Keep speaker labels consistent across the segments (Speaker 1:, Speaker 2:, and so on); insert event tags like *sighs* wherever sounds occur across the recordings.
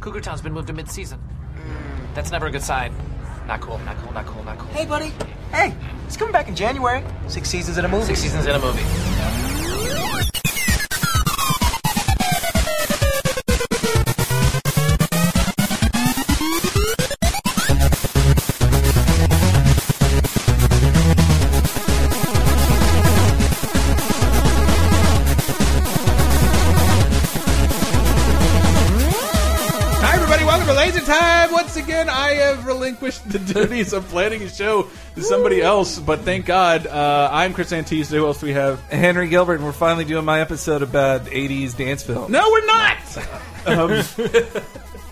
Speaker 1: Cougar Town's been moved to mid-season. That's never a good sign. Not cool, not cool, not cool, not cool.
Speaker 2: Hey, buddy. Hey, it's coming back in January. Six seasons in a movie.
Speaker 1: Six seasons in a movie.
Speaker 3: Hi, everybody. Welcome to Laser Time. Once again, I have relinquished the duties of planning a show to somebody else, but thank God. Uh, I'm Chris Antista. Who else do we have?
Speaker 4: Henry Gilbert, and we're finally doing my episode about 80s dance film.
Speaker 3: No, we're not!
Speaker 4: *laughs*
Speaker 3: um, *laughs*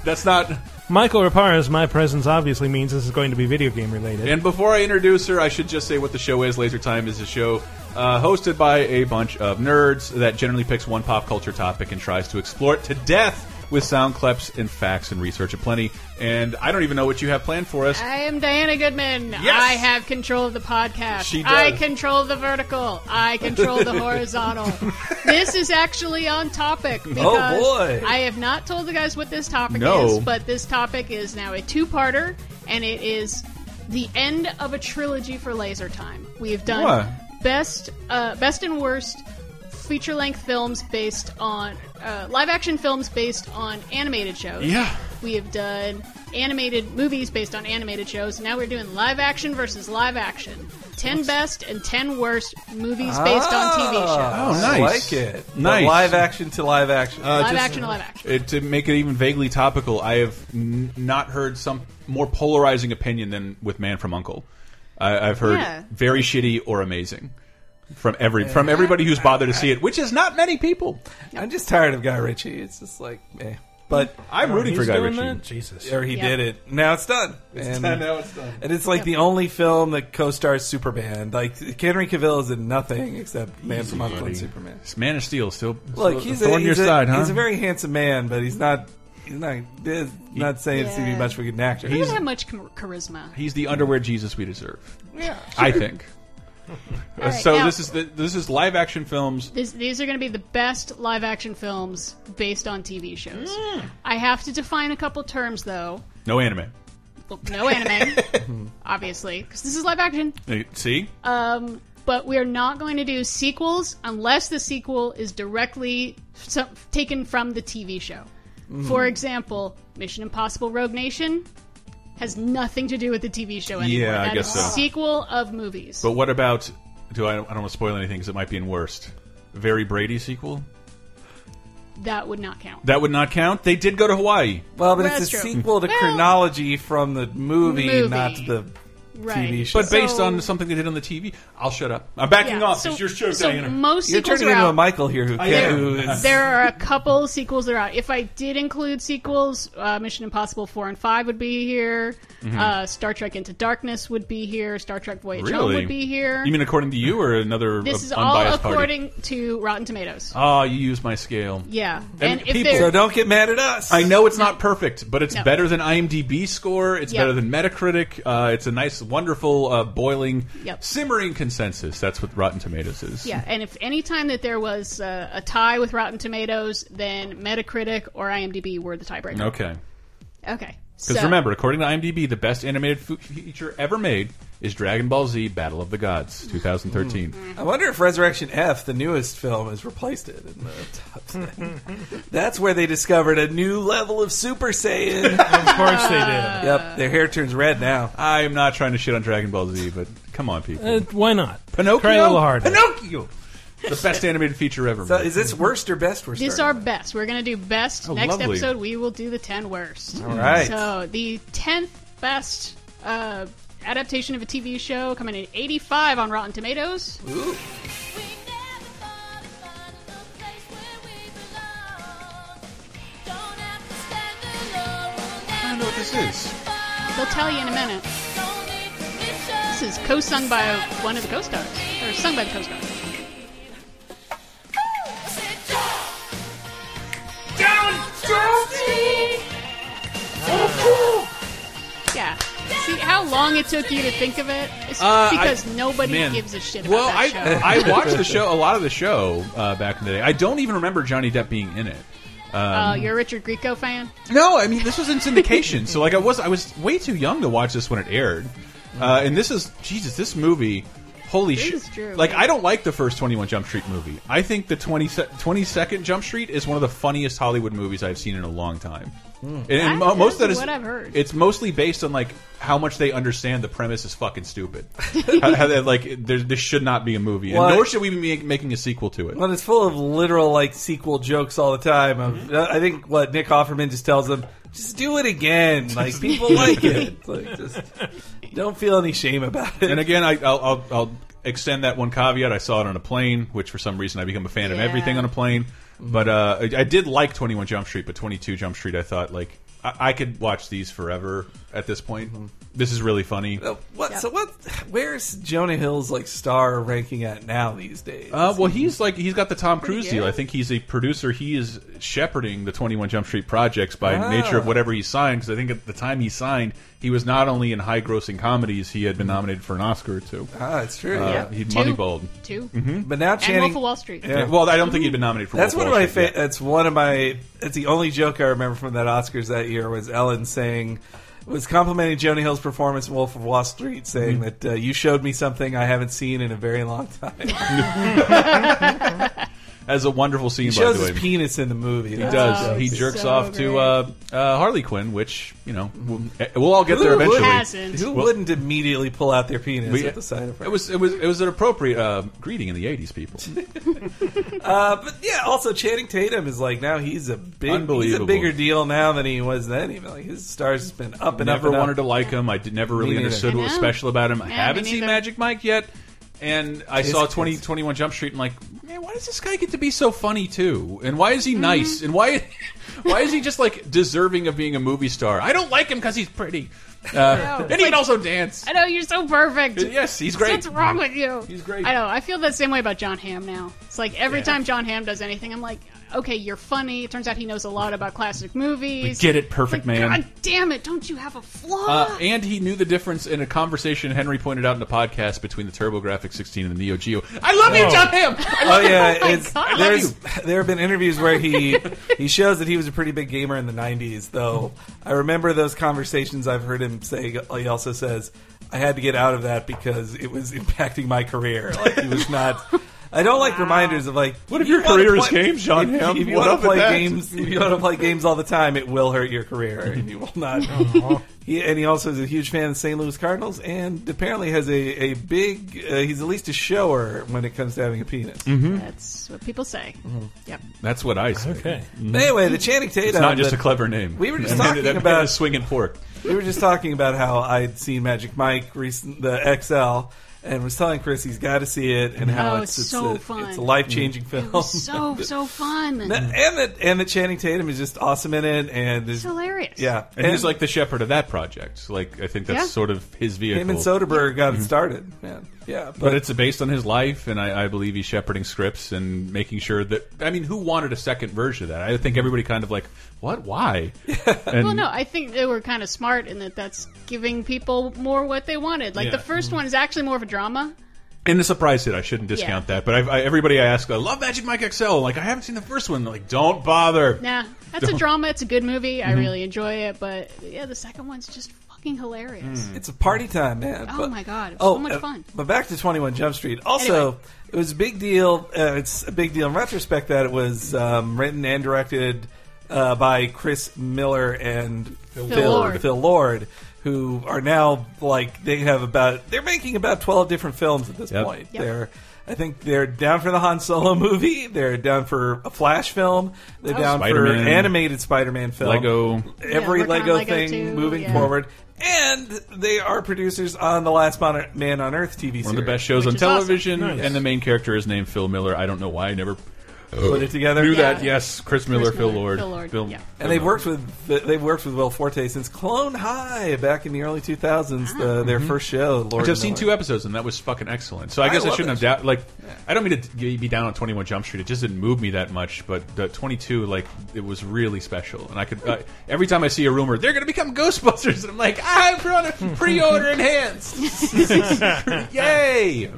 Speaker 3: that's not.
Speaker 5: Michael Rapar's my presence obviously means this is going to be video game related.
Speaker 3: And before I introduce her, I should just say what the show is. Laser Time is a show uh, hosted by a bunch of nerds that generally picks one pop culture topic and tries to explore it to death with sound clips and facts and research aplenty. And I don't even know what you have planned for us.
Speaker 6: I am Diana Goodman.
Speaker 3: Yes!
Speaker 6: I have control of the podcast.
Speaker 3: She does.
Speaker 6: I control the vertical. I control
Speaker 3: *laughs*
Speaker 6: the horizontal. this is actually on topic because
Speaker 4: boy.
Speaker 6: I have not told the guys what this topic
Speaker 3: Oh, No.
Speaker 6: is, but this topic is now a two-parter and it is the end of a trilogy for Laser Time. We have done
Speaker 3: What?
Speaker 6: best uh, best and worst feature-length films based on uh, live-action films based on animated shows.
Speaker 3: Yeah.
Speaker 6: We have done animated movies based on animated shows. Now we're doing live action versus live action. 10 best and 10 worst movies based on TV shows.
Speaker 3: Oh,
Speaker 4: Ah, I
Speaker 3: nice.
Speaker 4: like it. Uh, But
Speaker 3: Nice.
Speaker 4: live action to live action.
Speaker 6: Live action to live action.
Speaker 3: Ah, It, Uh, to make it even vaguely topical, I have n not heard some more polarizing opinion than with Man from Uncle. I, I've heard
Speaker 6: Yeah.
Speaker 3: very shitty or amazing from every from everybody who's bothered to see it, which is not many people.
Speaker 4: I'm just tired of Guy Ritchie. It's just like, eh. But
Speaker 3: I'm rooting for
Speaker 5: He's
Speaker 3: Guy
Speaker 5: doing
Speaker 3: Ritchie.
Speaker 5: that? Jesus.
Speaker 4: or he
Speaker 6: Yeah.
Speaker 4: did it. Now it's done. and,
Speaker 3: it's done.
Speaker 4: and it's like the only film that co-stars Superman. Like Henry Cavill is in nothing except Man from Uncle and Superman.
Speaker 3: Man of Steel still
Speaker 4: Look,
Speaker 3: still
Speaker 4: he's
Speaker 3: a
Speaker 4: a,
Speaker 3: thorn in your
Speaker 4: he's a-
Speaker 3: side, huh?
Speaker 4: he's a very handsome man, but he's not. He's not. He's not saying it's going to be
Speaker 6: Yeah.
Speaker 4: much of a good actor.
Speaker 6: He doesn't have much char- charisma.
Speaker 3: He's the underwear Jesus we deserve. Yeah, I think. Uh, so
Speaker 6: now-
Speaker 3: this is the, this is live action films.
Speaker 6: This, these are going to be the best live action films based on TV shows.
Speaker 3: Hmm.
Speaker 6: I have to define a couple terms, though.
Speaker 3: No anime.
Speaker 6: Well, no anime,
Speaker 3: *laughs*
Speaker 6: obviously, because this is live action.
Speaker 3: Uh, See,
Speaker 6: Um, but we are not going to do sequels unless the sequel is directly so- taken from the TV show.
Speaker 3: Mm-hmm.
Speaker 6: For example, Mission Impossible Rogue Nation has nothing to do with the TV show anymore.
Speaker 3: Yeah, I
Speaker 6: That
Speaker 3: guess
Speaker 6: is
Speaker 3: so.
Speaker 6: a sequel of movies.
Speaker 3: But what about? Do I? I don't want to spoil anything because it might be in worst. Very Brady sequel
Speaker 6: that would not count.
Speaker 3: that would not count. They did go to Hawaii.
Speaker 4: Well, but
Speaker 6: That's
Speaker 4: it's a
Speaker 6: true.
Speaker 4: sequel to
Speaker 6: Well-
Speaker 4: chronology from the movie,
Speaker 6: Movie.
Speaker 4: not the
Speaker 6: Right.
Speaker 4: TV show.
Speaker 3: But based
Speaker 6: So-
Speaker 3: on something they did on the TV, I'll shut up. I'm backing
Speaker 6: Yeah,
Speaker 3: off.
Speaker 6: so,
Speaker 3: it's your show,
Speaker 6: so
Speaker 3: Diana.
Speaker 6: most
Speaker 4: You're
Speaker 6: sequels
Speaker 4: turning
Speaker 6: are
Speaker 4: into
Speaker 6: out.
Speaker 4: a Michael here who
Speaker 3: am.
Speaker 6: *laughs*
Speaker 4: can't. Who is,
Speaker 6: there are a couple sequels that are out. If I did include sequels, uh, Mission Impossible 4 and 5 would be here.
Speaker 3: Mm-hmm.
Speaker 6: Uh, Star Trek Into Darkness would be here. Star Trek Voyage Home
Speaker 3: Really?
Speaker 6: would be here.
Speaker 3: You mean according to you or another
Speaker 6: this
Speaker 3: uh,
Speaker 6: is all
Speaker 3: unbiased party?
Speaker 6: according to Rotten Tomatoes.
Speaker 3: Ah, you use my scale.
Speaker 6: yeah.
Speaker 3: and
Speaker 6: And, if
Speaker 3: people-
Speaker 4: so
Speaker 6: they're
Speaker 4: don't get mad at us.
Speaker 3: I know it's not perfect, but it's
Speaker 6: No.
Speaker 3: better than IMDb score. It's
Speaker 6: Yep.
Speaker 3: better than Metacritic. Uh, it's a nice, wonderful, uh, boiling,
Speaker 6: Yep.
Speaker 3: simmering consensus. That's what Rotten Tomatoes is.
Speaker 6: yeah, and if any time that there was uh, a tie with Rotten Tomatoes, then Metacritic or IMDb were the tiebreaker.
Speaker 3: Okay.
Speaker 6: Okay.
Speaker 3: Because
Speaker 6: So,
Speaker 3: remember, according to IMDb, the best animated fu- feature ever made is Dragon Ball Z: Battle of the
Speaker 6: Mm.
Speaker 3: Gods, 2013.
Speaker 4: I wonder if Resurrection F, the newest film, has replaced it. In the top ten.
Speaker 6: *laughs*
Speaker 4: That's where they discovered a new level of
Speaker 6: *laughs*
Speaker 4: Super Saiyan.
Speaker 5: Of course they did.
Speaker 4: yep, their hair turns red now.
Speaker 3: I am not trying to shit on Dragon Ball Z, but come on, people.
Speaker 5: Uh, why not?
Speaker 3: Pinocchio,
Speaker 5: Try a little harder.
Speaker 3: Pinocchio, the best animated feature ever.
Speaker 4: So
Speaker 3: made.
Speaker 4: Uh, is this worst or best? We're
Speaker 6: These are
Speaker 4: starting
Speaker 6: best. We're going to do best.
Speaker 3: Oh,
Speaker 6: Next
Speaker 3: lovely.
Speaker 6: episode, we will do the 10 worst.
Speaker 4: with? all right.
Speaker 6: So the 10th best uh, adaptation of a TV show coming in at 85 on Rotten Tomatoes.
Speaker 3: I don't know what this is.
Speaker 6: They'll tell you in a minute. This is co-sung by one of the co-stars, or sung by the co-star. Yeah. See how long it took you to think of it? It's
Speaker 3: Uh,
Speaker 6: because
Speaker 3: I-
Speaker 6: nobody
Speaker 3: man.
Speaker 6: gives a shit about
Speaker 3: Well,
Speaker 6: that
Speaker 3: *laughs*
Speaker 6: show.
Speaker 3: I I watched the show a lot of the show uh, back in the day. I don't even remember Johnny Depp being in it.
Speaker 6: uh, you're a Richard Grieco fan.
Speaker 3: No, I mean this was in syndication, so like I was I was way too young to watch this when it aired, uh, and this is Jesus, this movie, holy shit!
Speaker 6: is true.
Speaker 3: Like I don't like the first Twenty One Jump Street movie. I think the 20, se- 22nd Jump Street is one of the funniest Hollywood movies I've seen in a long time. And, and mo-
Speaker 6: That's
Speaker 3: most of that is
Speaker 6: what I've heard.
Speaker 3: It's mostly based on like how much they understand the premise is fucking
Speaker 6: *laughs*
Speaker 3: stupid. how, how that, like there, this should not be a movie, and
Speaker 4: Well,
Speaker 3: nor
Speaker 4: I-
Speaker 3: should we be make, making a sequel to it.
Speaker 4: Well, it's full of literal like sequel jokes all the time. Of,
Speaker 6: Mm-hmm.
Speaker 4: uh, I think what Nick Offerman just tells them, just do it again. Like people
Speaker 6: *laughs*
Speaker 4: like it. Like just don't feel any shame about it.
Speaker 3: And again, I, I'll, I'll, I'll extend that one caveat. I saw it on a plane, which for some reason I become a fan of
Speaker 6: Yeah. Mm-hmm.
Speaker 3: everything on a plane. But uh, I, I did like 21 Jump Street, but 22 Jump Street, I thought like I, I could watch these forever at this point.
Speaker 6: Mm-hmm.
Speaker 3: This is really funny.
Speaker 4: Uh, what? So what? Where's Jonah Hill's like star ranking at now these days?
Speaker 3: Uh, well, he's like he's got the Tom Cruise deal.
Speaker 6: good.
Speaker 3: I think he's a producer. He is shepherding the Twenty One Jump Street projects by
Speaker 6: Ah.
Speaker 3: nature of whatever he signed. Because I think at the time he signed, he was not only in high-grossing comedies, he had been nominated for an Oscar or two. Uh,
Speaker 4: ah, it's true.
Speaker 3: He
Speaker 6: Mm-hmm. Two.
Speaker 3: moneyballed.
Speaker 6: 2
Speaker 4: But now
Speaker 6: and
Speaker 4: Channing.
Speaker 6: Wolf of Wall Street.
Speaker 4: Yeah.
Speaker 3: Yeah, Well, I don't think he'd been nominated for.
Speaker 4: That's
Speaker 3: Wolf
Speaker 4: one
Speaker 3: of
Speaker 4: of
Speaker 3: Wall
Speaker 4: my.
Speaker 3: Street
Speaker 4: Fa- That's one of my. That's the only joke I remember from that Oscars that year was Ellen saying, was complimenting Jonah Hill's performance in Wolf of Wall Street, saying
Speaker 3: Mm-hmm.
Speaker 4: that uh, you showed me something I haven't seen in a very long time.
Speaker 3: yet. As a wonderful scene,
Speaker 4: He
Speaker 3: by
Speaker 4: shows
Speaker 3: the way.
Speaker 4: his penis in the movie.
Speaker 3: he does.
Speaker 6: Oh,
Speaker 3: he
Speaker 6: it's
Speaker 3: jerks
Speaker 6: so
Speaker 3: off to
Speaker 6: great.
Speaker 3: uh, uh, Harley Quinn, which you know we'll, eh, we'll all get there
Speaker 4: Who
Speaker 3: eventually.
Speaker 6: hasn't?
Speaker 4: Who
Speaker 3: Well-
Speaker 4: wouldn't immediately pull out their penis
Speaker 3: We-
Speaker 4: at the sight of her?
Speaker 3: It was it was it was an appropriate uh, greeting in the '80s, people.
Speaker 4: Uh, but yeah, also Channing Tatum is like now he's a big, he's a
Speaker 3: Unbelievable.
Speaker 4: bigger deal now than he was then. Even like his stars has been up and
Speaker 3: never
Speaker 4: up. And
Speaker 3: wanted
Speaker 4: up.
Speaker 3: to like him. I did, never really
Speaker 4: Me neither.
Speaker 3: understood
Speaker 6: I
Speaker 3: what was
Speaker 6: know.
Speaker 3: special about him. I
Speaker 6: Yeah,
Speaker 3: haven't
Speaker 6: me
Speaker 3: seen
Speaker 6: neither.
Speaker 3: Magic Mike yet, and I saw 20,
Speaker 4: it's-
Speaker 3: 21 Jump Street and like, man, why does this guy get to be so funny too? And why
Speaker 6: Mm-hmm.
Speaker 3: is he nice? And why *laughs* why is he just like deserving of being a movie star? I don't like him because he's
Speaker 6: *laughs*
Speaker 3: pretty, uh, and he can also dance.
Speaker 6: I know you're so perfect.
Speaker 3: Yes, he's great.
Speaker 6: What's wrong with you?
Speaker 3: He's great.
Speaker 6: I know. I feel that same way about John Hamm now. It's like every time John Hamm does anything, I'm like, okay, you're funny. It turns out he knows a lot about classic movies.
Speaker 3: Get it, perfect
Speaker 6: Like,
Speaker 3: man.
Speaker 6: God damn it! Don't you have a flaw?
Speaker 3: Uh, and he knew the difference in a conversation Henry pointed out in the podcast between the TurboGrafx 16 and the Neo Geo. I love you,
Speaker 5: Whoa.
Speaker 3: John Hamm. I
Speaker 4: Oh
Speaker 3: love you.
Speaker 4: yeah,
Speaker 6: my
Speaker 4: it's,
Speaker 6: God. I love
Speaker 4: there's there have been interviews where he *laughs* he shows that he was a pretty big gamer in the '90s. Though I remember those conversations I've heard him say. He also says I had to get out of that because it was impacting my career. Like he was not. I don't like reminders of like what
Speaker 3: if your career is games, John
Speaker 4: If,
Speaker 3: Hamm?
Speaker 4: if you
Speaker 3: What
Speaker 4: want
Speaker 3: up
Speaker 4: to
Speaker 3: with
Speaker 4: play
Speaker 3: that?
Speaker 4: games, if you want to play games all the time, it will hurt your career, and you will
Speaker 3: *laughs* Uh-huh.
Speaker 4: not. *laughs* He, and he also is a huge fan of the St. Louis Cardinals, and apparently has a, a big. Uh, he's at least a shower when it comes to having a penis.
Speaker 6: That's what people say.
Speaker 3: Mm-hmm. *laughs*
Speaker 6: Yep.
Speaker 3: *laughs* That's what I say.
Speaker 5: Okay.
Speaker 4: But Anyway, the Channing Tatum.
Speaker 3: It's not just a
Speaker 4: that-
Speaker 3: clever name.
Speaker 4: Uh, We were just
Speaker 3: And then-
Speaker 4: talking
Speaker 3: then
Speaker 4: about-
Speaker 3: a swinging fork.
Speaker 4: we were just talking about how I'd seen Magic Mike recent the XL, and was telling Chris he's got to see it, and how
Speaker 6: Oh,
Speaker 4: it's,
Speaker 6: it's
Speaker 4: it's
Speaker 6: so
Speaker 4: a,
Speaker 6: fun.
Speaker 4: It's a life changing film.
Speaker 3: Oh,
Speaker 6: It was so so fun.
Speaker 4: *laughs* and that and that Channing Tatum is just awesome in it, and is
Speaker 6: It's hilarious.
Speaker 4: yeah,
Speaker 3: And, he's like the shepherd of that project. Like I think that's
Speaker 6: Yeah.
Speaker 3: sort of his vehicle.
Speaker 4: him and Soderbergh got it started, man. Yeah, but,
Speaker 3: Mm-hmm. but it's based on his life, and I, I believe he's shepherding scripts and making sure that. I mean, who wanted a second version of that? I think everybody kind of like, what? Why? And
Speaker 6: Well, no, I think they were kind of smart in that that's giving people more what they wanted. Like
Speaker 3: Yeah. Mm-hmm.
Speaker 6: the first one is actually more of a drama.
Speaker 3: and the surprise hit, I shouldn't discount
Speaker 6: Yeah.
Speaker 3: that. But I, I, everybody I ask, I love Magic Mike XL. Like I haven't seen the first one. They're Like don't bother.
Speaker 6: Nah, that's a drama. It's a good movie.
Speaker 3: Mm-hmm.
Speaker 6: I really enjoy it. But yeah, the second one's just fucking hilarious.
Speaker 3: Mm. Hmm.
Speaker 4: It's a party time, man.
Speaker 6: Oh
Speaker 4: But-
Speaker 6: my God, it was so much
Speaker 4: uh,
Speaker 6: fun.
Speaker 4: But back to 21 Jump Street. Also,
Speaker 6: Anyway.
Speaker 4: it was a big deal. Uh, it's a big deal in retrospect that it was um, written and directed uh, by Chris Miller and Phil,
Speaker 6: Lord.
Speaker 4: Phil Lord, who are now like they have about they're making about 12 different films at this
Speaker 3: Yep.
Speaker 4: point.
Speaker 6: Yep.
Speaker 4: They're I think they're down for the Han Solo *laughs* movie. They're down for a Flash film. They're down
Speaker 3: Spider-Man.
Speaker 4: for animated Spider-Man film.
Speaker 3: Lego.
Speaker 4: Every
Speaker 6: Oh, Yeah, working on
Speaker 4: Lego,
Speaker 6: Lego
Speaker 4: thing
Speaker 6: too,
Speaker 4: moving
Speaker 6: yeah.
Speaker 4: forward. And they are producers on the Last Mon- Man on Earth TV series.
Speaker 3: One of the best shows
Speaker 6: Which
Speaker 3: on
Speaker 6: is awesome.
Speaker 3: television,
Speaker 5: Nice.
Speaker 3: and the main character is named Phil Miller. I don't know why I never
Speaker 4: Put it together.
Speaker 3: knew
Speaker 6: Yeah.
Speaker 3: that. Yes, Chris Miller, Phil
Speaker 6: Miller,
Speaker 3: Lord,
Speaker 6: Phil Lord, yeah.
Speaker 4: And they've worked with they've worked with Will Forte since Clone High back in the early 2000s. The, their first show. Lord
Speaker 3: Mm-hmm. Which I've seen
Speaker 4: Miller.
Speaker 3: two episodes and that was fucking excellent. So I guess I,
Speaker 4: love
Speaker 3: shouldn't have
Speaker 4: that
Speaker 3: down. Like, I don't mean to d- be down on Twenty One Jump Street. It just didn't move me that much. But the Twenty Two, like, it was really special. And I could uh, every time I see a rumor, they're gonna become Ghostbusters, and I'm like, I brought a pre-order enhanced. *laughs* Yay!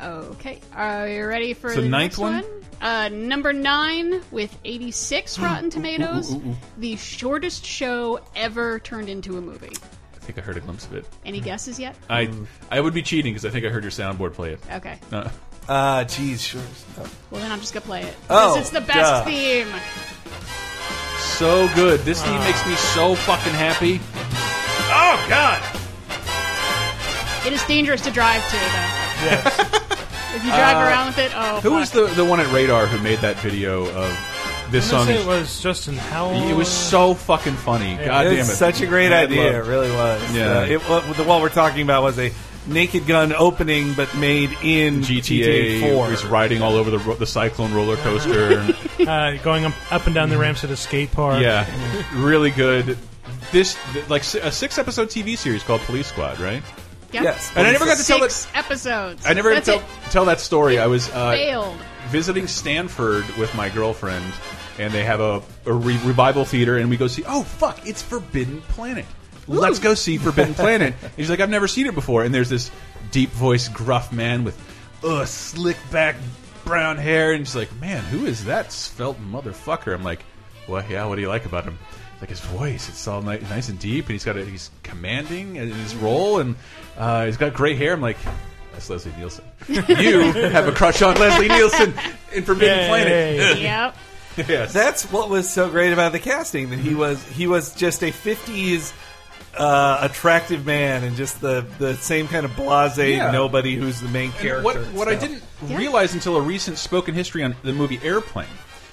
Speaker 6: Okay, are you ready for
Speaker 3: So
Speaker 6: the
Speaker 3: ninth
Speaker 6: next
Speaker 3: one?
Speaker 6: one? Uh, number nine with
Speaker 3: *gasps*
Speaker 6: 86 Rotten Tomatoes, the shortest show ever turned into a movie.
Speaker 3: I think I heard a glimpse of it.
Speaker 6: Any guesses yet?
Speaker 3: I I would be cheating because I think I heard your soundboard play it.
Speaker 6: Okay.
Speaker 3: Uh,
Speaker 4: Ah, jeez, sure. No.
Speaker 6: Well, then I'm just gonna play it. 'Cause
Speaker 4: Oh,
Speaker 6: it's the best
Speaker 4: duh.
Speaker 6: theme.
Speaker 3: so good. This theme makes me so fucking happy. Oh God!
Speaker 6: It is dangerous to drive to, though. Yes. *laughs* if you drive
Speaker 4: Uh,
Speaker 6: around with it, oh.
Speaker 3: Who was
Speaker 6: fuck.
Speaker 3: the the one at Radar who made that video of this
Speaker 5: I'm
Speaker 3: song?
Speaker 5: gonna say it was Justin Howell.
Speaker 3: It was so fucking funny. God
Speaker 4: It
Speaker 3: damn it!
Speaker 4: was such a great
Speaker 3: Mad
Speaker 4: idea.
Speaker 3: love.
Speaker 4: It really was.
Speaker 3: Yeah.
Speaker 4: Uh, it, wa- the one we're talking about was a Naked Gun opening, but made in
Speaker 3: GTA,
Speaker 4: Four.
Speaker 3: is riding all over the ro- the cyclone roller coaster.
Speaker 4: *laughs*
Speaker 3: and-
Speaker 5: uh, going up, up and down the ramps at a skate park.
Speaker 3: yeah, really good. This th- like s- a six episode TV series called Police Squad, right?
Speaker 6: Yep.
Speaker 4: Yes,
Speaker 3: And I never got to tell that.
Speaker 6: Six episodes.
Speaker 3: I never got to
Speaker 6: That's
Speaker 3: tell,
Speaker 6: it.
Speaker 3: tell that story. I was uh,
Speaker 6: Failed.
Speaker 3: visiting Stanford with my girlfriend, and they have a, a re revival theater, and we go see. Oh fuck! It's Forbidden Planet. Let's go see Forbidden Planet. And she's like, I've never seen it before. And there's this deep voiced gruff man with uh, slick back brown hair, and she's like, Man, who is that svelte motherfucker? I'm like, Well, yeah. What do you like about him? Like his voice, it's all ni nice and deep, and he's got a, he's commanding in his role, and uh, he's got gray hair. I'm like, that's Leslie
Speaker 6: *laughs*
Speaker 3: Nielsen. You have a crush on Leslie Nielsen in Forbidden Planet. *laughs*
Speaker 5: Yay.
Speaker 6: *laughs* Yep.
Speaker 3: Yes.
Speaker 4: That's what was so great about the casting that he
Speaker 3: Mm-hmm.
Speaker 4: was he was just a fifties uh, attractive man and just the the same kind of blase
Speaker 3: Yeah.
Speaker 4: nobody who's the main character.
Speaker 3: And what
Speaker 4: and
Speaker 3: what I
Speaker 4: stuff.
Speaker 3: didn't
Speaker 6: Yeah.
Speaker 3: realize until a recent spoken history on the movie Airplane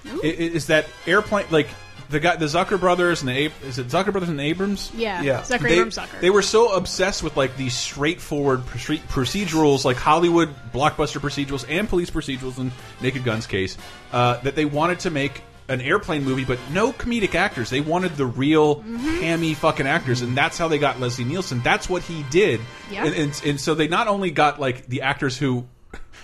Speaker 3: i- i- is that Airplane like the guy the Zucker brothers and the Ab is it Zucker brothers and Abrams
Speaker 6: Yeah.
Speaker 4: Yeah.
Speaker 6: Zucker
Speaker 3: they,
Speaker 6: Abram Zucker.
Speaker 3: they were so obsessed with like these straightforward proce- procedurals, like Hollywood blockbuster procedurals and police procedurals in Naked Gun's case, uh, that they wanted to make an airplane movie, but no comedic actors. They wanted the real hammy fucking actors, and that's how they got Leslie Nielsen. That's what he did,
Speaker 6: Yeah.
Speaker 3: and, and and so they not only got like the actors who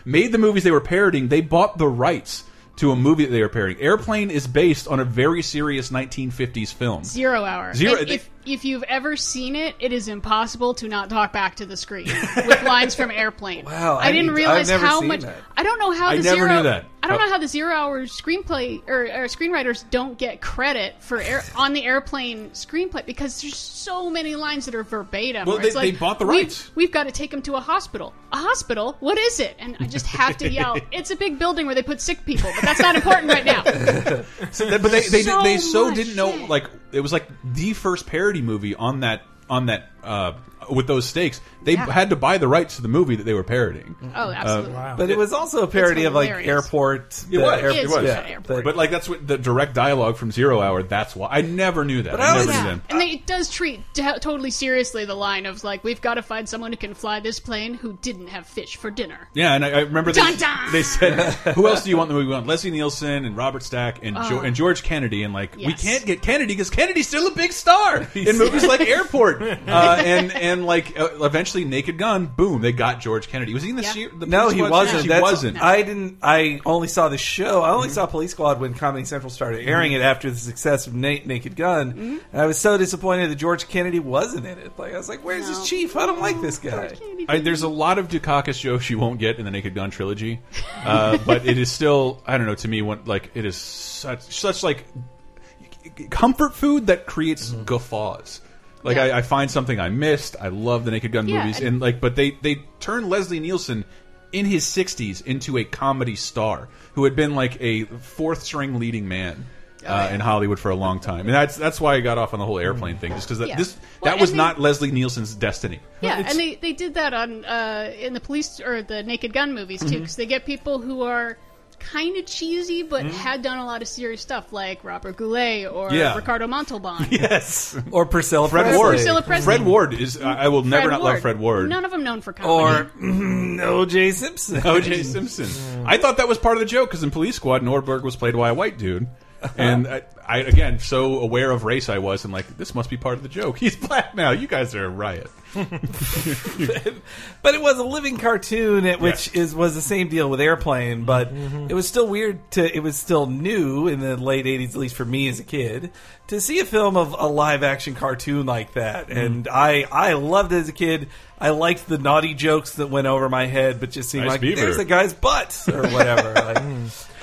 Speaker 3: made the movies they were parodying, they bought the rights. To a movie that they were parodying. Airplane is based on a very serious 1950s film.
Speaker 6: Zero hour.
Speaker 3: Zero-
Speaker 6: And if if you've ever seen it, it is impossible to not talk back to the screen with lines
Speaker 3: *laughs*
Speaker 6: from Airplane.
Speaker 4: Wow,
Speaker 6: I,
Speaker 4: I
Speaker 6: didn't
Speaker 4: need-
Speaker 6: realize
Speaker 4: I've never
Speaker 6: how
Speaker 4: seen
Speaker 6: much.
Speaker 4: that.
Speaker 6: I don't know how
Speaker 3: I
Speaker 6: the
Speaker 3: never
Speaker 6: zero.
Speaker 3: knew that. Oh.
Speaker 6: I don't
Speaker 3: How-
Speaker 6: know how the zero hour screenplay or, or screenwriters don't get credit for
Speaker 3: *laughs*
Speaker 6: air, on the Airplane screenplay because there's so many lines that are verbatim.
Speaker 3: Well,
Speaker 6: where it's
Speaker 3: they-
Speaker 6: like,
Speaker 3: they bought the
Speaker 6: "We've-
Speaker 3: rights."
Speaker 6: We've, got to take him to a hospital. A hospital? What is it? And I just have
Speaker 3: *laughs*
Speaker 6: to yell. It's a big building where they put sick people, but that's not important right now.
Speaker 3: *laughs* That- but they they,
Speaker 6: So
Speaker 3: they so
Speaker 6: much
Speaker 3: didn't know
Speaker 6: shit.
Speaker 3: like it was like the first parody movie on that on that uh, with those stakes they
Speaker 6: Yeah.
Speaker 3: had to buy the rights to the movie that they were parodying
Speaker 6: Oh, absolutely.
Speaker 4: But it was also a parody of like
Speaker 6: hilarious.
Speaker 4: airport.
Speaker 3: It
Speaker 4: the
Speaker 3: was.
Speaker 4: air-
Speaker 3: It
Speaker 6: It's
Speaker 3: was.
Speaker 6: just
Speaker 3: Yeah.
Speaker 6: an airplane.
Speaker 4: the-
Speaker 3: but like that's what the direct dialogue from Zero Hour that's why I never knew that
Speaker 4: I
Speaker 3: I never
Speaker 4: always-
Speaker 3: knew
Speaker 6: Yeah,
Speaker 3: that
Speaker 6: and they, it does treat t- totally seriously the line of like, we've got to find someone who can fly this plane who didn't have fish for dinner.
Speaker 3: yeah and I, I remember they,
Speaker 6: Dun dun!
Speaker 3: they
Speaker 4: *laughs*
Speaker 3: said who else do you want in the movie we want Leslie Nielsen and Robert Stack and, jo and George Kennedy and like we
Speaker 6: Oh. Yes.
Speaker 3: can't get Kennedy because Kennedy's still a big
Speaker 4: *laughs*
Speaker 3: star in movies like Airport uh, and and like uh, eventually Naked Gun boom they got George Kennedy was he in the,
Speaker 6: Yeah.
Speaker 3: se- the
Speaker 4: no,
Speaker 3: Police
Speaker 4: he
Speaker 3: Squad
Speaker 4: wasn't.
Speaker 3: series? he
Speaker 4: That's-
Speaker 3: wasn't
Speaker 4: I didn't. I only saw the show. I only
Speaker 3: Mm-hmm.
Speaker 4: saw Police Squad when Comedy Central started airing it after the success of Na- Naked Gun,
Speaker 3: Mm-hmm.
Speaker 4: and I was so disappointed that George Kennedy wasn't in it. Like I was like, "Where's his
Speaker 6: No.
Speaker 4: chief? I don't like this guy."
Speaker 3: I, there's a lot of Dukakis jokes you won't get in the Naked Gun trilogy, uh, but it is still I don't know to me one like it is such such like comfort food that creates guffaws. Like
Speaker 6: Mm-hmm. Yeah.
Speaker 3: I, I find something I missed. I love the Naked Gun
Speaker 6: Yeah,
Speaker 3: movies,
Speaker 6: and-
Speaker 3: and like but they they turn Leslie Nielsen in his 60s into a comedy star who had been like a fourth string leading man.
Speaker 6: Oh,
Speaker 3: Uh, in Hollywood for a long time, and that's that's why I got off on the whole airplane thing, just because that
Speaker 6: Mm. Yeah.
Speaker 3: this
Speaker 6: Well,
Speaker 3: that was
Speaker 6: and they-
Speaker 3: not Leslie Nielsen's destiny.
Speaker 6: Yeah, and they, they did that on uh, in the police or the Naked Gun movies too,
Speaker 3: Mm-hmm.
Speaker 6: because they get people who are kind of cheesy but had done a lot of serious stuff, like Robert Goulet or
Speaker 3: Mm-hmm. *laughs* Yeah.
Speaker 6: Ricardo Montalban.
Speaker 3: *laughs* Yes,
Speaker 4: Or Priscilla
Speaker 3: Fred
Speaker 4: Presley.
Speaker 3: Ward.
Speaker 6: Priscilla Presley.
Speaker 3: Fred Ward is. I I will never
Speaker 6: Fred
Speaker 3: not
Speaker 6: Ward.
Speaker 3: love Fred Ward.
Speaker 6: None of them known for comedy.
Speaker 4: or mm, *laughs* O.J.
Speaker 3: *laughs*
Speaker 4: Simpson.
Speaker 3: O.J. Simpson. I thought that was part of the joke because in Police Squad, Nordberg was played by a white dude, and I, I again so aware of race I was, and like this must be part of the joke. He's black now. You guys are a riot.
Speaker 4: But it was a living cartoon, at which
Speaker 3: Yes. Mm-hmm.
Speaker 4: is was the same deal with Airplane, but it was still weird to. It was still new in the late '80s, at least for me as a kid,
Speaker 3: Mm-hmm.
Speaker 4: to see a film of a live action cartoon like that. And I I loved it as a kid. I liked the naughty jokes that went over my head, but just seemed
Speaker 3: Nice
Speaker 4: like
Speaker 3: beaver. Mm.
Speaker 4: there's the guy's butt
Speaker 3: *laughs*
Speaker 4: or whatever. like,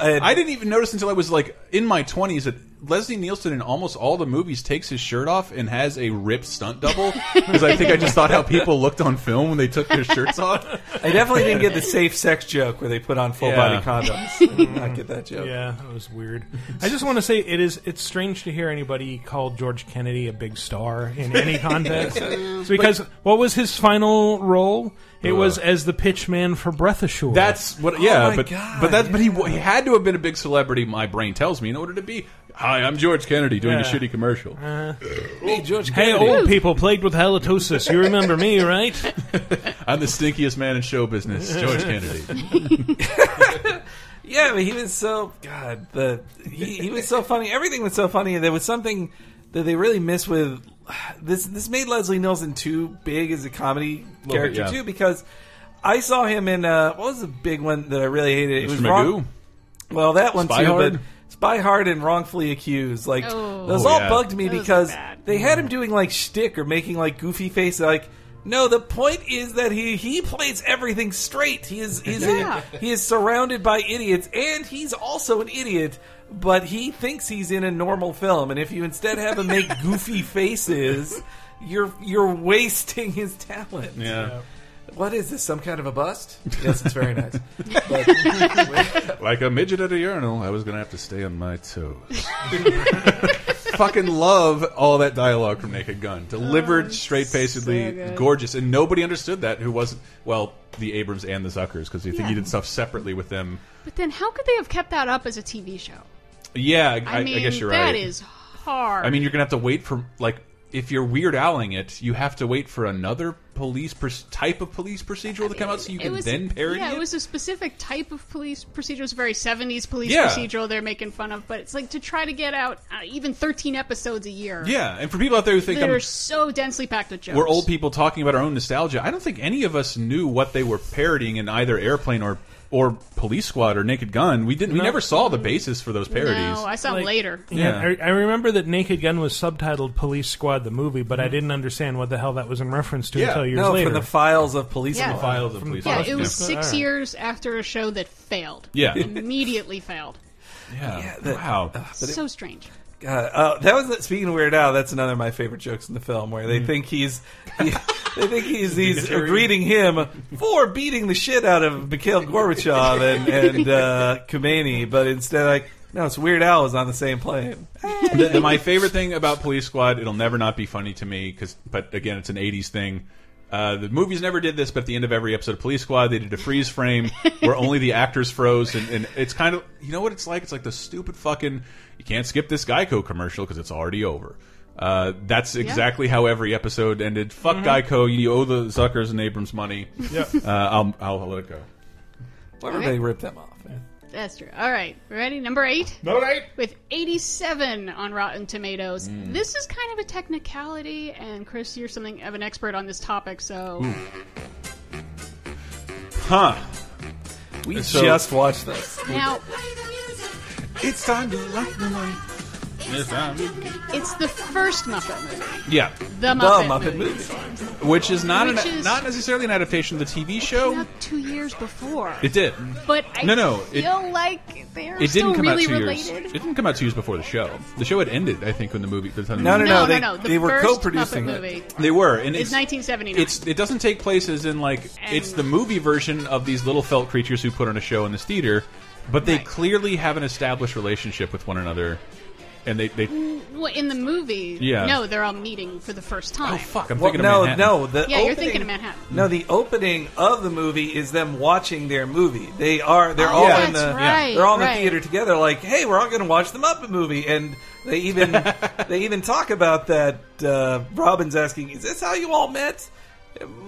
Speaker 4: I had-
Speaker 3: I didn't even notice until I was like in my 20s that Leslie Nielsen in almost all the movies takes his shirt off and has a ripped stunt double because I think I just thought how people looked on film when they took their shirts off.
Speaker 4: I definitely
Speaker 3: *laughs*
Speaker 4: didn't get the safe sex joke where they put on full
Speaker 3: Yeah.
Speaker 4: body condoms. I did not get that joke.
Speaker 5: Yeah, that was weird. I just want to say it is it's strange to hear anybody call George Kennedy a big star in any context. It's because what was his final role? It was as the pitchman for Breathashore.
Speaker 3: That's what. Yeah,
Speaker 4: my
Speaker 3: but
Speaker 4: God.
Speaker 3: but that's but he he had to have been a big celebrity. My brain tells me in order to be. Hi, I'm George Kennedy doing a
Speaker 5: Yeah.
Speaker 3: shitty commercial.
Speaker 4: Hey, George
Speaker 5: Hey,
Speaker 4: Kennedy.
Speaker 5: old people plagued with halitosis. You remember me, right?
Speaker 3: I'm the stinkiest man in show business, George Kennedy.
Speaker 4: Yeah, but he was so God. The he, he was so funny. Everything was so funny. There was something that they really missed with *sighs* this. This made Leslie Nielsen too big as a comedy character
Speaker 3: yeah.
Speaker 4: too because I saw him in uh, what was the big one that I really hated. It was
Speaker 3: Mr.
Speaker 4: wrong.
Speaker 3: Magoo.
Speaker 4: Well, that one
Speaker 3: Spy
Speaker 4: too,
Speaker 3: Hard?
Speaker 4: but Spy Hard and Wrongfully Accused, like
Speaker 6: Oh.
Speaker 4: those
Speaker 3: Oh,
Speaker 4: all
Speaker 3: yeah.
Speaker 4: bugged me
Speaker 6: Those are
Speaker 4: because
Speaker 6: bad.
Speaker 4: they had him doing like shtick or making like goofy faces. Like, no, the point is that he he plays everything straight. He is he's a-
Speaker 6: Yeah.
Speaker 4: he is surrounded by idiots, and he's also an idiot. But he thinks he's in a normal film, and if you instead have
Speaker 3: *laughs*
Speaker 4: him make goofy faces, you're you're wasting his talent.
Speaker 3: Yeah.
Speaker 4: What is this? Some kind of
Speaker 3: *laughs*
Speaker 4: a bust? Yes, it's very nice.
Speaker 3: Like a midget at a urinal, I was going to have to stay on my toes. Fucking love all that dialogue from Naked Gun. Delivered straight
Speaker 6: so
Speaker 3: facedly,
Speaker 6: good.
Speaker 3: gorgeous. And nobody understood that who wasn't, well, the Abrams and the Zuckers, because you think
Speaker 6: Yeah.
Speaker 3: you did stuff separately with them.
Speaker 6: But then, how could they have kept that up as a TV show?
Speaker 3: Yeah, I,
Speaker 6: I,
Speaker 3: I
Speaker 6: mean,
Speaker 3: guess you're right.
Speaker 6: that is hard.
Speaker 3: I mean, you're going to have to wait for, like, if you're Weird Owling it, you have to wait for another police pr type of police procedural to come out so you
Speaker 6: It
Speaker 3: can
Speaker 6: was-
Speaker 3: then parody
Speaker 6: Yeah,
Speaker 3: it?
Speaker 6: it was a specific type of police procedure. It's very 70s police
Speaker 3: Yeah.
Speaker 6: procedural they're making fun of, but it's like to try to get out uh, even 13 episodes a year.
Speaker 3: Yeah, and for people out there who think
Speaker 6: They're
Speaker 3: I'm
Speaker 6: so densely packed with jokes.
Speaker 3: we're old people talking about our own nostalgia. I don't think any of us knew what they were parodying in either Airplane or or Police Squad or Naked Gun. We didn't. We
Speaker 5: No.
Speaker 3: never saw the basis for those parodies.
Speaker 6: No, I saw them
Speaker 5: Like-
Speaker 6: later.
Speaker 3: Yeah.
Speaker 5: I, I remember that Naked Gun was subtitled Police Squad the movie, but I didn't understand what the hell that was in reference to
Speaker 3: Mm-hmm. Yeah.
Speaker 5: until years
Speaker 4: No,
Speaker 5: later.
Speaker 4: from the files of police.
Speaker 6: Yeah.
Speaker 4: Squad.
Speaker 3: Files of Police
Speaker 6: Yeah,
Speaker 3: Squad.
Speaker 6: it was
Speaker 5: Yeah.
Speaker 6: six
Speaker 5: Alright.
Speaker 6: years after a show that failed.
Speaker 3: Yeah.
Speaker 6: *laughs* Immediately failed.
Speaker 3: Yeah. uh,
Speaker 4: Yeah, that-
Speaker 3: wow.
Speaker 6: so strange.
Speaker 4: God, uh, that was speaking of Weird Al. That's another of my favorite jokes in the film, where they think *laughs* he's, he- they think he's he's greeting him for beating the shit out of Mikhail Gorbachev and and uh, Khomeini, but instead like no, it's Weird Al was on the same plane.
Speaker 3: The- the- my favorite thing about Police Squad, it'll never not be funny to me because, but again, it's an '80s thing. Uh, the movies never did this, but at the end of every episode of Police Squad, they did a freeze frame where only the actors froze, and, and it's kind of you know what it's like. It's like the stupid fucking you can't skip this Geico commercial because it's already over. Uh, that's exactly how every episode ended. Fuck Geico, you owe the Zuckers and Abrams money. Yeah, uh, I'll, I'll let it go.
Speaker 4: Well, everybody ripped them off. man.
Speaker 6: That's true. All right, ready? Number eight?
Speaker 3: All right.
Speaker 6: with 87 on Rotten Tomatoes.
Speaker 3: Hmm.
Speaker 6: This is kind of a technicality, and Chris, you're something of an expert on this topic, so
Speaker 3: Huh.
Speaker 4: We
Speaker 3: So-
Speaker 4: just watched this.
Speaker 6: now
Speaker 3: It's time to light the light. It's time to-
Speaker 6: it's the first Muppet movie,
Speaker 3: Yeah.
Speaker 6: the
Speaker 4: The
Speaker 6: Muppet,
Speaker 4: Muppet
Speaker 6: movie,
Speaker 4: movie.
Speaker 3: Which is not
Speaker 6: Which
Speaker 3: an,
Speaker 6: is-
Speaker 3: not necessarily an adaptation of the TV show.
Speaker 6: Came out two years before.
Speaker 3: It did.
Speaker 6: but I
Speaker 3: No, no, it-
Speaker 6: feel like they're
Speaker 3: It
Speaker 6: still
Speaker 3: didn't come
Speaker 6: really
Speaker 3: out two
Speaker 6: related.
Speaker 3: years. It didn't come out two years before the show. The show had ended, I think, when the movie. by The time the
Speaker 4: No, no,
Speaker 3: movie-
Speaker 4: no.
Speaker 6: no,
Speaker 4: they-
Speaker 6: no, no. The
Speaker 4: they were
Speaker 6: first
Speaker 4: co-producing
Speaker 6: Muppet
Speaker 4: it.
Speaker 6: movie
Speaker 3: They were, and
Speaker 6: is
Speaker 3: it's
Speaker 6: 1979.
Speaker 3: it's it doesn't take place as in like it's the movie version of these little felt creatures who put on a show in this theater, but they
Speaker 6: Right.
Speaker 3: clearly have an established relationship with one another, and they they
Speaker 6: well, in the movie.
Speaker 3: Yeah.
Speaker 6: No, they're all meeting for the first time.
Speaker 3: oh fuck, I'm
Speaker 4: Well,
Speaker 3: thinking
Speaker 4: no,
Speaker 3: of Manhattan.
Speaker 4: no. The
Speaker 6: Yeah, you're
Speaker 4: opening-
Speaker 6: thinking of Manhattan.
Speaker 4: No, the opening of the movie is them watching their movie. They are they're
Speaker 6: Oh,
Speaker 4: all
Speaker 6: that's
Speaker 4: in the
Speaker 6: right,
Speaker 4: they're all in
Speaker 6: right.
Speaker 4: the theater together. Like, hey, we're all going to watch the Muppet movie, and they
Speaker 3: *laughs*
Speaker 4: even they even talk about that. Uh, Robin's asking, "Is this how you all met?"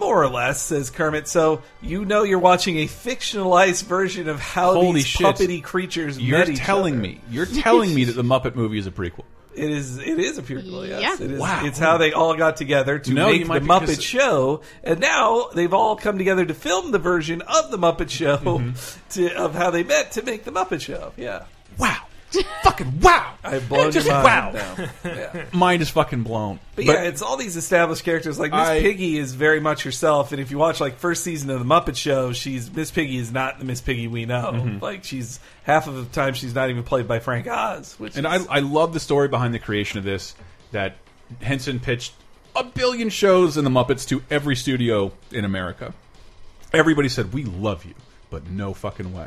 Speaker 4: More or less, says Kermit. So you know you're watching a fictionalized version of how
Speaker 3: Holy
Speaker 4: these
Speaker 3: shit.
Speaker 4: puppety creatures
Speaker 3: You're
Speaker 4: met each
Speaker 3: telling
Speaker 4: other.
Speaker 3: me. You're telling me that the Muppet movie is a prequel.
Speaker 4: It is. It is a prequel. Yes.
Speaker 6: Yeah.
Speaker 4: It is,
Speaker 3: Wow.
Speaker 4: It's how they all got together to
Speaker 3: No, you
Speaker 4: make the
Speaker 3: might be-
Speaker 4: Muppet
Speaker 3: 'cause-
Speaker 4: Show, and now they've all come together to film the
Speaker 3: Mm-hmm.
Speaker 4: version of the Muppet Show to, of how they met to make the Muppet Show. Yeah.
Speaker 6: *laughs*
Speaker 3: Wow. fucking wow.
Speaker 4: I've blown
Speaker 3: just
Speaker 4: your
Speaker 3: wow.
Speaker 4: mind
Speaker 3: *laughs*
Speaker 4: now.
Speaker 3: Mind is fucking blown.
Speaker 4: But,
Speaker 3: But-
Speaker 4: yeah, it's all these established characters. Like Miss
Speaker 3: I-
Speaker 4: Piggy is very much herself, and if you watch like first season of the Muppet Show, she's Miss Piggy is not the Miss Piggy we know.
Speaker 3: Mm-hmm.
Speaker 4: Like she's half of the time she's not even played by Frank Oz. Which
Speaker 3: And I,
Speaker 4: is,
Speaker 3: I love the story behind the creation of this that Henson pitched a billion shows in the Muppets to every studio in America. Everybody said, We love you, but no fucking way.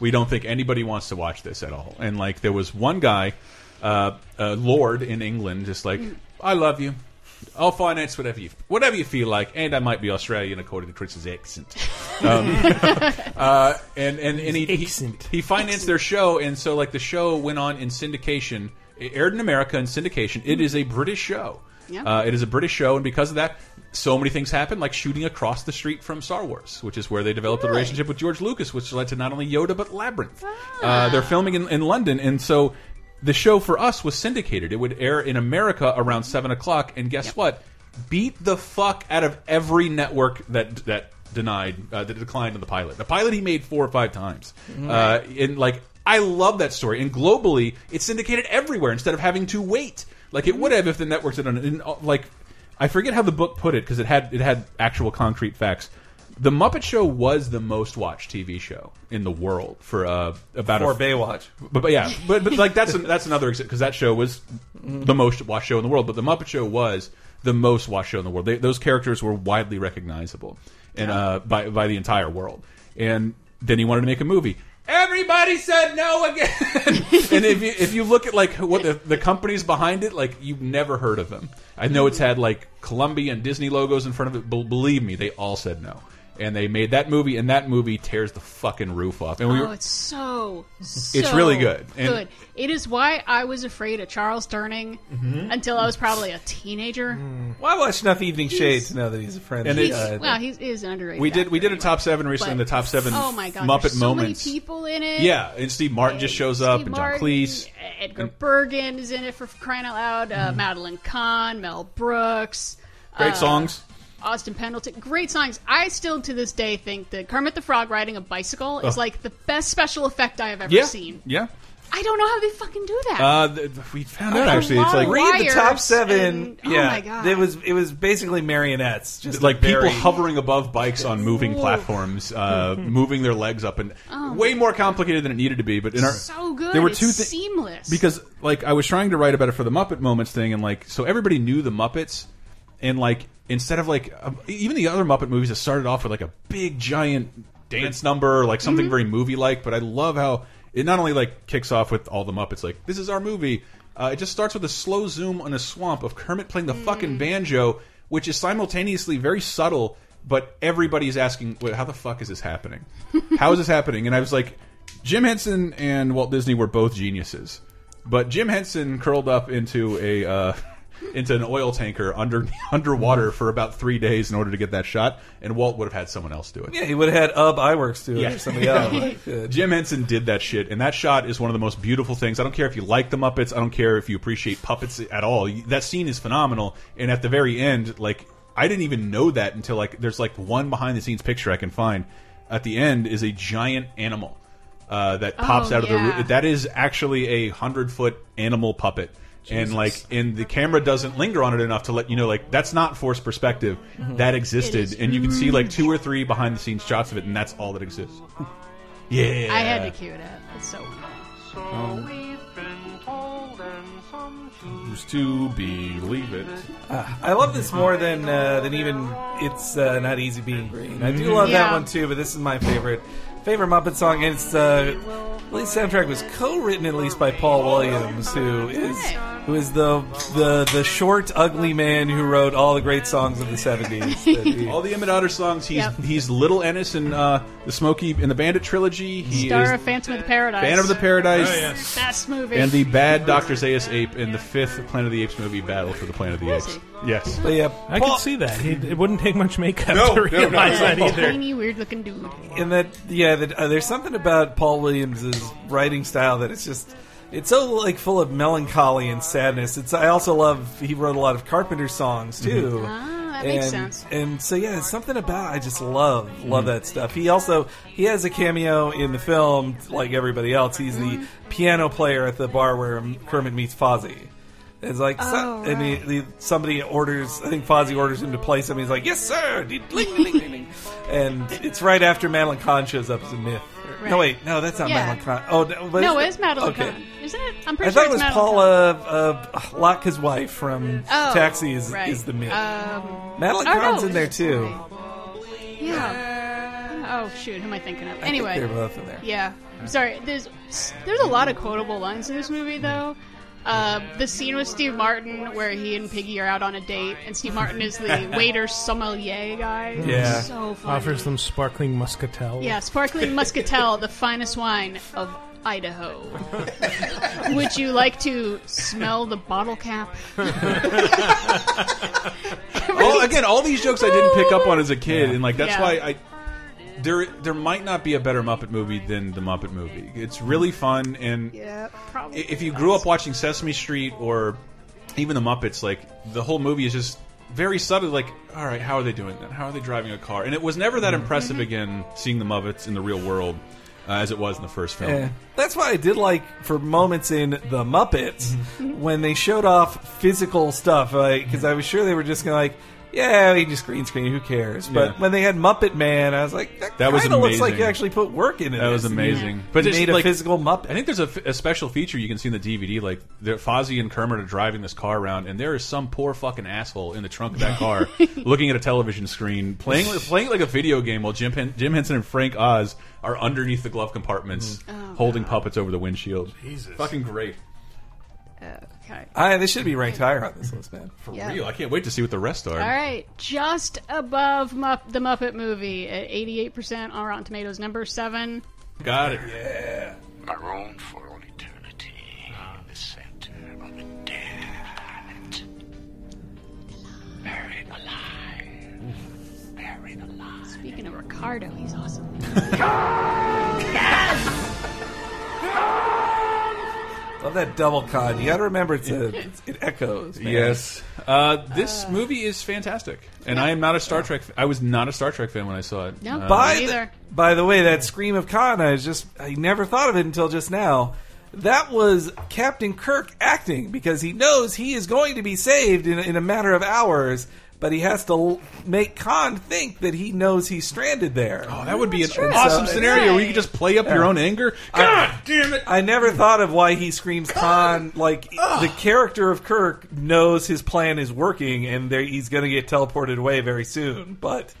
Speaker 3: We don't think anybody wants to watch this at all. And like, there was one guy, uh, a lord in England, just like, I love you. I'll finance whatever you whatever you feel like, and I might be Australian according to Chris's accent. Um, *laughs* Uh, and and, and he, he
Speaker 5: Accent.
Speaker 3: he financed their show, and so like the show went on in syndication. It aired in America in syndication. It is a British show.
Speaker 6: Yeah.
Speaker 3: Uh, it is a British show, and because of that, so many things happened, like shooting across the street from Star Wars, which is where they developed a relationship with George Lucas, which led to not only Yoda but Labyrinth. Uh, they're filming in, in London, and so the show for us was syndicated. It would air in America around seven o'clock, and guess what? Beat the fuck out of every network that that denied uh, that declined on the pilot. The pilot he made four or five times, uh, and like I love that story. And globally, it's syndicated everywhere instead of having to wait like it would have if the networks had done it. And, uh, like I forget how the book put it because it had it had actual concrete facts. The Muppet Show was the most watched TV show in the world for uh, about
Speaker 4: or
Speaker 3: a,
Speaker 4: Baywatch.
Speaker 3: but, but yeah, but, but like that's an, that's another because that show was the most watched show in the world. But the Muppet Show was the most watched show in the world. They, those characters were widely recognizable and uh, by by the entire world. And then he wanted to make a movie. Everybody said no again. *laughs* and if you if you look at like what the, the companies behind it, like you've never heard of them. I know it's had like Columbia and Disney logos in front of it. But believe me, they all said no. And they made that movie, and that movie tears the fucking roof off. And we were,
Speaker 6: Oh, it's so, so
Speaker 3: really good. And-
Speaker 6: good. It is why I was afraid of Charles Durning
Speaker 3: Mm-hmm.
Speaker 6: until I was probably a teenager.
Speaker 3: Mm.
Speaker 4: Well, I watched enough Evening Shade to know that he's a friend.
Speaker 3: And
Speaker 4: of
Speaker 3: it's-
Speaker 4: the
Speaker 6: He's,
Speaker 4: guy.
Speaker 6: wow, he's, is an underrated.
Speaker 3: We did
Speaker 6: actor
Speaker 3: we did a
Speaker 6: anyway.
Speaker 3: top seven recently. in the
Speaker 6: But-
Speaker 3: top seven
Speaker 6: Oh my god,
Speaker 3: Muppet
Speaker 6: there's so
Speaker 3: moments.
Speaker 6: many people in it.
Speaker 3: Yeah, and Steve Martin just shows up,
Speaker 6: Steve
Speaker 3: and
Speaker 6: Martin, uh,
Speaker 3: John Cleese. Mm-hmm.
Speaker 6: Edgar Bergen is in it for crying out loud. Uh, Madeline Kahn, Mel Brooks,
Speaker 3: Great
Speaker 6: uh,
Speaker 3: songs.
Speaker 6: Austin Pendleton. Great songs. I still to this day think that Kermit the Frog riding a bicycle is
Speaker 3: Ugh.
Speaker 6: like the best special effect I have ever
Speaker 3: Yeah,
Speaker 6: seen.
Speaker 3: yeah.
Speaker 6: I don't know how they fucking do that.
Speaker 3: Uh, th- th- we found out
Speaker 6: Like a
Speaker 3: actually. It's
Speaker 6: lot
Speaker 3: like
Speaker 6: of
Speaker 4: Read the
Speaker 6: wires
Speaker 4: top seven.
Speaker 6: and- oh
Speaker 4: yeah,
Speaker 6: my God.
Speaker 4: it was it was basically marionettes. Just
Speaker 3: like people
Speaker 4: very-
Speaker 3: hovering above bikes on moving
Speaker 6: Ooh.
Speaker 3: platforms,
Speaker 6: *laughs*
Speaker 3: uh, moving their legs up, and way more complicated than it needed to be. But in our
Speaker 6: so good.
Speaker 3: there were
Speaker 6: It's
Speaker 3: two thi-
Speaker 6: seamless.
Speaker 3: because like I was trying to write about it for the Muppet Moments thing, and like so everybody knew the Muppets, and like instead of like um, even the other Muppet movies that started off with like a big giant dance number, like something very movie like. But I love how it not only like kicks off with all the Muppets, like this is our movie. Uh, it just starts with a slow zoom on a swamp of Kermit playing the fucking banjo, which is simultaneously very subtle. But everybody's asking, Wait, how the fuck is this happening? How is this happening? And I was like, Jim Henson and Walt Disney were both geniuses, but Jim Henson curled up into a uh, *laughs* into an oil tanker under *laughs* underwater for about three days in order to get that shot, and Walt would have had someone else do it.
Speaker 4: Yeah, he would have had Ub Iwerks do it
Speaker 3: Yeah.
Speaker 4: or somebody else.
Speaker 6: *laughs*
Speaker 4: Like, uh,
Speaker 3: Jim Henson did that shit, and that shot is one of the most beautiful things. I don't care if you like the Muppets, I don't care if you appreciate puppets at all. You- That scene is phenomenal, and at the very end, like I didn't even know that until like there's like one behind the scenes picture I can find. At the end is a giant animal uh, that pops out of the
Speaker 6: yeah.
Speaker 3: roo- that is actually a hundred foot animal puppet. And like, and the camera doesn't linger on it enough to let you know, like that's not forced perspective.
Speaker 6: Mm-hmm.
Speaker 3: That existed, and you can see like two or three behind the scenes shots of it, and that's all that exists. Yeah.
Speaker 6: I had to cue it up. It's so wonderful.
Speaker 3: Choose to believe it.
Speaker 4: I love this more than uh, than even it's uh, not easy being green. I
Speaker 3: Mm-hmm.
Speaker 4: do love that
Speaker 6: Yeah.
Speaker 4: one too, but this is my favorite favorite Muppet song, and it's uh, at least soundtrack was co-written at least by Paul Williams, who is who is the the the short ugly man who wrote all the great songs of the seventies.
Speaker 6: *laughs*
Speaker 3: All the Emmett Otter songs. He's
Speaker 6: Yep.
Speaker 3: he's Little Ennis in uh, the Smokey and the Bandit trilogy. He
Speaker 6: Star
Speaker 3: is
Speaker 6: of Phantom of the Paradise.
Speaker 3: Phantom of the Paradise.
Speaker 5: Oh, yes.
Speaker 6: Best movie.
Speaker 3: And the bad Doctor Zeus ape in the fifth Planet of the Apes movie, Battle for the Planet of the Apes.
Speaker 6: *laughs*
Speaker 3: Yes.
Speaker 4: But yeah,
Speaker 5: I
Speaker 4: Paul,
Speaker 5: could see that. He, it wouldn't take much makeup
Speaker 3: No,
Speaker 5: to
Speaker 3: no, no,
Speaker 5: realize
Speaker 3: no.
Speaker 5: that either.
Speaker 6: tiny weird looking dude.
Speaker 4: and that yeah, that, uh, there's something about Paul Williams's writing style that it's just it's so like full of melancholy and sadness. It's I also love he wrote a lot of Carpenter songs too,
Speaker 6: Ah, That makes
Speaker 4: and,
Speaker 6: sense.
Speaker 4: And so yeah, it's something about I just love
Speaker 6: Hmm.
Speaker 4: love that stuff. He also he has a cameo in the film, like everybody else. He's
Speaker 6: Hmm.
Speaker 4: the piano player at the bar where Kermit meets Fozzie. It's like,
Speaker 6: Oh,
Speaker 4: so- and he, he- somebody orders. I think Fozzie orders him to play something. He's like, "Yes, sir!" Ding, ding, ding,
Speaker 6: *laughs*
Speaker 4: ding, ding. and it's right after Madeline Kahn shows up as a myth. No,
Speaker 6: Right.
Speaker 4: wait, no, that's not
Speaker 6: Yeah.
Speaker 4: Madeline Kahn. Oh, no, but
Speaker 6: No,
Speaker 4: the-
Speaker 6: it's Madeline
Speaker 4: okay.
Speaker 6: Kahn, isn't it? I'm pretty
Speaker 4: I
Speaker 6: sure
Speaker 4: thought
Speaker 6: it's
Speaker 4: it was
Speaker 6: Madeline
Speaker 4: Paula uh, Lotka's wife
Speaker 6: Kahn.
Speaker 4: from
Speaker 6: Oh,
Speaker 4: Taxi is,
Speaker 6: right.
Speaker 4: is the myth.
Speaker 6: Um,
Speaker 4: Madeline
Speaker 6: oh, no,
Speaker 4: Kahn's in
Speaker 6: it's-
Speaker 4: there too.
Speaker 6: Yeah. Oh shoot, who am I thinking of?
Speaker 4: I think
Speaker 6: Anyway,
Speaker 4: they're both in there.
Speaker 6: yeah. I'm sorry. There's there's a lot of quotable lines in this movie though. Uh, the scene with Steve Martin where he and Piggy are out on a date, and Steve Martin is the
Speaker 4: *laughs*
Speaker 6: waiter sommelier guy.
Speaker 4: Yeah.
Speaker 6: so funny.
Speaker 5: Offers them sparkling muscatel.
Speaker 6: Yeah, sparkling muscatel, the finest wine of Idaho. Would you like to smell the bottle cap?
Speaker 3: Oh,
Speaker 6: *laughs*
Speaker 3: All, again, all these jokes I didn't pick up on as a kid, and like that's
Speaker 6: Yeah.
Speaker 3: why I. There, there might not be a better Muppet movie than the Muppet movie. It's really fun, and
Speaker 6: Yeah,
Speaker 3: i-
Speaker 6: probably.
Speaker 3: if you grew up watching Sesame Street or even the Muppets, like the whole movie is just very subtle. Like, all right, how are they doing that? How are they driving a car? And it was never that impressive again seeing the Muppets in the real world uh, as it was in the first film.
Speaker 4: Yeah. That's why I did like for moments in The Muppets
Speaker 3: Mm-hmm.
Speaker 6: Mm-hmm.
Speaker 4: when they showed off physical stuff, like because I was sure they were just gonna like, yeah, we just green screen, who cares? But
Speaker 3: Yeah.
Speaker 4: when they had Muppet Man, I was like, that,
Speaker 3: That was
Speaker 4: kinda looks like
Speaker 3: amazing.
Speaker 4: you actually put work into
Speaker 3: That
Speaker 4: this.
Speaker 3: was amazing. But
Speaker 4: But you
Speaker 3: just
Speaker 4: made a
Speaker 3: like-
Speaker 4: physical
Speaker 3: I
Speaker 4: Muppet.
Speaker 3: think there's a, f- a special feature you can see in the DVD, like the Fozzie and Kermit are driving this car around, and there is some poor fucking asshole in the trunk of that
Speaker 6: *laughs*
Speaker 3: car looking at a television screen, playing playing like a video game, while Jim Hen Jim Henson and Frank Oz are underneath the glove
Speaker 6: Mm.
Speaker 3: compartments,
Speaker 6: Oh,
Speaker 3: holding puppets over the windshield.
Speaker 7: Jesus.
Speaker 3: fucking great,
Speaker 6: Okay.
Speaker 4: I, they should be ranked higher on this list, man.
Speaker 3: for
Speaker 6: Yeah.
Speaker 3: real. I can't wait to see what the rest are.
Speaker 6: All right, just above Mupp- the Muppet movie at 88% on Rotten Tomatoes, number seven.
Speaker 3: Got it.
Speaker 8: marooned for all eternity in the center of a dead planet. Buried alive. Buried alive.
Speaker 6: Speaking of Ricardo, he's awesome.
Speaker 4: Love that double con. You got to remember it's a, it's, it echoes. Man.
Speaker 3: Yes, uh, this movie is fantastic, and I am not a Star Trek. F- I was not a Star Trek fan when I saw it.
Speaker 6: No,
Speaker 3: Uh,
Speaker 4: By
Speaker 6: Me
Speaker 4: the,
Speaker 6: either.
Speaker 4: by the way, that scream of Kana is just I never thought of it until just now. That was Captain Kirk acting because he knows he is going to be saved in, in a matter of hours, but he has to l- make Khan think that he knows he's stranded there.
Speaker 3: Oh, that would be an awesome
Speaker 4: So-
Speaker 3: scenario where you
Speaker 6: Right.
Speaker 3: could just play up your own anger. God damn it!
Speaker 4: I never thought of why he screams Khan. Like the character of Kirk knows his plan is working and there, he's going to get teleported away very soon, but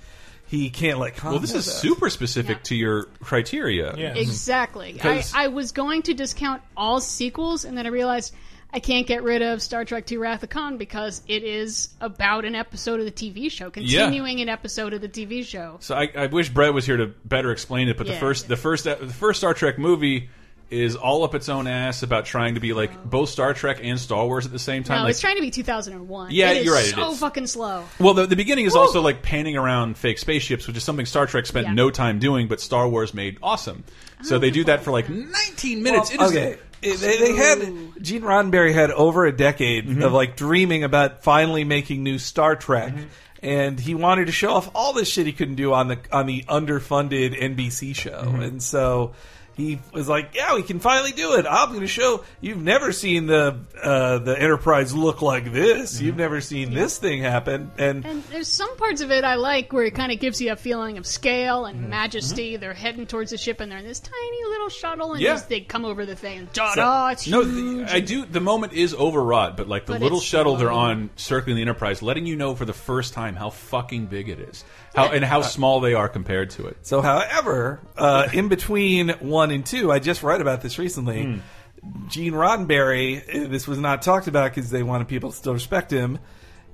Speaker 4: he can't let Khan.
Speaker 3: Well, this
Speaker 4: know
Speaker 3: is
Speaker 4: that.
Speaker 3: super specific to your criteria.
Speaker 5: Yeah.
Speaker 6: Exactly. I,
Speaker 3: 'Cause-
Speaker 6: I was going to discount all sequels, and then I realized I can't get rid of Star Trek II Wrath of Khan because it is about an episode of the TV show, continuing an episode of the TV show.
Speaker 3: So I, I wish Brett was here to better explain it. But the
Speaker 6: Yeah.
Speaker 3: first, the first, the first Star Trek movie is all up its own ass about trying to be like both Star Trek and Star Wars at the same time.
Speaker 6: Oh. No,
Speaker 3: like,
Speaker 6: it's trying to be 2001.
Speaker 3: Yeah,
Speaker 6: It is
Speaker 3: you're right, it
Speaker 6: So
Speaker 3: is.
Speaker 6: fucking slow.
Speaker 3: well, the, the beginning is also like panning around fake spaceships, which is something Star Trek spent
Speaker 6: Yeah. Oh,
Speaker 3: no time doing, but Star Wars made awesome. So they do that for like 19 minutes. It is-
Speaker 4: okay. It- they, they had Gene Roddenberry had over a decade of like dreaming about finally making new Star Trek, and he wanted to show off all this shit he couldn't do on the on the underfunded NBC show, and so. He was like, "Yeah, we can finally do it. I'm going to show you've never seen the uh, the Enterprise look like this. You've never seen this thing happen." And
Speaker 6: And there's some parts of it I like where it kind of gives you a feeling of scale
Speaker 3: Mm-hmm.
Speaker 6: and majesty. They're heading towards the ship, and they're in this tiny little shuttle, and
Speaker 3: Yeah.
Speaker 6: just, they come over the thing. and Da-da, it's
Speaker 3: No,
Speaker 6: huge.
Speaker 3: the, I do. The moment is overwrought, but like the
Speaker 6: But
Speaker 3: little
Speaker 6: it's
Speaker 3: shuttle they're
Speaker 6: slow.
Speaker 3: on, circling the Enterprise, letting you know for the first time how fucking big it is, how and how small they are compared to it.
Speaker 4: So, however, uh, in between one and two, I just read about this recently.
Speaker 5: Hmm.
Speaker 4: Gene Roddenberry, uh, this was not talked about because they wanted people to still respect him.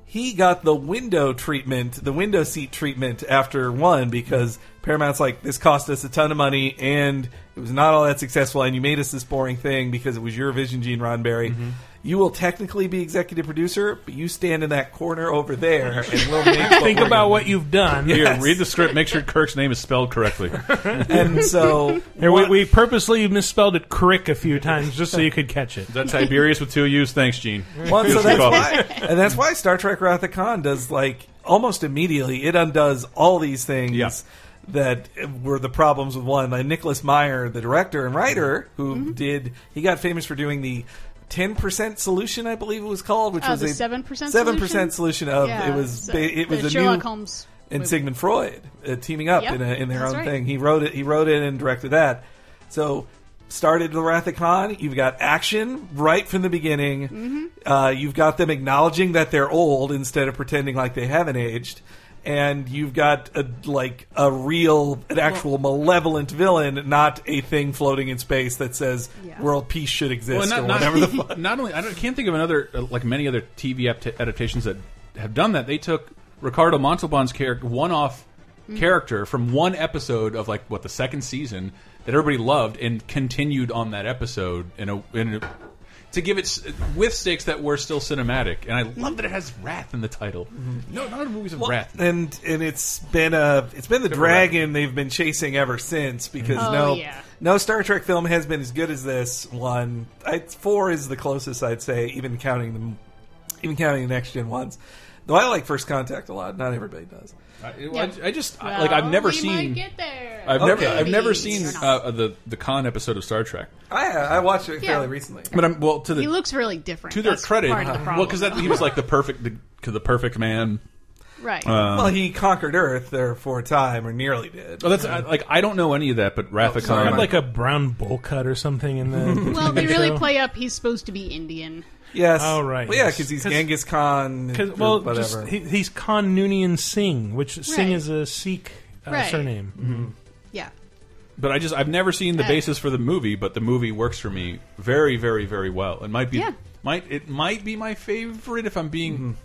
Speaker 4: He got the window treatment, the window seat treatment after one because Paramount's like, this cost us a ton of money and it was not all that successful and you made us this boring thing because it was your vision, Gene Roddenberry.
Speaker 5: Mm-hmm.
Speaker 4: You will technically be executive producer, but you stand in that corner over there and
Speaker 5: *laughs*
Speaker 4: we'll make what
Speaker 5: Think
Speaker 4: we're
Speaker 5: about what you've done.
Speaker 3: Here,
Speaker 4: Yes.
Speaker 3: read the script. Make sure Kirk's name is spelled *laughs* correctly.
Speaker 4: And so
Speaker 5: *laughs* Here, we, we purposely misspelled it "crick" a few times just so you could catch
Speaker 3: *laughs*
Speaker 5: it.
Speaker 3: That's Tiberius with two U's. Thanks, Gene.
Speaker 4: *laughs* Well, and so
Speaker 3: Beautiful
Speaker 4: that's
Speaker 3: call.
Speaker 4: why, and that's why Star Trek Wrath of Khan does like almost immediately it undoes all these things
Speaker 3: Yeah.
Speaker 4: that were the problems with one. Like Nicholas Meyer, the director and writer, who did he got famous for doing the. 10% solution I believe it was called which
Speaker 6: Oh,
Speaker 4: was
Speaker 6: the
Speaker 4: a
Speaker 6: 7%
Speaker 4: 7% solution of
Speaker 6: Yeah,
Speaker 4: it was
Speaker 6: so-
Speaker 4: ba- it
Speaker 6: the
Speaker 4: was a
Speaker 6: Sherlock
Speaker 4: new
Speaker 6: Holmes
Speaker 4: and
Speaker 6: movie.
Speaker 4: Sigmund Freud uh, teaming up
Speaker 6: Yep,
Speaker 4: in, a, in their
Speaker 6: that's
Speaker 4: own
Speaker 6: right.
Speaker 4: thing. He wrote it. He wrote it and directed that. So started the Wrath of Khan. You've got action right from the beginning.
Speaker 6: Mm-hmm.
Speaker 4: Uh, you've got them acknowledging that they're old instead of pretending like they haven't aged. And you've got a, like a real, an actual malevolent villain, not a thing floating in space that says
Speaker 6: Yeah.
Speaker 4: world peace should exist
Speaker 3: Well,
Speaker 4: or
Speaker 3: not,
Speaker 4: whatever
Speaker 3: *laughs*
Speaker 4: the
Speaker 3: not, not only I, don't, can't think of another uh, like many other TV apt- adaptations that have done that. They took Ricardo Montalban's character, one-off
Speaker 6: Mm-hmm.
Speaker 3: character from one episode of like what the second season that everybody loved, and continued on that episode in a in a, to give it s- with stakes that were still cinematic. And I love that it has wrath in the title.
Speaker 4: Mm-hmm.
Speaker 3: No, not other movies have wrath.
Speaker 6: uh,
Speaker 4: and and it's been a it's been the dragon they've been chasing ever since because
Speaker 6: Oh,
Speaker 4: no
Speaker 6: yeah.
Speaker 4: no Star Trek film has been as good as this one. I, four is the closest I'd say, even counting them, even counting the next gen ones. Though I like First Contact a lot. Not everybody does.
Speaker 3: I,
Speaker 6: Yeah.
Speaker 3: I, I just I- like I've
Speaker 6: Well,
Speaker 3: never
Speaker 6: we
Speaker 3: seen.
Speaker 6: Might get there.
Speaker 3: I've never,
Speaker 4: Okay.
Speaker 3: I've never
Speaker 6: Maybe.
Speaker 3: seen
Speaker 6: Or not.
Speaker 3: uh, the the con episode of Star Trek,
Speaker 4: I uh, I watched it
Speaker 6: Yeah.
Speaker 4: fairly recently.
Speaker 3: but I'm well to the
Speaker 6: he looks really different.
Speaker 3: to their
Speaker 6: That's
Speaker 3: credit, uh,
Speaker 6: part of the
Speaker 3: well,
Speaker 6: problem,
Speaker 3: because he was like the perfect, the, the perfect man.
Speaker 6: right?
Speaker 4: well, he conquered Earth there for a time, or nearly did.
Speaker 3: Oh, that's I, like I don't know any of that, but
Speaker 5: I
Speaker 3: Rathacon.
Speaker 5: had like a brown bowl cut or something in the.
Speaker 6: *laughs*
Speaker 5: *laughs*
Speaker 6: well, they really
Speaker 5: show.
Speaker 6: play up. He's supposed to be Indian.
Speaker 4: Yes.
Speaker 5: Oh, right.
Speaker 4: Well, yeah, because he's
Speaker 5: 'Cause-
Speaker 4: Genghis Khan.
Speaker 5: Cause,
Speaker 4: or
Speaker 5: well,
Speaker 4: whatever.
Speaker 5: just, he, he's Khan Noonien Singh, which Singh
Speaker 6: Right.
Speaker 5: is a Sikh uh,
Speaker 6: Right.
Speaker 5: surname.
Speaker 6: Yeah,
Speaker 3: but I just I've never seen the basis for the movie, but the movie works for me very, very, very well. It might be,
Speaker 6: Yeah.
Speaker 3: might it might be my favorite if I'm being.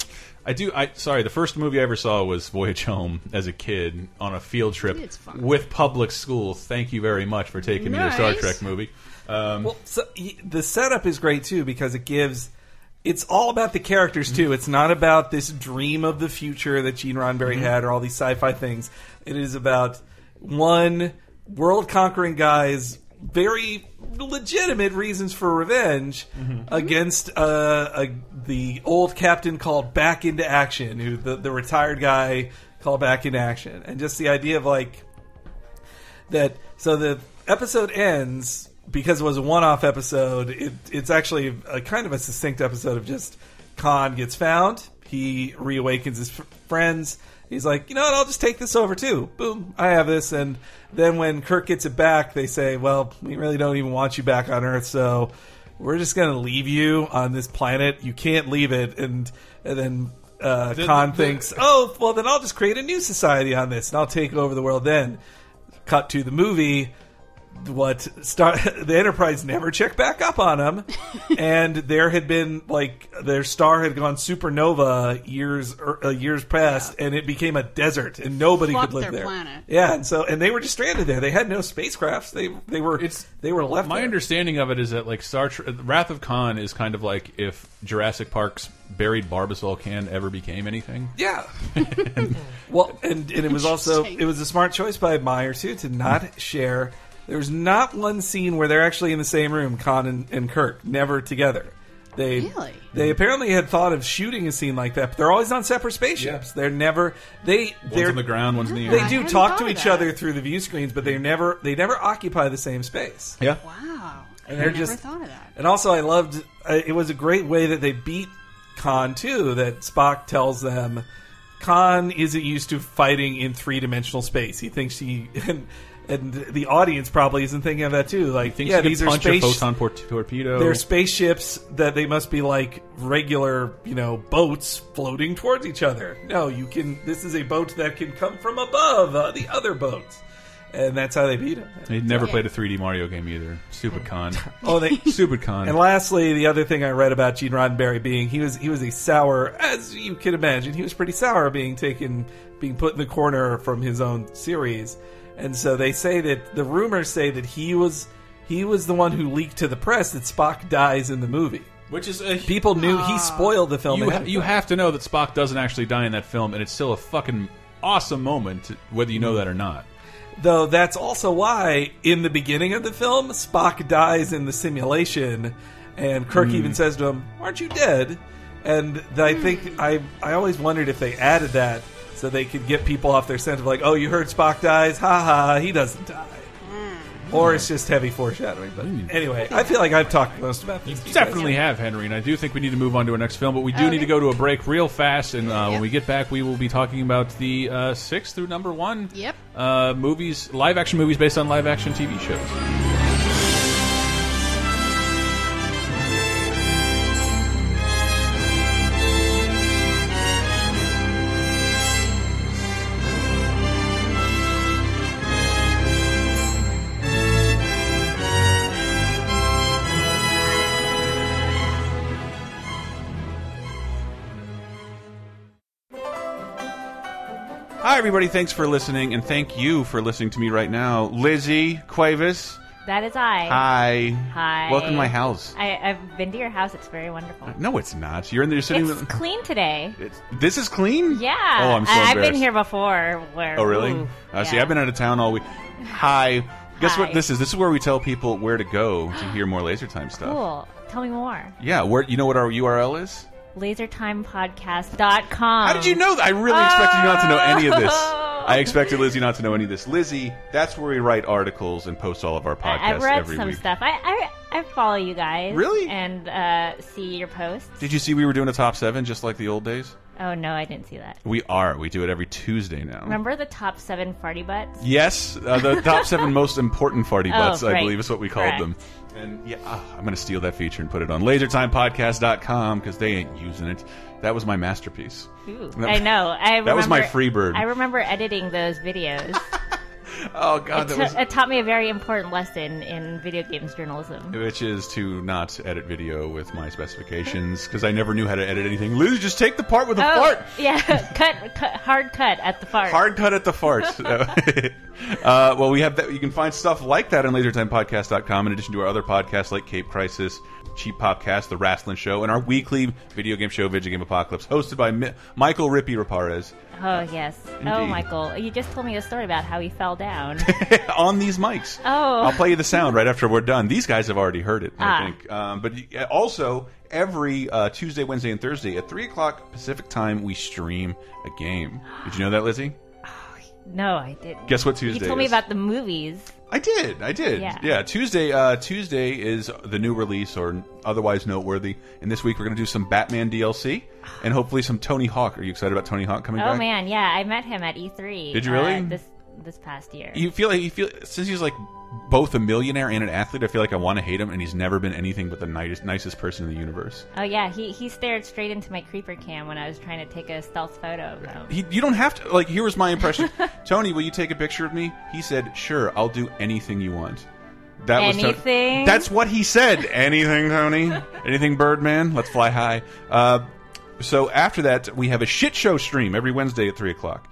Speaker 3: I do. I sorry. The first movie I ever saw was Voyage Home as a kid on a field trip
Speaker 6: It's fun.
Speaker 3: with public school. Thank you very much for taking me to a Star
Speaker 6: Nice.
Speaker 3: Trek movie. Um,
Speaker 4: Well, so, y- the setup is great too because it gives. It's all about the characters too. It's not about this dream of the future that Gene Roddenberry had or all these sci-fi things. It is about one world conquering guy's very legitimate reasons for revenge against uh, a, the old captain called back into action, who the, the retired guy called back into action, and just the idea of like that so the episode ends because it was a one-off episode it, it's actually a kind of a succinct episode of just khan gets found he reawakens his f- friends he's like you know what i'll just take this over too boom i have this and then when kirk gets it back they say well we really don't even want you back on earth so we're just going to leave you on this planet you can't leave it and, and then uh, khan thinks oh well then i'll just create a new society on this and i'll take over the world then cut to the movie what star *laughs* the enterprise never checked back up
Speaker 6: *laughs*
Speaker 4: on them and there had been like their star had gone supernova years er, uh, years past and it became a desert and nobody
Speaker 6: Fucked
Speaker 4: could live
Speaker 6: their
Speaker 4: there
Speaker 6: planet.
Speaker 4: yeah and so and they were just stranded there they had no spacecrafts they they were
Speaker 3: It's-
Speaker 4: they were left
Speaker 3: My
Speaker 4: there.
Speaker 3: understanding of it is that like Star Trek, Wrath of Khan is kind of like if Jurassic Park's buried Barbasol can ever became anything.
Speaker 6: *laughs*
Speaker 4: Yeah. well, and, and it was also
Speaker 6: Interesting.
Speaker 4: it was a smart choice by Meyer too to not share. There was not one scene where they're actually in the same room, Khan and, and Kirk, never together. They
Speaker 6: Really?
Speaker 4: they apparently had thought of shooting a scene like that, but they're always on separate spaceships. They're never they
Speaker 3: One's
Speaker 4: they're
Speaker 3: on the ground, one's in the air.
Speaker 4: they
Speaker 6: I
Speaker 4: do
Speaker 6: hadn't
Speaker 4: talk
Speaker 6: thought
Speaker 4: to
Speaker 6: of
Speaker 4: each
Speaker 6: that.
Speaker 4: other through the view screens, but they never they never occupy the same space.
Speaker 3: Yeah.
Speaker 6: wow. I
Speaker 4: And
Speaker 6: never
Speaker 4: they're just-
Speaker 6: thought of that.
Speaker 4: And also, I loved uh, it was a great way that they beat Khan too. That Spock tells them Khan isn't used to fighting in three dimensional space. He thinks he *laughs* and, and the audience probably isn't thinking of that too. Like,
Speaker 3: Thinks
Speaker 4: yeah,
Speaker 3: you
Speaker 4: these
Speaker 3: can
Speaker 4: are
Speaker 3: punch a
Speaker 4: space.
Speaker 3: photon por- torpedo.
Speaker 4: They're spaceships that they must be like regular, you know, boats floating towards each other. No, you can. This is a boat that can come from above uh, the other boats, and that's how they beat him.
Speaker 3: They never played a 3D Mario game either. Stupid Khan.
Speaker 4: *laughs* Oh, they
Speaker 3: Stupid Khan.
Speaker 4: And lastly, the other thing I read about Gene Roddenberry being he was he was a sour, as you can imagine, he was pretty sour being taken, being put in the corner from his own series, and so they say that the rumors say that he was he was the one who leaked to the press that Spock dies in the movie.
Speaker 3: Which is a
Speaker 4: People knew he spoiled the film.
Speaker 3: Ah. you,
Speaker 4: ahead
Speaker 3: ha
Speaker 4: of
Speaker 3: you
Speaker 4: time.
Speaker 3: have to know that Spock doesn't actually die in that film, and it's still a fucking awesome moment, whether you
Speaker 4: Mm-hmm.
Speaker 3: know that or not.
Speaker 4: Though that's also why, in the beginning of the film, Spock dies in the simulation, and Kirk even says to him, Aren't you dead? And th- I think I I always wondered if they added that so they could get people off their scent of like, oh, you heard Spock dies, ha ha, he doesn't die. Or it's just heavy foreshadowing. But anyway, I feel like I've talked most about this.
Speaker 3: Definitely have, Henry, and I do think we need to move on to our next film, but we
Speaker 7: Oh,
Speaker 3: do need to go to a break real fast, and uh, when we get back, we will be talking about the uh, six through number one
Speaker 6: Yep.
Speaker 3: uh, movies, live action movies based on live action TV shows. Hi, everybody, thanks for listening, and thank you for listening to me right now. Lizzie Cuevas,
Speaker 7: That is I.
Speaker 3: hi.
Speaker 7: Hi.
Speaker 3: Welcome to my house.
Speaker 7: I, I've been to your house. It's very wonderful.
Speaker 3: No, it's not. You're in there sitting.
Speaker 7: It's clean today.
Speaker 3: It's- this is clean?
Speaker 7: Yeah.
Speaker 3: Oh, I'm so
Speaker 7: I, have been
Speaker 3: embarrassed.
Speaker 7: here before. Where?
Speaker 3: Oh, really?
Speaker 7: oof,
Speaker 3: uh, See,
Speaker 7: yeah.
Speaker 3: I've been out of town all week. Hi. Guess what
Speaker 7: Hi.
Speaker 3: this is? This is where we tell people where to go to hear more Laser Time stuff.
Speaker 7: Cool. Tell me more.
Speaker 3: Yeah, where you know what our URL is?
Speaker 7: LaserTimePodcast.com.
Speaker 3: How did you know that? I really expected you not to know any of this.
Speaker 7: Um, Oh.
Speaker 3: I expected Lizzie not to know any of this. Lizzie, that's where we write articles and post all of our podcasts
Speaker 7: I, I've read
Speaker 3: every
Speaker 7: some
Speaker 3: week.
Speaker 7: stuff. I, I I follow you guys.
Speaker 3: Really?
Speaker 7: And uh, see your posts.
Speaker 3: Did you see we were doing a top seven just like the old days?
Speaker 7: Oh no, I didn't see that.
Speaker 3: We are. We do it every Tuesday now.
Speaker 7: Remember the top seven farty butts?
Speaker 3: Yes, uh, the
Speaker 7: *laughs*
Speaker 3: top seven most important farty
Speaker 7: Oh,
Speaker 3: butts, I
Speaker 7: right.
Speaker 3: believe is what we called
Speaker 7: Correct.
Speaker 3: them. And yeah, ah, I'm going to steal that feature and put it on lasertimepodcast.com because they ain't using it. That was my masterpiece.
Speaker 7: Ooh,
Speaker 3: No.
Speaker 7: *laughs* I know. I
Speaker 3: That was my
Speaker 7: remember-
Speaker 3: free bird.
Speaker 7: I remember editing those videos.
Speaker 3: *laughs* Oh, God, that
Speaker 7: It
Speaker 3: was.
Speaker 7: ta- it taught me a very important lesson in video games journalism.
Speaker 3: Which is to not edit video with my specifications because I never knew how to edit anything. Liz, just take the part with the fart.
Speaker 7: Oh, yeah, *laughs* cut, cut, hard cut at the fart.
Speaker 3: *laughs* Hard cut at the farts. *laughs* uh, well, we have that. You can find stuff like that on lasertimepodcast.com in addition to our other podcasts like Cape Crisis, Cheap Popcast, The Wrestling Show, and our weekly video game show, Video Game Apocalypse, hosted by Mi Michael Rippy Raparez *laughs*
Speaker 7: Oh yes. Oh,
Speaker 3: Indeed.
Speaker 7: Michael, you just told me a story about how he
Speaker 3: *laughs*
Speaker 7: fell down.
Speaker 3: on these mics.
Speaker 7: Oh.
Speaker 3: I'll play you the sound right after we're done. These guys have already heard it, I
Speaker 7: Ah.
Speaker 3: think. Um, but you- also, every uh, Tuesday, Wednesday, and Thursday at 3 o'clock Pacific time, we stream a game. Did you know that, Lizzie?
Speaker 7: no, I didn't.
Speaker 3: Guess what Tuesday
Speaker 7: You told me
Speaker 3: is?
Speaker 7: about the movies.
Speaker 3: I did. I did. Yeah.
Speaker 7: Yeah.
Speaker 3: Tuesday. Uh, Tuesday is the new release or otherwise noteworthy. And this week we're going to do some Batman DLC and hopefully some Tony Hawk. Are you excited about Tony Hawk coming
Speaker 7: Oh
Speaker 3: back?
Speaker 7: man, yeah, I met him at E3.
Speaker 3: Did you
Speaker 7: uh,
Speaker 3: really?
Speaker 7: this this past year.
Speaker 3: You feel like you feel since he's like both a millionaire and an athlete. I feel like I want to hate him, and he's never been anything but the nicest, nicest person in the universe.
Speaker 7: oh yeah, he he stared straight into my creeper cam when I was trying to take a stealth photo of him.
Speaker 3: He, you don't have to. Like, here was my
Speaker 7: *laughs*
Speaker 3: impression. Tony, will you take a picture of me? He said, "Sure, I'll do anything you want." That was Tony.
Speaker 7: Anything?
Speaker 3: That's what he said. Anything, Tony. anything, Birdman. Let's fly high. Uh, so after that, we have a shit show stream every Wednesday at three o'clock.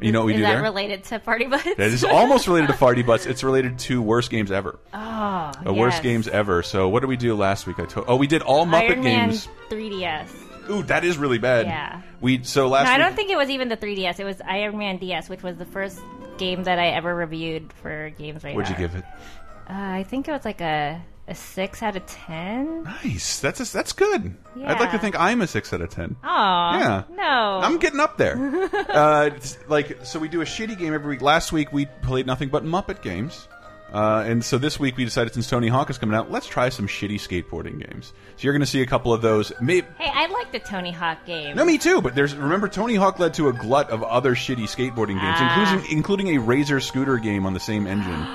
Speaker 3: You know what we
Speaker 7: Is
Speaker 3: do
Speaker 7: that
Speaker 3: there?
Speaker 7: related to party butts?
Speaker 3: that is almost related to Farty Butts. It's related to worst games ever.
Speaker 7: *laughs* oh,
Speaker 3: Uh, Worst
Speaker 7: yes.
Speaker 3: games ever. So what did we do last week? I told. Oh, we did all Muppet
Speaker 7: Iron Man
Speaker 3: games.
Speaker 7: 3DS.
Speaker 3: Ooh, that is really bad.
Speaker 7: Yeah.
Speaker 3: We so last.
Speaker 7: No, I
Speaker 3: week,
Speaker 7: don't think it was even the 3DS. It was Iron Man DS, which was the first game that I ever reviewed for Games Radar.
Speaker 3: What'd you give it?
Speaker 7: Uh, I think it was like a a six out of ten.
Speaker 3: Nice. That's a, that's good. I'd like
Speaker 7: Yeah.
Speaker 3: to think I'm a six out of ten.
Speaker 7: Oh,
Speaker 3: Yeah.
Speaker 7: No,
Speaker 3: I'm getting up
Speaker 7: *laughs*
Speaker 3: there. uh, it's like so, we do a shitty game every week. Last week we played nothing but Muppet games, uh, and so this week we decided since Tony Hawk is coming out, let's try some shitty skateboarding games. So you're going to see a couple of those. Maybe
Speaker 7: hey, I like the Tony Hawk game.
Speaker 3: no, me too. But there's remember Tony Hawk led to a glut of other shitty skateboarding games,
Speaker 7: Ah.
Speaker 3: including including a Razor scooter game on the same
Speaker 7: *gasps*
Speaker 3: engine.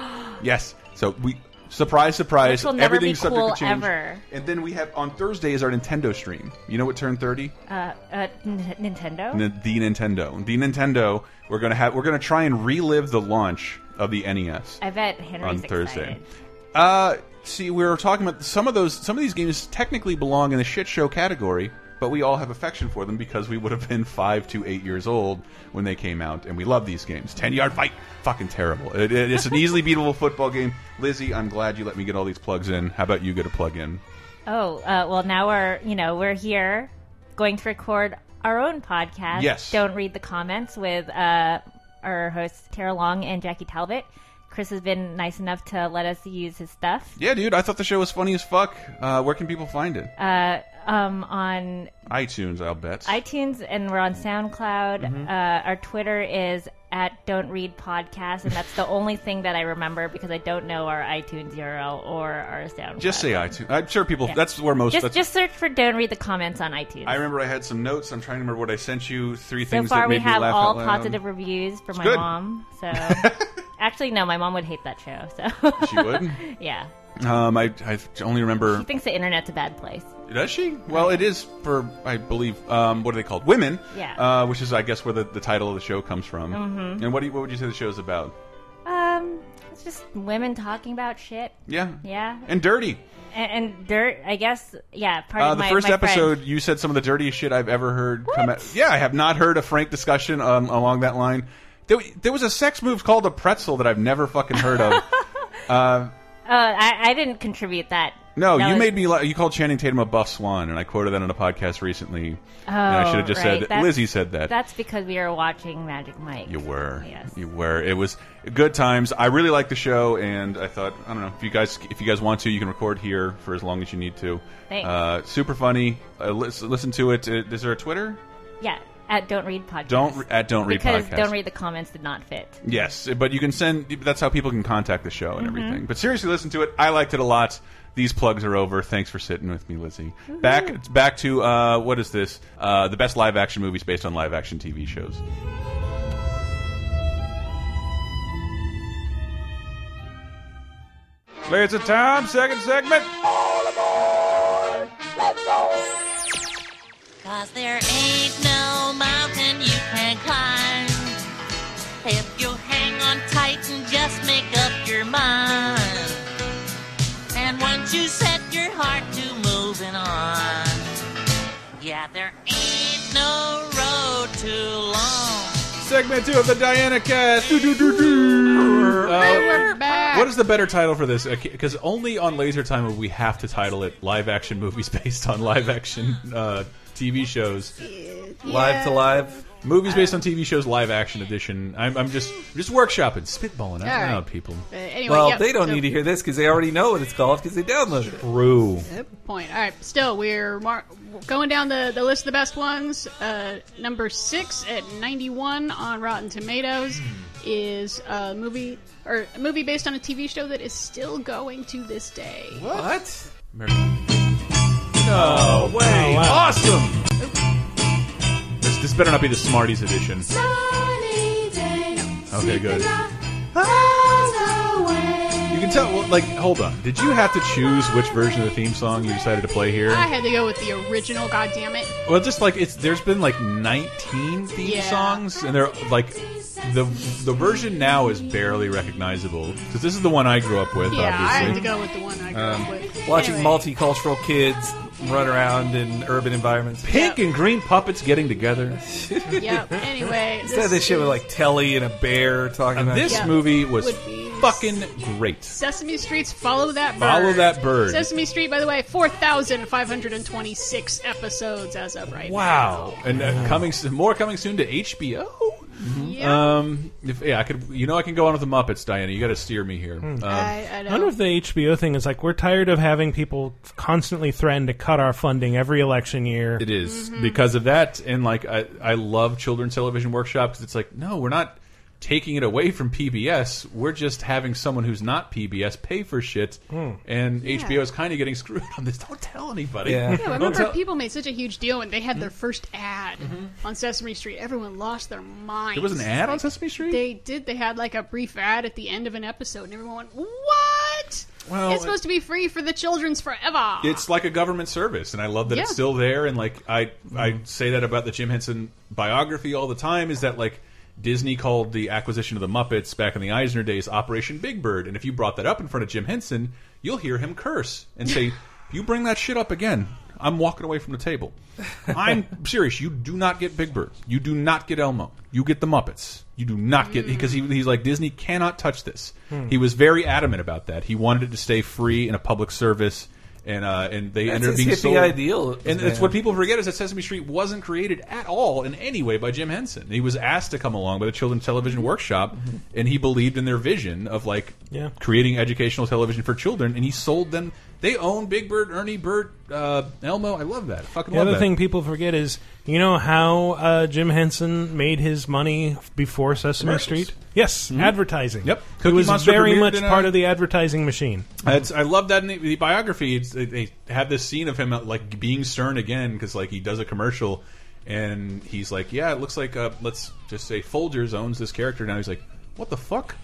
Speaker 3: yes, so we surprise, surprise,
Speaker 7: Which will never be
Speaker 3: everything's subject
Speaker 7: cool
Speaker 3: to change.
Speaker 7: ever.
Speaker 3: And then we have on Thursday is our Nintendo stream. You know what turned thirty?
Speaker 7: uh, uh, N- Nintendo.
Speaker 3: N- the Nintendo. The Nintendo. We're gonna have. We're gonna try and relive the launch of the E NES
Speaker 7: I bet Henry's
Speaker 3: on
Speaker 7: excited.
Speaker 3: Thursday. Uh, see, we were talking about some of those. Some of these games technically belong in the shit show category, but we all have affection for them because we would have been five to eight years old when they came out, and we love these games. Ten yard fight, fucking terrible. It, it- it's an easily beatable football game. Lizzie, I'm glad you let me get all these plugs in. How about you get a plug in?
Speaker 7: Oh, uh, well, now we're you know we're here going to record our own podcast.
Speaker 3: Yes.
Speaker 7: Don't read the comments with uh, our hosts Tara Long and Jackie Talbot. Chris has been nice enough to let us use his stuff
Speaker 3: Yeah, dude, I thought the show was funny as fuck. Uh, where can people find it?
Speaker 7: uh, um, on
Speaker 3: iTunes, I'll bet.
Speaker 7: iTunes and we're on SoundCloud.
Speaker 3: Mm-hmm.
Speaker 7: Uh, our Twitter is at Don't Read Podcast, and that's the *laughs* only thing that I remember because I don't know our iTunes URL or our SoundCloud.
Speaker 3: just say iTunes. I'm sure people. That's where most.
Speaker 7: just,
Speaker 3: that's,
Speaker 7: just search for Don't Read the Comments on iTunes.
Speaker 3: I remember I had some notes. I'm trying to remember what I sent you. Three
Speaker 7: so
Speaker 3: things
Speaker 7: far,
Speaker 3: that made
Speaker 7: we have
Speaker 3: me laugh
Speaker 7: all
Speaker 3: out loud.
Speaker 7: positive reviews from my
Speaker 3: good.
Speaker 7: mom. So,
Speaker 3: *laughs*
Speaker 7: actually, no, my mom would hate that show. So,
Speaker 3: She would.
Speaker 7: *laughs* yeah,
Speaker 3: Um, I, I only remember.
Speaker 7: she thinks the internet's a bad place.
Speaker 3: Does she? Well, it is for I believe. Um, what are they called? Women.
Speaker 7: Yeah.
Speaker 3: Uh, which is, I guess, where the, the title of the show comes from. Mm-hmm. And what do you, what would you say the show's about?
Speaker 7: Um, it's just women talking about shit.
Speaker 3: Yeah.
Speaker 7: Yeah,
Speaker 3: And dirty.
Speaker 7: and, and dirt. I guess. Yeah, part
Speaker 3: Uh,
Speaker 7: of
Speaker 3: the
Speaker 7: my
Speaker 3: first
Speaker 7: my friend-
Speaker 3: episode, you said some of the dirtiest shit I've ever heard. Come out. Yeah, I have not heard a frank discussion um, along that line. There, there was a sex move called a pretzel that I've never fucking heard
Speaker 7: *laughs*
Speaker 3: of.
Speaker 7: Oh, I, I didn't contribute that.
Speaker 3: No,
Speaker 7: That
Speaker 3: you
Speaker 7: was-
Speaker 3: made me. la- You called Channing Tatum a buff swan, and I quoted that on a podcast recently. and I should have just
Speaker 7: Oh, right.
Speaker 3: said
Speaker 7: That's-
Speaker 3: Lizzie said that.
Speaker 7: That's because we were watching Magic Mike.
Speaker 3: You were.
Speaker 7: Yes.
Speaker 3: You were. It was good times. I really liked the show, and I thought, I don't know, if you guys, if you guys want to, you can record here for as long as you need to.
Speaker 7: Thanks.
Speaker 3: Uh, super funny. Uh, lis- listen to it. Uh, Is there a Twitter?
Speaker 7: Yeah, at Don't Read Podcast.
Speaker 3: Don't re- at Don't Read
Speaker 7: because
Speaker 3: Podcast.
Speaker 7: Don't Read the Comments did not fit.
Speaker 3: Yes, but you can send. That's how people can contact the show and everything. But seriously, listen to it. I liked it a lot. These plugs are over. Thanks for sitting with me, Lizzie. Back it's back to uh, what is this? Uh, the best live action movies based on live action TV shows. Clears the time. Second segment.
Speaker 9: Cause there ain't no mountain you can climb. If you hang on tight and just make up your mind. And once you set your heart to moving on. Yeah, there ain't no road too long.
Speaker 3: Segment two of the Diana Cast. Doo, doo, doo, doo. Uh,
Speaker 6: Oh, We're back.
Speaker 3: What is the better title for this? Because only on Laser Time would we have to title it live action movies *laughs* based on live action uh, TV shows.
Speaker 4: Live to live.
Speaker 3: Movies based
Speaker 6: Um,
Speaker 3: on TV shows, live action edition. I'm, I'm just just workshopping, spitballing out
Speaker 6: All right.
Speaker 3: loud, people.
Speaker 6: Uh, anyway,
Speaker 4: Well,
Speaker 6: yep,
Speaker 4: they don't
Speaker 6: so-
Speaker 4: need to hear this because they already know what it's called because they downloaded it.
Speaker 3: Brew.
Speaker 6: Good point. All right, still we're mar- going down the, the list of the best ones. Uh, number six at ninety one on Rotten Tomatoes is a movie or a movie based on a TV show that is still going to this day.
Speaker 4: What?
Speaker 3: No way!
Speaker 4: Awesome.
Speaker 3: Oh, This, this better not be the Smarties edition. Okay, good. You can tell. Well, like, hold on. Did you have to choose which version of the theme song you decided to play here?
Speaker 6: I had to go with the original. God damn it!
Speaker 3: Well, just like it's there's been like 19 theme
Speaker 6: Yeah.
Speaker 3: songs, and they're like the the version now is barely recognizable because this is the one I grew up with.
Speaker 6: Yeah, I had to
Speaker 3: obviously, Um,
Speaker 6: go with the one I grew up with.
Speaker 4: Watching
Speaker 6: Anyway,
Speaker 4: multicultural kids run around in urban environments.
Speaker 3: pink and green puppets getting together.
Speaker 6: Yep.
Speaker 3: *laughs*
Speaker 6: Anyway,
Speaker 4: Instead of this shit with
Speaker 6: is-
Speaker 4: like Telly and a bear talking about
Speaker 3: This
Speaker 6: Yeah.
Speaker 3: movie was
Speaker 6: Would be-
Speaker 3: fucking great.
Speaker 6: Sesame Street's Follow That Bird.
Speaker 3: Follow That Bird.
Speaker 6: Sesame Street, by the way, 4,526 episodes as of right
Speaker 3: Wow, and uh, coming s- more coming soon to HBO.
Speaker 6: now. Yeah.
Speaker 3: Um, if, yeah, I could. You know, I can go on with the Muppets, Diana. You got to steer me here. Um,
Speaker 6: I, I
Speaker 5: I wonder
Speaker 6: know.
Speaker 5: if the HBO thing is like we're tired of having people constantly threaten to cut our funding every election year.
Speaker 3: It is. because of that, and like I, I love Children's Television Workshop because it's like, no, we're not taking it away from PBS. We're just having someone who's not PBS pay for shit, and HBO is kind of getting *laughs* screwed on this. Don't tell anybody.
Speaker 4: Yeah.
Speaker 6: Yeah, remember people made such a huge deal when they had
Speaker 3: Mm-hmm.
Speaker 6: their first ad on Sesame Street. Everyone lost their mind.
Speaker 3: There Mm-hmm. was an ad on Sesame Street.
Speaker 6: They did. They had like a brief ad at the end of an episode, and everyone went, "What?
Speaker 3: Well,
Speaker 6: it's supposed to be free for the children's forever."
Speaker 3: it's like a government service, and I love that it's
Speaker 6: Yeah.
Speaker 3: still there. And like I, I say that about the Jim Henson biography all the time. Is that like Disney called the acquisition of the Muppets back in the Eisner days Operation Big Bird, and if you brought that up in front of Jim Henson, you'll hear him curse and say, "You bring that shit up again." I'm walking away from the table. I'm serious. You do not get Big Bird. You do not get Elmo. You get the Muppets. You do not get because he, he's like Disney cannot touch this. He was very adamant about that. He wanted it to stay free and a public service and uh, and they
Speaker 4: That's
Speaker 3: ended up
Speaker 4: his
Speaker 3: being sold.
Speaker 4: hippie ideal,
Speaker 3: And that's
Speaker 4: man.
Speaker 3: what people forget is that Sesame Street wasn't created at all in any way by Jim Henson. He was asked to come along by the Children's Television Workshop, and he believed in their vision of like
Speaker 5: Yeah.
Speaker 3: creating educational television for children. And he sold them. They own Big Bird, Ernie, Bert, uh, Elmo. I love that. I fucking
Speaker 5: The
Speaker 3: love
Speaker 5: other
Speaker 3: that.
Speaker 5: thing people forget is, you know how uh, Jim Henson made his money before Sesame
Speaker 3: Commercials.
Speaker 5: Street? Yes, advertising.
Speaker 3: Mm-hmm. Yep.
Speaker 5: it
Speaker 3: Cookie
Speaker 5: was
Speaker 3: Monster
Speaker 5: very
Speaker 3: premiered
Speaker 5: much
Speaker 3: in uh, a-
Speaker 5: part of the advertising machine.
Speaker 3: It's, I love that in the, the biography. It's, they, they have this scene of him uh, like being stern again because like he does a commercial, and he's like, "Yeah, it looks like uh, let's just say Folgers owns this character now." He's like, "What the fuck?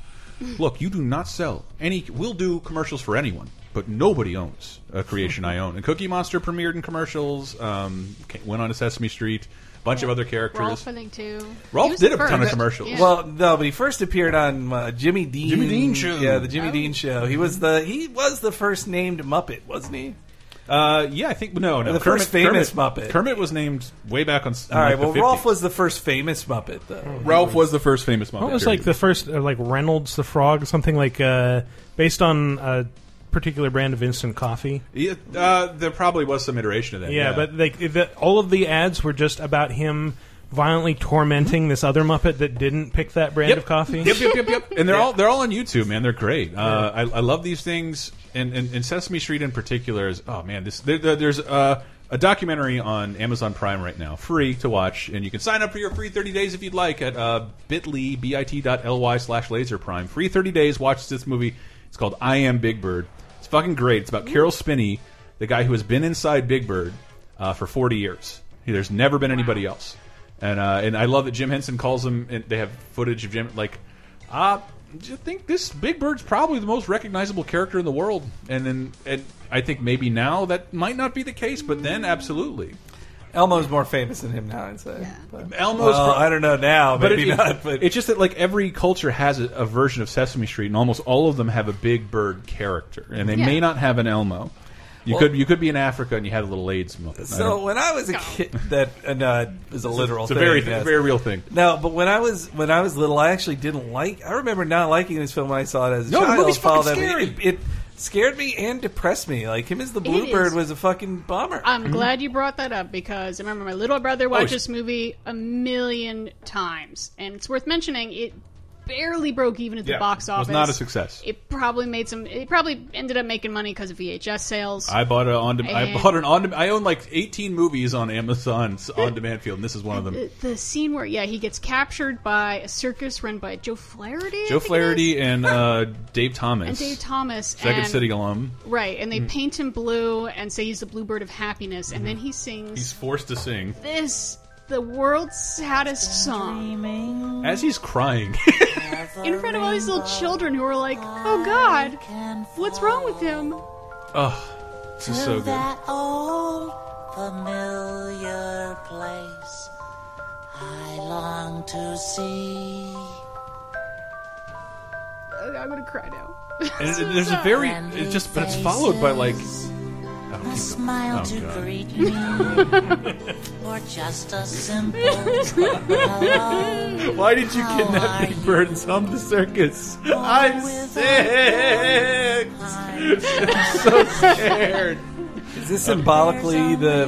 Speaker 3: Look, you do not sell any. We'll do commercials for anyone, but nobody owns a creation I own." And Cookie Monster premiered in commercials. Um, ca- went on to Sesame Street. Bunch of other characters.
Speaker 6: Rolf, I think, too.
Speaker 3: Rolf
Speaker 6: He was
Speaker 3: did
Speaker 6: the
Speaker 3: a ton of
Speaker 6: first.
Speaker 3: commercials.
Speaker 6: Yeah.
Speaker 4: Well, no, but he first appeared on uh, Jimmy Dean.
Speaker 3: Jimmy Dean Show.
Speaker 4: Yeah, the Jimmy
Speaker 6: Oh.
Speaker 4: Dean show. He was the he was the first named Muppet, wasn't he?
Speaker 3: Uh, yeah, I think no, no.
Speaker 4: The first famous
Speaker 3: Kermit,
Speaker 4: Muppet.
Speaker 3: Kermit was named way back on. s- in,
Speaker 4: All right.
Speaker 3: like, the Oh.
Speaker 4: Well, Rolf
Speaker 3: 50s.
Speaker 4: was the first famous Muppet, though.
Speaker 3: Ralph was the first famous Muppet.
Speaker 5: What was
Speaker 3: period.
Speaker 5: like the first, uh, like Reynolds the Frog, something like uh, based on a particular brand of instant coffee?
Speaker 3: Yeah, uh, there probably was some iteration of that.
Speaker 5: Yeah, but like the, all of the ads were just about him violently tormenting this other Muppet that didn't pick that brand
Speaker 3: Mm-hmm. Yep.
Speaker 5: of coffee.
Speaker 3: Yep, yep, yep, yep. And they're all they're all on YouTube, man. They're great. Uh, I, I love these things, and, and, and Sesame Street in particular is oh man, this there, there- there's uh, a documentary on Amazon Prime right now, free to watch, and you can sign up for your free 30 days if you'd like at uh, bit.ly bit.ly slash laser prime. Free 30 days. Watch this movie. It's called I Am Big Bird. It's fucking great. It's about Carol Spinney, the guy who has been inside Big Bird uh, for 40 years. There's never been anybody else. And uh, and I love that Jim Henson calls him. And they have footage of Jim like, uh, I think this Big Bird's probably the most recognizable character in the world. And then and I think maybe now that might not be the case, but then absolutely.
Speaker 4: Elmo's more famous than him now, I'd say. But-
Speaker 3: Elmo's
Speaker 4: Well,
Speaker 3: pro-
Speaker 4: I don't know now.
Speaker 3: But
Speaker 4: Maybe
Speaker 3: it- it-
Speaker 4: not. But
Speaker 3: it's just that like every culture has a, a version of Sesame Street, and almost all of them have a Big Bird character, and they may
Speaker 6: Yeah.
Speaker 3: not have an Elmo. You
Speaker 4: Well-
Speaker 3: could you could be in Africa and you had a little AIDS. mo- I
Speaker 4: so
Speaker 3: don't-
Speaker 4: when I was a kid, that and, uh, is a literal.
Speaker 3: it's a
Speaker 4: thing,
Speaker 3: very
Speaker 4: yes.
Speaker 3: very real thing.
Speaker 4: No, but when I was when I was little, I actually didn't like. I remember not liking this film when I saw it as a
Speaker 3: No, the
Speaker 4: child.
Speaker 3: movie's fucking
Speaker 4: Followed every-
Speaker 3: scary.
Speaker 4: It, it scared me and depressed me. Like him as the
Speaker 6: is.
Speaker 4: Bluebird was a fucking bummer.
Speaker 3: Hmm?
Speaker 6: I'm glad you brought that up because I remember my little brother watched
Speaker 3: it's-
Speaker 6: this movie a million times, and it's worth mentioning it barely broke even at the
Speaker 3: Yeah,
Speaker 6: box
Speaker 3: it was
Speaker 6: office.
Speaker 3: not a success.
Speaker 6: It probably made some. It probably ended up making money because of VHS sales.
Speaker 3: I bought a on. dem- I
Speaker 6: And-
Speaker 3: bought an on. dem- I own like eighteen movies on Amazon's on demand field, and this is one of them.
Speaker 6: the, the scene where yeah he gets captured by a circus run by Joe Flaherty. I
Speaker 3: Joe
Speaker 6: think it
Speaker 3: Flaherty
Speaker 6: is?
Speaker 3: and
Speaker 6: *laughs*
Speaker 3: uh, Dave Thomas,
Speaker 6: and Dave Thomas.
Speaker 3: Second
Speaker 6: and,
Speaker 3: City Hmm. alum.
Speaker 6: Right, and they paint him blue and say he's the bluebird of happiness, and then he sings
Speaker 3: Hmm. He's forced to sing
Speaker 6: this the world's saddest song
Speaker 3: as he's
Speaker 4: *laughs*
Speaker 3: crying.
Speaker 6: in front of all these little children who are like, "Oh God, what's wrong with him?"
Speaker 3: oh, this is so good.
Speaker 9: that old familiar place I long to see.
Speaker 6: Uh, I'm gonna cry now.
Speaker 3: And
Speaker 6: So
Speaker 3: it- there's a
Speaker 6: sad.
Speaker 3: very it's just, but it's followed by like. Oh, keep going.
Speaker 9: Smile
Speaker 3: Oh,
Speaker 9: to
Speaker 3: God.
Speaker 9: greet me,
Speaker 3: *laughs*
Speaker 9: or just a simple hello.
Speaker 3: Why did you
Speaker 9: How
Speaker 3: kidnap
Speaker 9: are
Speaker 3: Big Bird and sell him to circus? I'm sick. *laughs* Scared.
Speaker 4: Is this symbolically the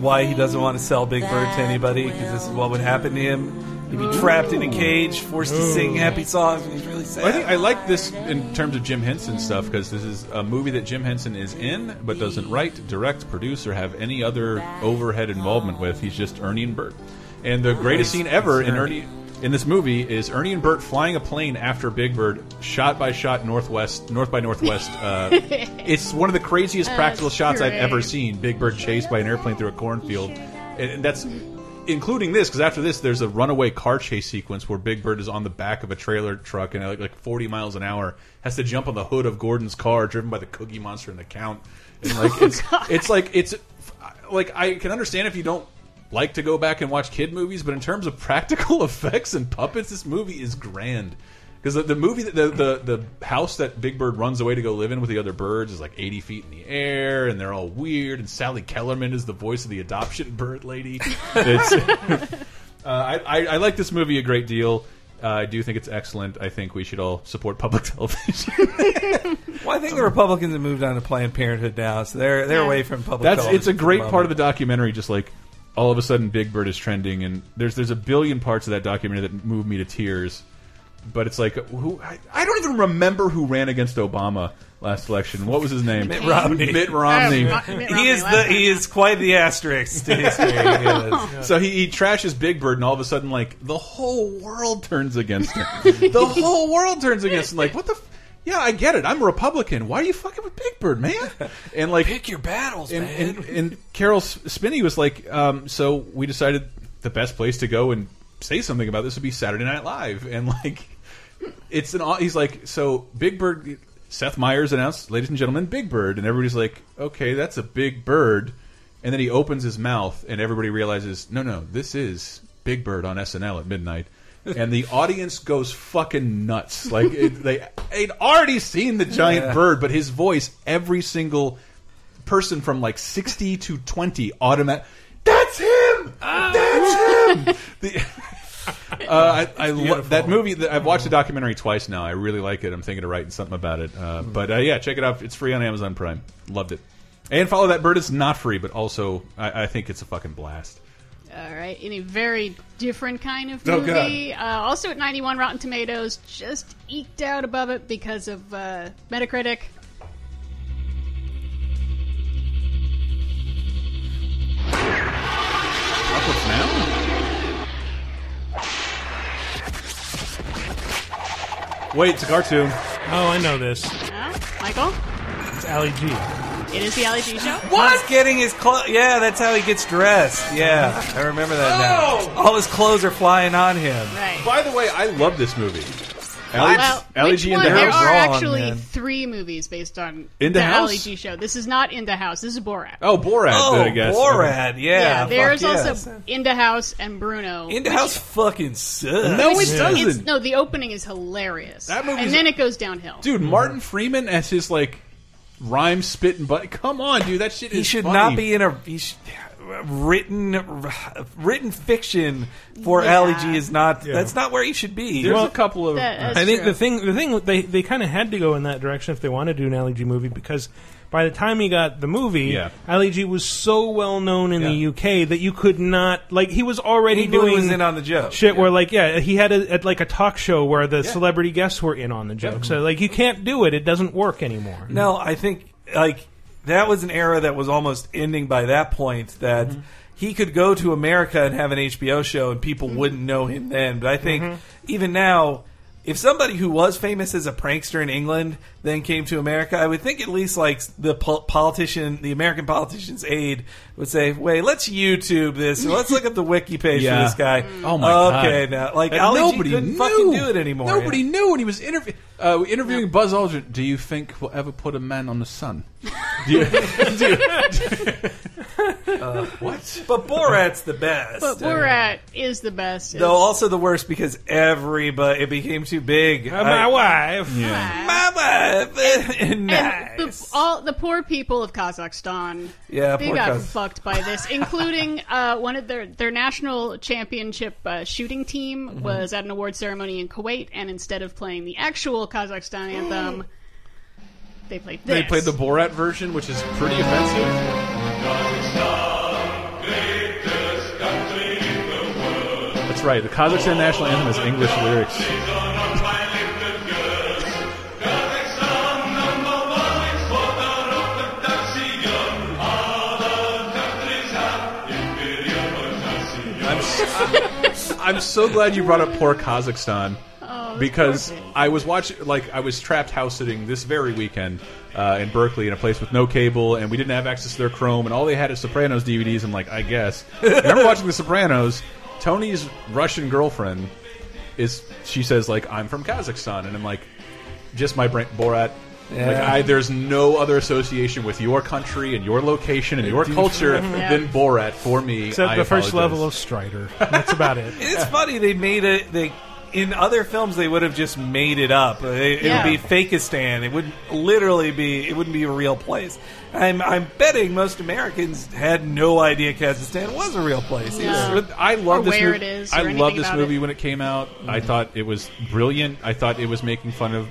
Speaker 4: why he doesn't want to sell Big Bird to anybody? Because this is what would happen to him. He'd be trapped in a cage, forced to sing happy songs, and he's really sad.
Speaker 3: I think I like this in terms of Jim Henson stuff because this is a movie that Jim Henson is in, but doesn't write, direct, produce, or have any other overhead involvement with. He's just Ernie and Bert. And the greatest scene ever in Ernie in this movie is Ernie and Bert flying a plane after Big Bird, shot by shot, northwest, north by northwest. Uh, it's one of the craziest practical shots I've ever
Speaker 6: great.
Speaker 3: seen. Big Bird chased by an airplane through a cornfield, and, and that's including this because after this, there's a runaway car chase sequence where Big Bird is on the back of a trailer truck and like, like 40 miles an hour has to jump on the hood of Gordon's car, driven by the Cookie Monster and the Count. And like it's, it's like it's like I can understand if you don't like to go back and watch kid movies, but in terms of *laughs* practical effects and puppets, this movie is grand. Because the, the movie, that- the, the the house that Big Bird runs away to go live in with the other birds is like eighty feet in the air, and they're all weird. And Sally Kellerman is the voice of the *laughs* adoption bird lady. It's, uh, I, I, I like this movie a great deal. Uh, I do think it's excellent. I think we should all support public *laughs* television.
Speaker 4: Well, I think the Republicans have moved on to Planned Parenthood now, so they're they're
Speaker 6: Yeah.
Speaker 4: away from public.
Speaker 3: That's
Speaker 4: television
Speaker 3: it's a
Speaker 4: for the
Speaker 3: great part
Speaker 4: moment.
Speaker 3: of the documentary. Just like all of a sudden, Big Bird is trending, and there's there's a billion parts of that documentary that move me to tears. But it's like who I, I don't even remember who ran against Obama last election. What was his name? Mitt
Speaker 4: Romney.
Speaker 3: Mitt Romney.
Speaker 4: He is the he is quite the asterisk
Speaker 3: *laughs*
Speaker 4: to history. he is.
Speaker 3: So he, he trashes Big Bird, and all of a sudden, like the whole world turns against
Speaker 4: *laughs*
Speaker 3: him. the whole world turns against him. Like what the. F yeah, I get it. I'm a Republican. Why are you fucking with Big Bird,
Speaker 4: *laughs*
Speaker 3: man? And like,
Speaker 4: Pick your battles,
Speaker 3: and,
Speaker 4: man.
Speaker 3: and, and Carol S- Spinney was like, um, so we decided the best place to go and say something about this would be Saturday Night Live, and like, it's an au- he's like, so Big Bird, Seth Meyers announced, ladies and gentlemen, Big Bird, and everybody's like, okay, that's a big bird, and then he opens his mouth, and everybody realizes, no, no, this is Big Bird on SNL at midnight. And the audience goes fucking nuts. Like it, they, they'd already seen the giant bird, but his voice every single person from like 60 to 20 automatic that's him that's him the, uh, I, I lo- that movie that- i've watched the documentary twice now i really like it i'm thinking of writing something about it uh,
Speaker 4: Hmm.
Speaker 3: but uh, yeah check it out it's free on amazon prime loved it and follow that bird it's not free but also i, I think it's a fucking blast
Speaker 6: All right, in a very different kind of
Speaker 3: Oh,
Speaker 6: movie. uh, also at 91 Rotten Tomatoes, just eked out above it because of uh, Metacritic.
Speaker 3: Apocalypse now wait it's a cartoon
Speaker 5: Oh, I know this.
Speaker 6: No? Michael,
Speaker 5: It's Ali G.
Speaker 6: it is the Ali G show.
Speaker 4: He's getting his clothes. Yeah, that's how he gets dressed. Yeah, I remember that
Speaker 6: Oh!
Speaker 4: now. All his clothes are flying on him.
Speaker 6: Right.
Speaker 3: by the way i love this movie Ali,
Speaker 6: Well,
Speaker 3: Ali
Speaker 6: which
Speaker 3: G in
Speaker 6: one?
Speaker 3: the
Speaker 6: there
Speaker 3: house.
Speaker 6: are
Speaker 4: Wrong,
Speaker 6: actually
Speaker 4: man.
Speaker 6: three movies based on
Speaker 3: In the
Speaker 6: Ali
Speaker 3: House?
Speaker 6: G show. This is not in the house. This is Borat.
Speaker 3: Oh, Borat,
Speaker 4: Oh,
Speaker 3: I guess.
Speaker 4: Borat. Yeah,
Speaker 6: there
Speaker 4: fuck
Speaker 6: is
Speaker 4: yes.
Speaker 6: also In the house and Bruno.
Speaker 4: in the house fucking sucks.
Speaker 3: No, it
Speaker 6: It's-
Speaker 3: doesn't.
Speaker 6: no, the opening is hilarious.
Speaker 3: That movie's-
Speaker 6: and then it goes downhill.
Speaker 3: Dude,
Speaker 4: Mm-hmm.
Speaker 3: Martin Freeman as his, like, rhyme spitting butt. Come on, dude. That shit
Speaker 4: he
Speaker 3: is
Speaker 4: should
Speaker 3: funny.
Speaker 4: not be in a he sh- written written fiction for
Speaker 6: Yeah.
Speaker 4: Ali G is not. That's not where he should be.
Speaker 3: There's a couple of.
Speaker 6: That- that's
Speaker 5: I think
Speaker 6: true.
Speaker 5: the thing, the thing, they they kind of had to go in that direction if they wanted to do an Ali G movie because by the time he got the movie,
Speaker 3: Yeah.
Speaker 5: Ali G was so well known in
Speaker 3: Yeah.
Speaker 5: the UK that you could not like he was already
Speaker 4: England
Speaker 5: doing
Speaker 4: was in on the joke.
Speaker 5: shit where like yeah he had a, at like a talk show where the celebrity guests were in on the joke so like you can't do it it doesn't work anymore
Speaker 4: No, I think like that was an era that was almost ending by that point. That
Speaker 3: Mm-hmm.
Speaker 4: he could go to America and have an HBO show, and people
Speaker 3: Mm-hmm.
Speaker 4: wouldn't know him then. But I think even now. If somebody who was famous as a prankster in England then came to America, I would think at least like the po- politician, the American politician's aide would say, "Wait, let's
Speaker 3: *laughs*
Speaker 4: YouTube this. and Let's look at the wiki page
Speaker 3: Yeah.
Speaker 4: for this guy."
Speaker 3: Oh, my
Speaker 4: Okay,
Speaker 3: God.
Speaker 4: now like
Speaker 3: And
Speaker 4: Ali G
Speaker 3: nobody
Speaker 4: couldn't
Speaker 3: knew.
Speaker 4: fucking do it anymore.
Speaker 3: Nobody
Speaker 4: Yeah.
Speaker 3: knew when he was interview uh, interviewing Buzz Aldrin. Do you think we'll ever put a man on the sun? Do you, do you- what?
Speaker 4: But Borat's the best.
Speaker 6: but Borat is the best.
Speaker 4: Though also the worst because everybody it became too big.
Speaker 5: Uh, my
Speaker 4: I-
Speaker 5: wife
Speaker 4: my wife. *laughs*
Speaker 6: And
Speaker 4: nice.
Speaker 6: the, all the poor people of Kazakhstan,
Speaker 4: Yeah,
Speaker 6: they
Speaker 4: poor
Speaker 6: got
Speaker 4: Kaz-
Speaker 6: fucked by
Speaker 3: *laughs*
Speaker 6: this, including uh, one of their their national championship uh, shooting team
Speaker 3: Mm-hmm.
Speaker 6: was at an award ceremony in Kuwait, and instead of playing the actual Kazakhstan
Speaker 3: *gasps*
Speaker 6: anthem, they played this.
Speaker 3: They played the Borat version, which is pretty offensive. That's right. The Kazakhstan national anthem has English lyrics. *laughs* I'm s- I'm so glad you brought up poor Kazakhstan because I was watching, like, I was trapped house sitting this very weekend uh, in Berkeley in a place with no cable, and we didn't have access to their Chrome, and all they had is Sopranos DVDs. I'm like, I guess. And I remember watching The Sopranos. Tony's Russian girlfriend is, she says, like, I'm from Kazakhstan, and I'm like, just my brain, Borat. Like
Speaker 4: Yeah.
Speaker 3: I, there's no other association with your country and your location and your
Speaker 5: *laughs*
Speaker 3: culture than Borat for me.
Speaker 5: except
Speaker 3: I
Speaker 5: the first
Speaker 3: apologize.
Speaker 4: *laughs*
Speaker 5: level of Strider that's about it
Speaker 4: it's funny they made a they in other films they would have just made it up. It,
Speaker 6: Yeah.
Speaker 4: it would be Fakistan. It would literally be. It wouldn't be a real place. I'm I'm betting most Americans had no idea Kazakhstan was a real place. either.
Speaker 6: No.
Speaker 3: But I love
Speaker 6: Or
Speaker 3: this
Speaker 6: where
Speaker 3: movie.
Speaker 6: it is or
Speaker 3: I
Speaker 6: anything
Speaker 3: love this
Speaker 6: about
Speaker 3: movie
Speaker 6: it.
Speaker 3: when it came out. I
Speaker 4: Mm.
Speaker 3: thought it was brilliant. I thought it was making fun of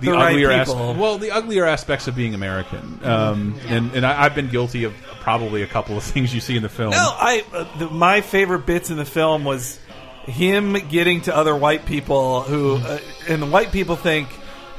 Speaker 3: the,
Speaker 4: The right
Speaker 3: uglier as-
Speaker 4: people.
Speaker 3: well, the uglier aspects of being American. Um, And and I, I've been guilty of probably a couple of *laughs* things you see in the film.
Speaker 4: No, I uh, the, my favorite bits in the film was him getting to other white people who, uh, and the white people think,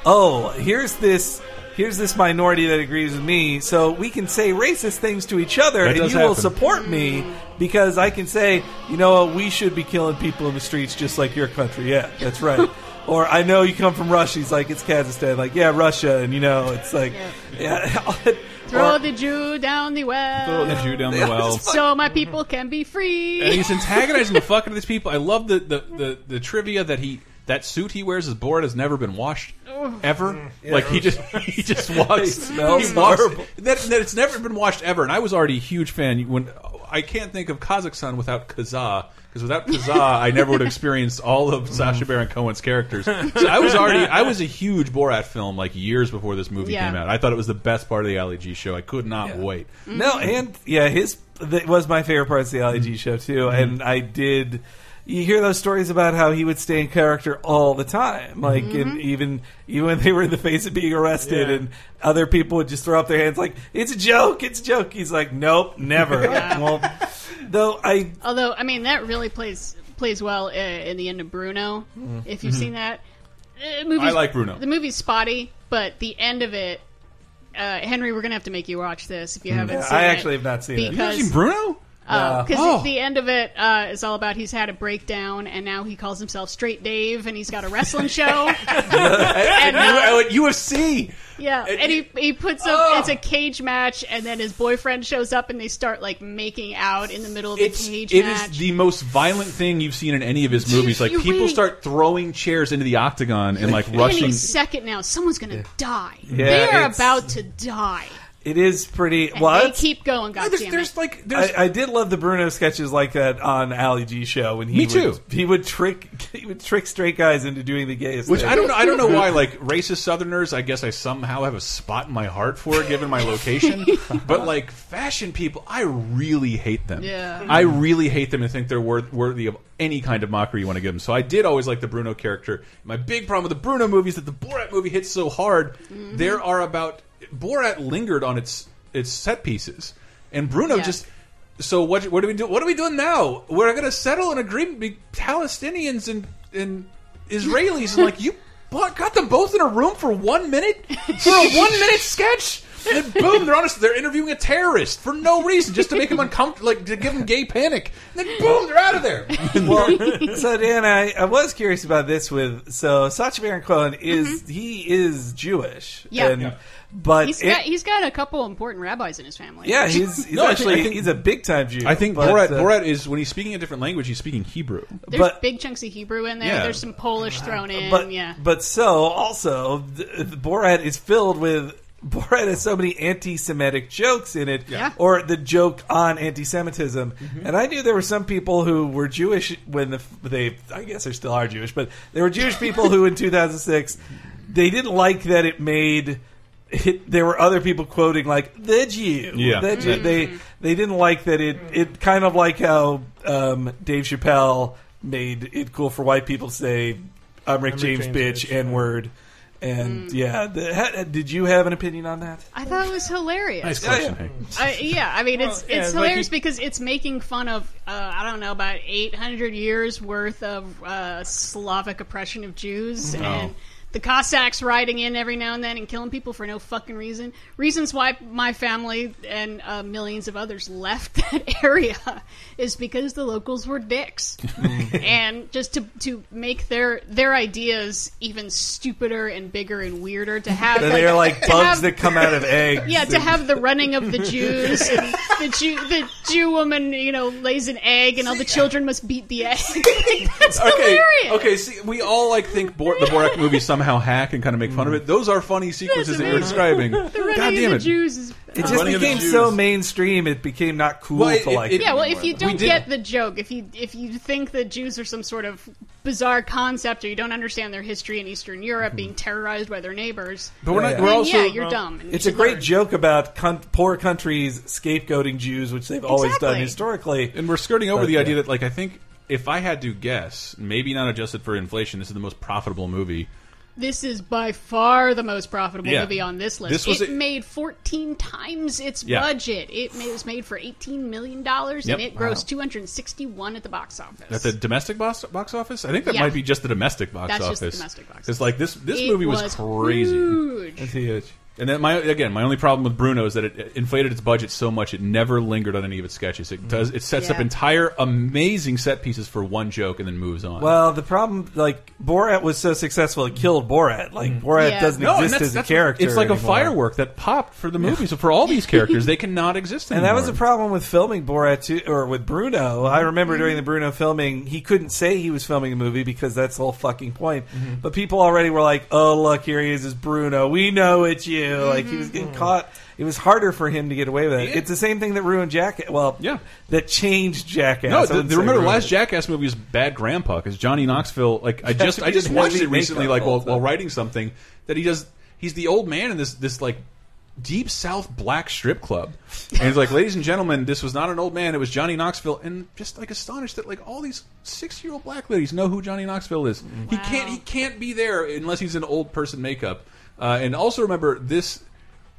Speaker 4: "Oh, here's this." Here's this minority that agrees with me, so we can say racist things to each other,
Speaker 3: That
Speaker 4: and you
Speaker 3: does
Speaker 4: will
Speaker 3: happen.
Speaker 4: support me because I can say, you know, what, we should be killing people in the streets just like your country. Yeah,
Speaker 3: *laughs*
Speaker 4: that's right. or I know you come from Russia. He's like, it's Kazakhstan. Like, yeah, Russia, and you know, it's like, yeah. *laughs*
Speaker 6: Throw
Speaker 4: Or-
Speaker 6: the Jew down the
Speaker 3: Throw the
Speaker 6: well,
Speaker 3: Jew down the
Speaker 4: *laughs*
Speaker 3: well.
Speaker 6: so my people can be
Speaker 3: and
Speaker 6: free.
Speaker 3: he's antagonizing the fuck out of these people. I love the, the, the, the trivia that he that suit he wears is bored has never been washed
Speaker 4: Mm,
Speaker 3: ever. like he just he just walks.
Speaker 4: smells
Speaker 3: he walks
Speaker 4: horrible.
Speaker 3: that, that it's never been washed ever. And I was already a huge fan when I can't think of Kazakhstan without Kazaa. Because without Kazaa, I never would have experienced all
Speaker 4: Mm.
Speaker 3: of Sasha Baron Cohen's characters. So I was already I was a huge Borat film like years before this movie
Speaker 6: Yeah.
Speaker 3: came out. I thought it was the best part of the Ali G show. I could not wait.
Speaker 4: No, and yeah, his that was my favorite part of the LIG show too, and I did. You hear those stories about how he would stay in character all the time, like and even even when they were in the face of being arrested,
Speaker 5: Yeah.
Speaker 4: and other people would just throw up their hands like it's a joke, it's a joke. He's like, nope, never. well, though I
Speaker 6: Although, I mean, that really plays plays well uh, in the end of Bruno. If you've seen that, Uh, movie's-
Speaker 3: Mm-hmm. I like Bruno.
Speaker 6: The movie's spotty, but the end of it, uh, Henry, we're gonna have to make you watch this if you
Speaker 3: Hmm.
Speaker 6: haven't. seen
Speaker 4: I
Speaker 6: it.
Speaker 4: actually have not seen it.
Speaker 3: You guys
Speaker 6: because
Speaker 3: seen Bruno?
Speaker 6: because
Speaker 3: Oh.
Speaker 6: the end of it uh, is all about he's had a breakdown and now he calls himself Straight Dave and he's got a
Speaker 3: *laughs*
Speaker 6: wrestling show. uh,
Speaker 3: And, you, uh, Oh. at UFC.
Speaker 6: Yeah,
Speaker 3: And
Speaker 6: and,
Speaker 3: you-
Speaker 6: he, he puts up it's a cage match, and then his boyfriend shows up, and they start like making out in the middle of
Speaker 3: It's
Speaker 6: the
Speaker 3: it
Speaker 6: cage
Speaker 3: is
Speaker 6: match.
Speaker 3: the most violent thing you've seen in any of his movies. Like
Speaker 6: You're
Speaker 3: people
Speaker 6: right.
Speaker 3: start throwing chairs into the octagon and like rushing.
Speaker 6: Any second now, someone's gonna die.
Speaker 4: Yeah,
Speaker 6: They're
Speaker 4: it's-
Speaker 6: about to die.
Speaker 4: it is pretty.
Speaker 6: And
Speaker 4: What?
Speaker 6: They keep going. God
Speaker 3: There's,
Speaker 6: damn
Speaker 3: there's
Speaker 6: it.
Speaker 3: like there's
Speaker 4: I, I did love the Bruno sketches like that on Ali G show when he
Speaker 3: Me too.
Speaker 4: Would, he would trick *laughs* he would trick straight guys into doing the gayest
Speaker 3: which
Speaker 4: thing.
Speaker 3: I don't know. I don't know
Speaker 6: *laughs*
Speaker 3: why like racist Southerners. I guess I somehow have a spot in my heart for it, given my
Speaker 6: *laughs*
Speaker 3: location. but like fashion people, I really hate them.
Speaker 6: Yeah.
Speaker 3: I really hate them and think they're worth, worthy of any kind of mockery you want to give them. So I did always like the Bruno character. My big problem with the Bruno movie is that the Borat movie hits so hard.
Speaker 6: Mm-hmm.
Speaker 3: There are about Borat lingered on its its set pieces, and Bruno
Speaker 6: Yeah.
Speaker 3: just. So what? What are we do? What are we doing now? We're going to settle an agreement between Palestinians and and Israelis. And like you bought, got them both in a room for one minute for
Speaker 6: *laughs*
Speaker 3: a one minute sketch. And boom, they're honest. They're interviewing a terrorist for no reason, just to make him uncomfortable, like to give him gay panic. And then boom, they're out of
Speaker 4: *laughs*
Speaker 3: there.
Speaker 6: *laughs*
Speaker 4: well, *laughs* so Dan, I, I was curious about this with so Sacha Baron Cohen is he is Jewish,
Speaker 6: Mm-hmm. Yeah.
Speaker 4: and,
Speaker 6: Yeah.
Speaker 4: but
Speaker 6: He's
Speaker 4: it-
Speaker 6: got he's got a couple important rabbis in his family.
Speaker 4: yeah, he's, he's
Speaker 3: No, I think-
Speaker 4: actually
Speaker 3: I think-
Speaker 4: he's a big time Jew.
Speaker 3: I think
Speaker 4: but,
Speaker 3: Borat
Speaker 4: uh,
Speaker 3: Borat is when he's speaking a different language, he's speaking Hebrew.
Speaker 6: there's
Speaker 4: but-
Speaker 6: big chunks of Hebrew in there.
Speaker 3: Yeah.
Speaker 6: There's some Polish
Speaker 3: Uh,
Speaker 6: thrown in.
Speaker 4: but
Speaker 6: yeah,
Speaker 4: but so also th- the Borat is filled with. *laughs* Borat has so many anti-Semitic jokes in it,
Speaker 6: Yeah.
Speaker 4: or the joke on anti-Semitism, and I knew there were some people who were Jewish when the, they, I guess, they still are Jewish, but there were Jewish people who in 2006 they didn't like that it made. It, there were other people quoting like the Jew,
Speaker 3: Yeah.
Speaker 4: the Jew. They they didn't like that it. It kind of like how um, Dave Chappelle made it cool for white people to say I'm Rick, James,
Speaker 5: James,
Speaker 4: bitch,
Speaker 5: bitch,
Speaker 4: N word.
Speaker 6: Mm.
Speaker 4: And yeah, the, ha, uh, did you have an opinion on that?
Speaker 6: I thought it was hilarious.
Speaker 3: Nice question.
Speaker 4: yeah.
Speaker 3: Hank.
Speaker 5: *laughs*
Speaker 6: I, yeah, I mean it's
Speaker 5: Well, yeah, like
Speaker 6: it's hilarious
Speaker 5: he-
Speaker 6: because it's making fun of uh, I don't know about 800 years worth of uh, Slavic oppression of Jews
Speaker 5: Oh.
Speaker 6: and the Cossacks riding in every now and then and killing people for no fucking reason. Reasons why my family and uh, millions of others left *laughs* that area is because the locals
Speaker 5: *laughs*
Speaker 6: were dicks and just to to make their their ideas even stupider and bigger and weirder to have
Speaker 4: They're
Speaker 6: *laughs*
Speaker 4: like
Speaker 6: to
Speaker 4: bugs
Speaker 6: have-
Speaker 4: that come out of eggs.
Speaker 6: yeah, to have the running of
Speaker 3: *laughs*
Speaker 6: the Jews and the Jew the Jew woman, you know, lays an egg and all the children must beat the egg. *laughs* Like, that's
Speaker 3: okay,
Speaker 6: hilarious.
Speaker 3: okay. See, we all like think Bor- the Borat movie somehow hack and kind of make fun of it. Those are funny sequences that you're
Speaker 6: amazing.
Speaker 3: describing.
Speaker 6: The
Speaker 3: God
Speaker 6: running
Speaker 3: damn
Speaker 6: of the
Speaker 3: it!
Speaker 6: Jews is
Speaker 4: It just
Speaker 3: Running of the
Speaker 4: became
Speaker 3: Jews.
Speaker 4: so mainstream. It became not cool
Speaker 3: Well, it-
Speaker 4: to
Speaker 3: it-
Speaker 4: like.
Speaker 3: it-
Speaker 6: Yeah, well, if you don't
Speaker 3: did-
Speaker 6: get the joke, if you if you think that Jews are some sort of bizarre concept, or you don't understand their history in Eastern Europe, being terrorized by their neighbors,
Speaker 3: Mm-hmm. But we're not.
Speaker 4: Yeah.
Speaker 3: We're
Speaker 6: then
Speaker 3: also.
Speaker 6: yeah, you're dumb. and you
Speaker 4: It's a
Speaker 6: should
Speaker 4: great
Speaker 6: learn.
Speaker 4: joke about con- poor countries scapegoating Jews, which they've always done
Speaker 6: Exactly.
Speaker 4: historically.
Speaker 3: And we're skirting over
Speaker 4: But,
Speaker 3: the
Speaker 4: yeah.
Speaker 3: idea that, like, I think if I had to guess, maybe not adjusted for inflation, this is the most profitable movie.
Speaker 6: This is by far the most profitable
Speaker 3: Yeah.
Speaker 6: movie on this list.
Speaker 3: This was
Speaker 6: it
Speaker 3: a-
Speaker 6: made 14 times its
Speaker 3: Yeah.
Speaker 6: budget. It ma- was made for 18 million dollars, and
Speaker 3: Yep.
Speaker 6: it grossed 261 at the box office.
Speaker 3: At the domestic box, box office, I think that
Speaker 6: Yeah.
Speaker 3: might be just the domestic box
Speaker 6: That's
Speaker 3: office.
Speaker 6: just the domestic box
Speaker 3: It's like this. This
Speaker 6: It
Speaker 3: movie was,
Speaker 6: was
Speaker 3: crazy.
Speaker 6: huge.
Speaker 3: And then my again, my only problem with Bruno is that it inflated its budget so much it never lingered on any of its sketches. It does. It sets up
Speaker 6: Yeah.
Speaker 3: entire amazing set pieces for one joke and then moves on.
Speaker 4: Well, the problem, like Borat was so successful, it killed Borat. Like Borat
Speaker 6: Yeah.
Speaker 4: doesn't
Speaker 6: No,
Speaker 3: Mm-hmm. and
Speaker 4: exist
Speaker 3: that's-
Speaker 4: as a
Speaker 3: that's-
Speaker 4: character.
Speaker 3: It's like a
Speaker 4: anymore.
Speaker 3: firework that popped for the movie. So for all
Speaker 6: *laughs*
Speaker 3: these characters, they cannot exist
Speaker 4: And
Speaker 3: anymore.
Speaker 4: that was a problem with filming Borat too, or with Bruno. I remember during
Speaker 3: Mm-hmm.
Speaker 4: the Bruno filming, he couldn't say he was filming a movie because that's the whole fucking point.
Speaker 3: Mm-hmm.
Speaker 4: But people already were like, "Oh, look, here he is, is Bruno. We know it's you." Like he was
Speaker 3: Mm-hmm.
Speaker 4: getting caught. It was harder for him to get away with it. It's the same thing that ruined Jackass. Well,
Speaker 3: Yeah.
Speaker 4: that changed Jackass. I
Speaker 3: No, the,
Speaker 4: wouldn't
Speaker 3: the,
Speaker 4: say
Speaker 3: remember the
Speaker 4: ruined
Speaker 3: last
Speaker 4: it.
Speaker 3: Jackass movie was Bad Grandpa because Johnny Knoxville. Like
Speaker 4: *laughs*
Speaker 3: I just I just
Speaker 4: we
Speaker 3: watched
Speaker 4: make
Speaker 3: it recently,
Speaker 4: up
Speaker 3: like
Speaker 4: all
Speaker 3: while,
Speaker 4: the time.
Speaker 3: while writing something that he does. He's the old man in this this like deep South black strip club, and he's like, ladies and gentlemen, this was not an old man. It was Johnny Knoxville, and just like astonished that like all these six year old black ladies know who Johnny Knoxville is. He can't he can't be there unless he's in old person makeup. Uh, and also remember this.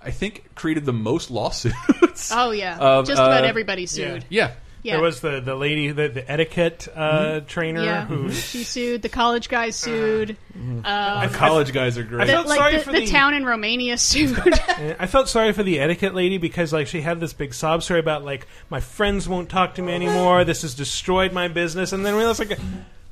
Speaker 3: I think created the most *laughs* lawsuits.
Speaker 6: Oh yeah,
Speaker 3: Of,
Speaker 6: just about
Speaker 3: uh,
Speaker 6: everybody sued.
Speaker 3: Yeah.
Speaker 6: Yeah.
Speaker 5: There was the, the lady, the, the etiquette
Speaker 4: Mm-hmm.
Speaker 5: uh, trainer
Speaker 6: Yeah.
Speaker 5: who.
Speaker 6: *laughs*
Speaker 5: Uh,
Speaker 6: she sued. The college guy sued. Uh,
Speaker 3: College guys are great.
Speaker 5: I felt
Speaker 6: like
Speaker 5: sorry
Speaker 6: the,
Speaker 5: for
Speaker 6: the
Speaker 5: the-
Speaker 6: town in Romania sued.
Speaker 5: I felt sorry for the etiquette lady because like she had this big sob story about like my friends won't talk to me anymore. This has destroyed my business, and then realized like.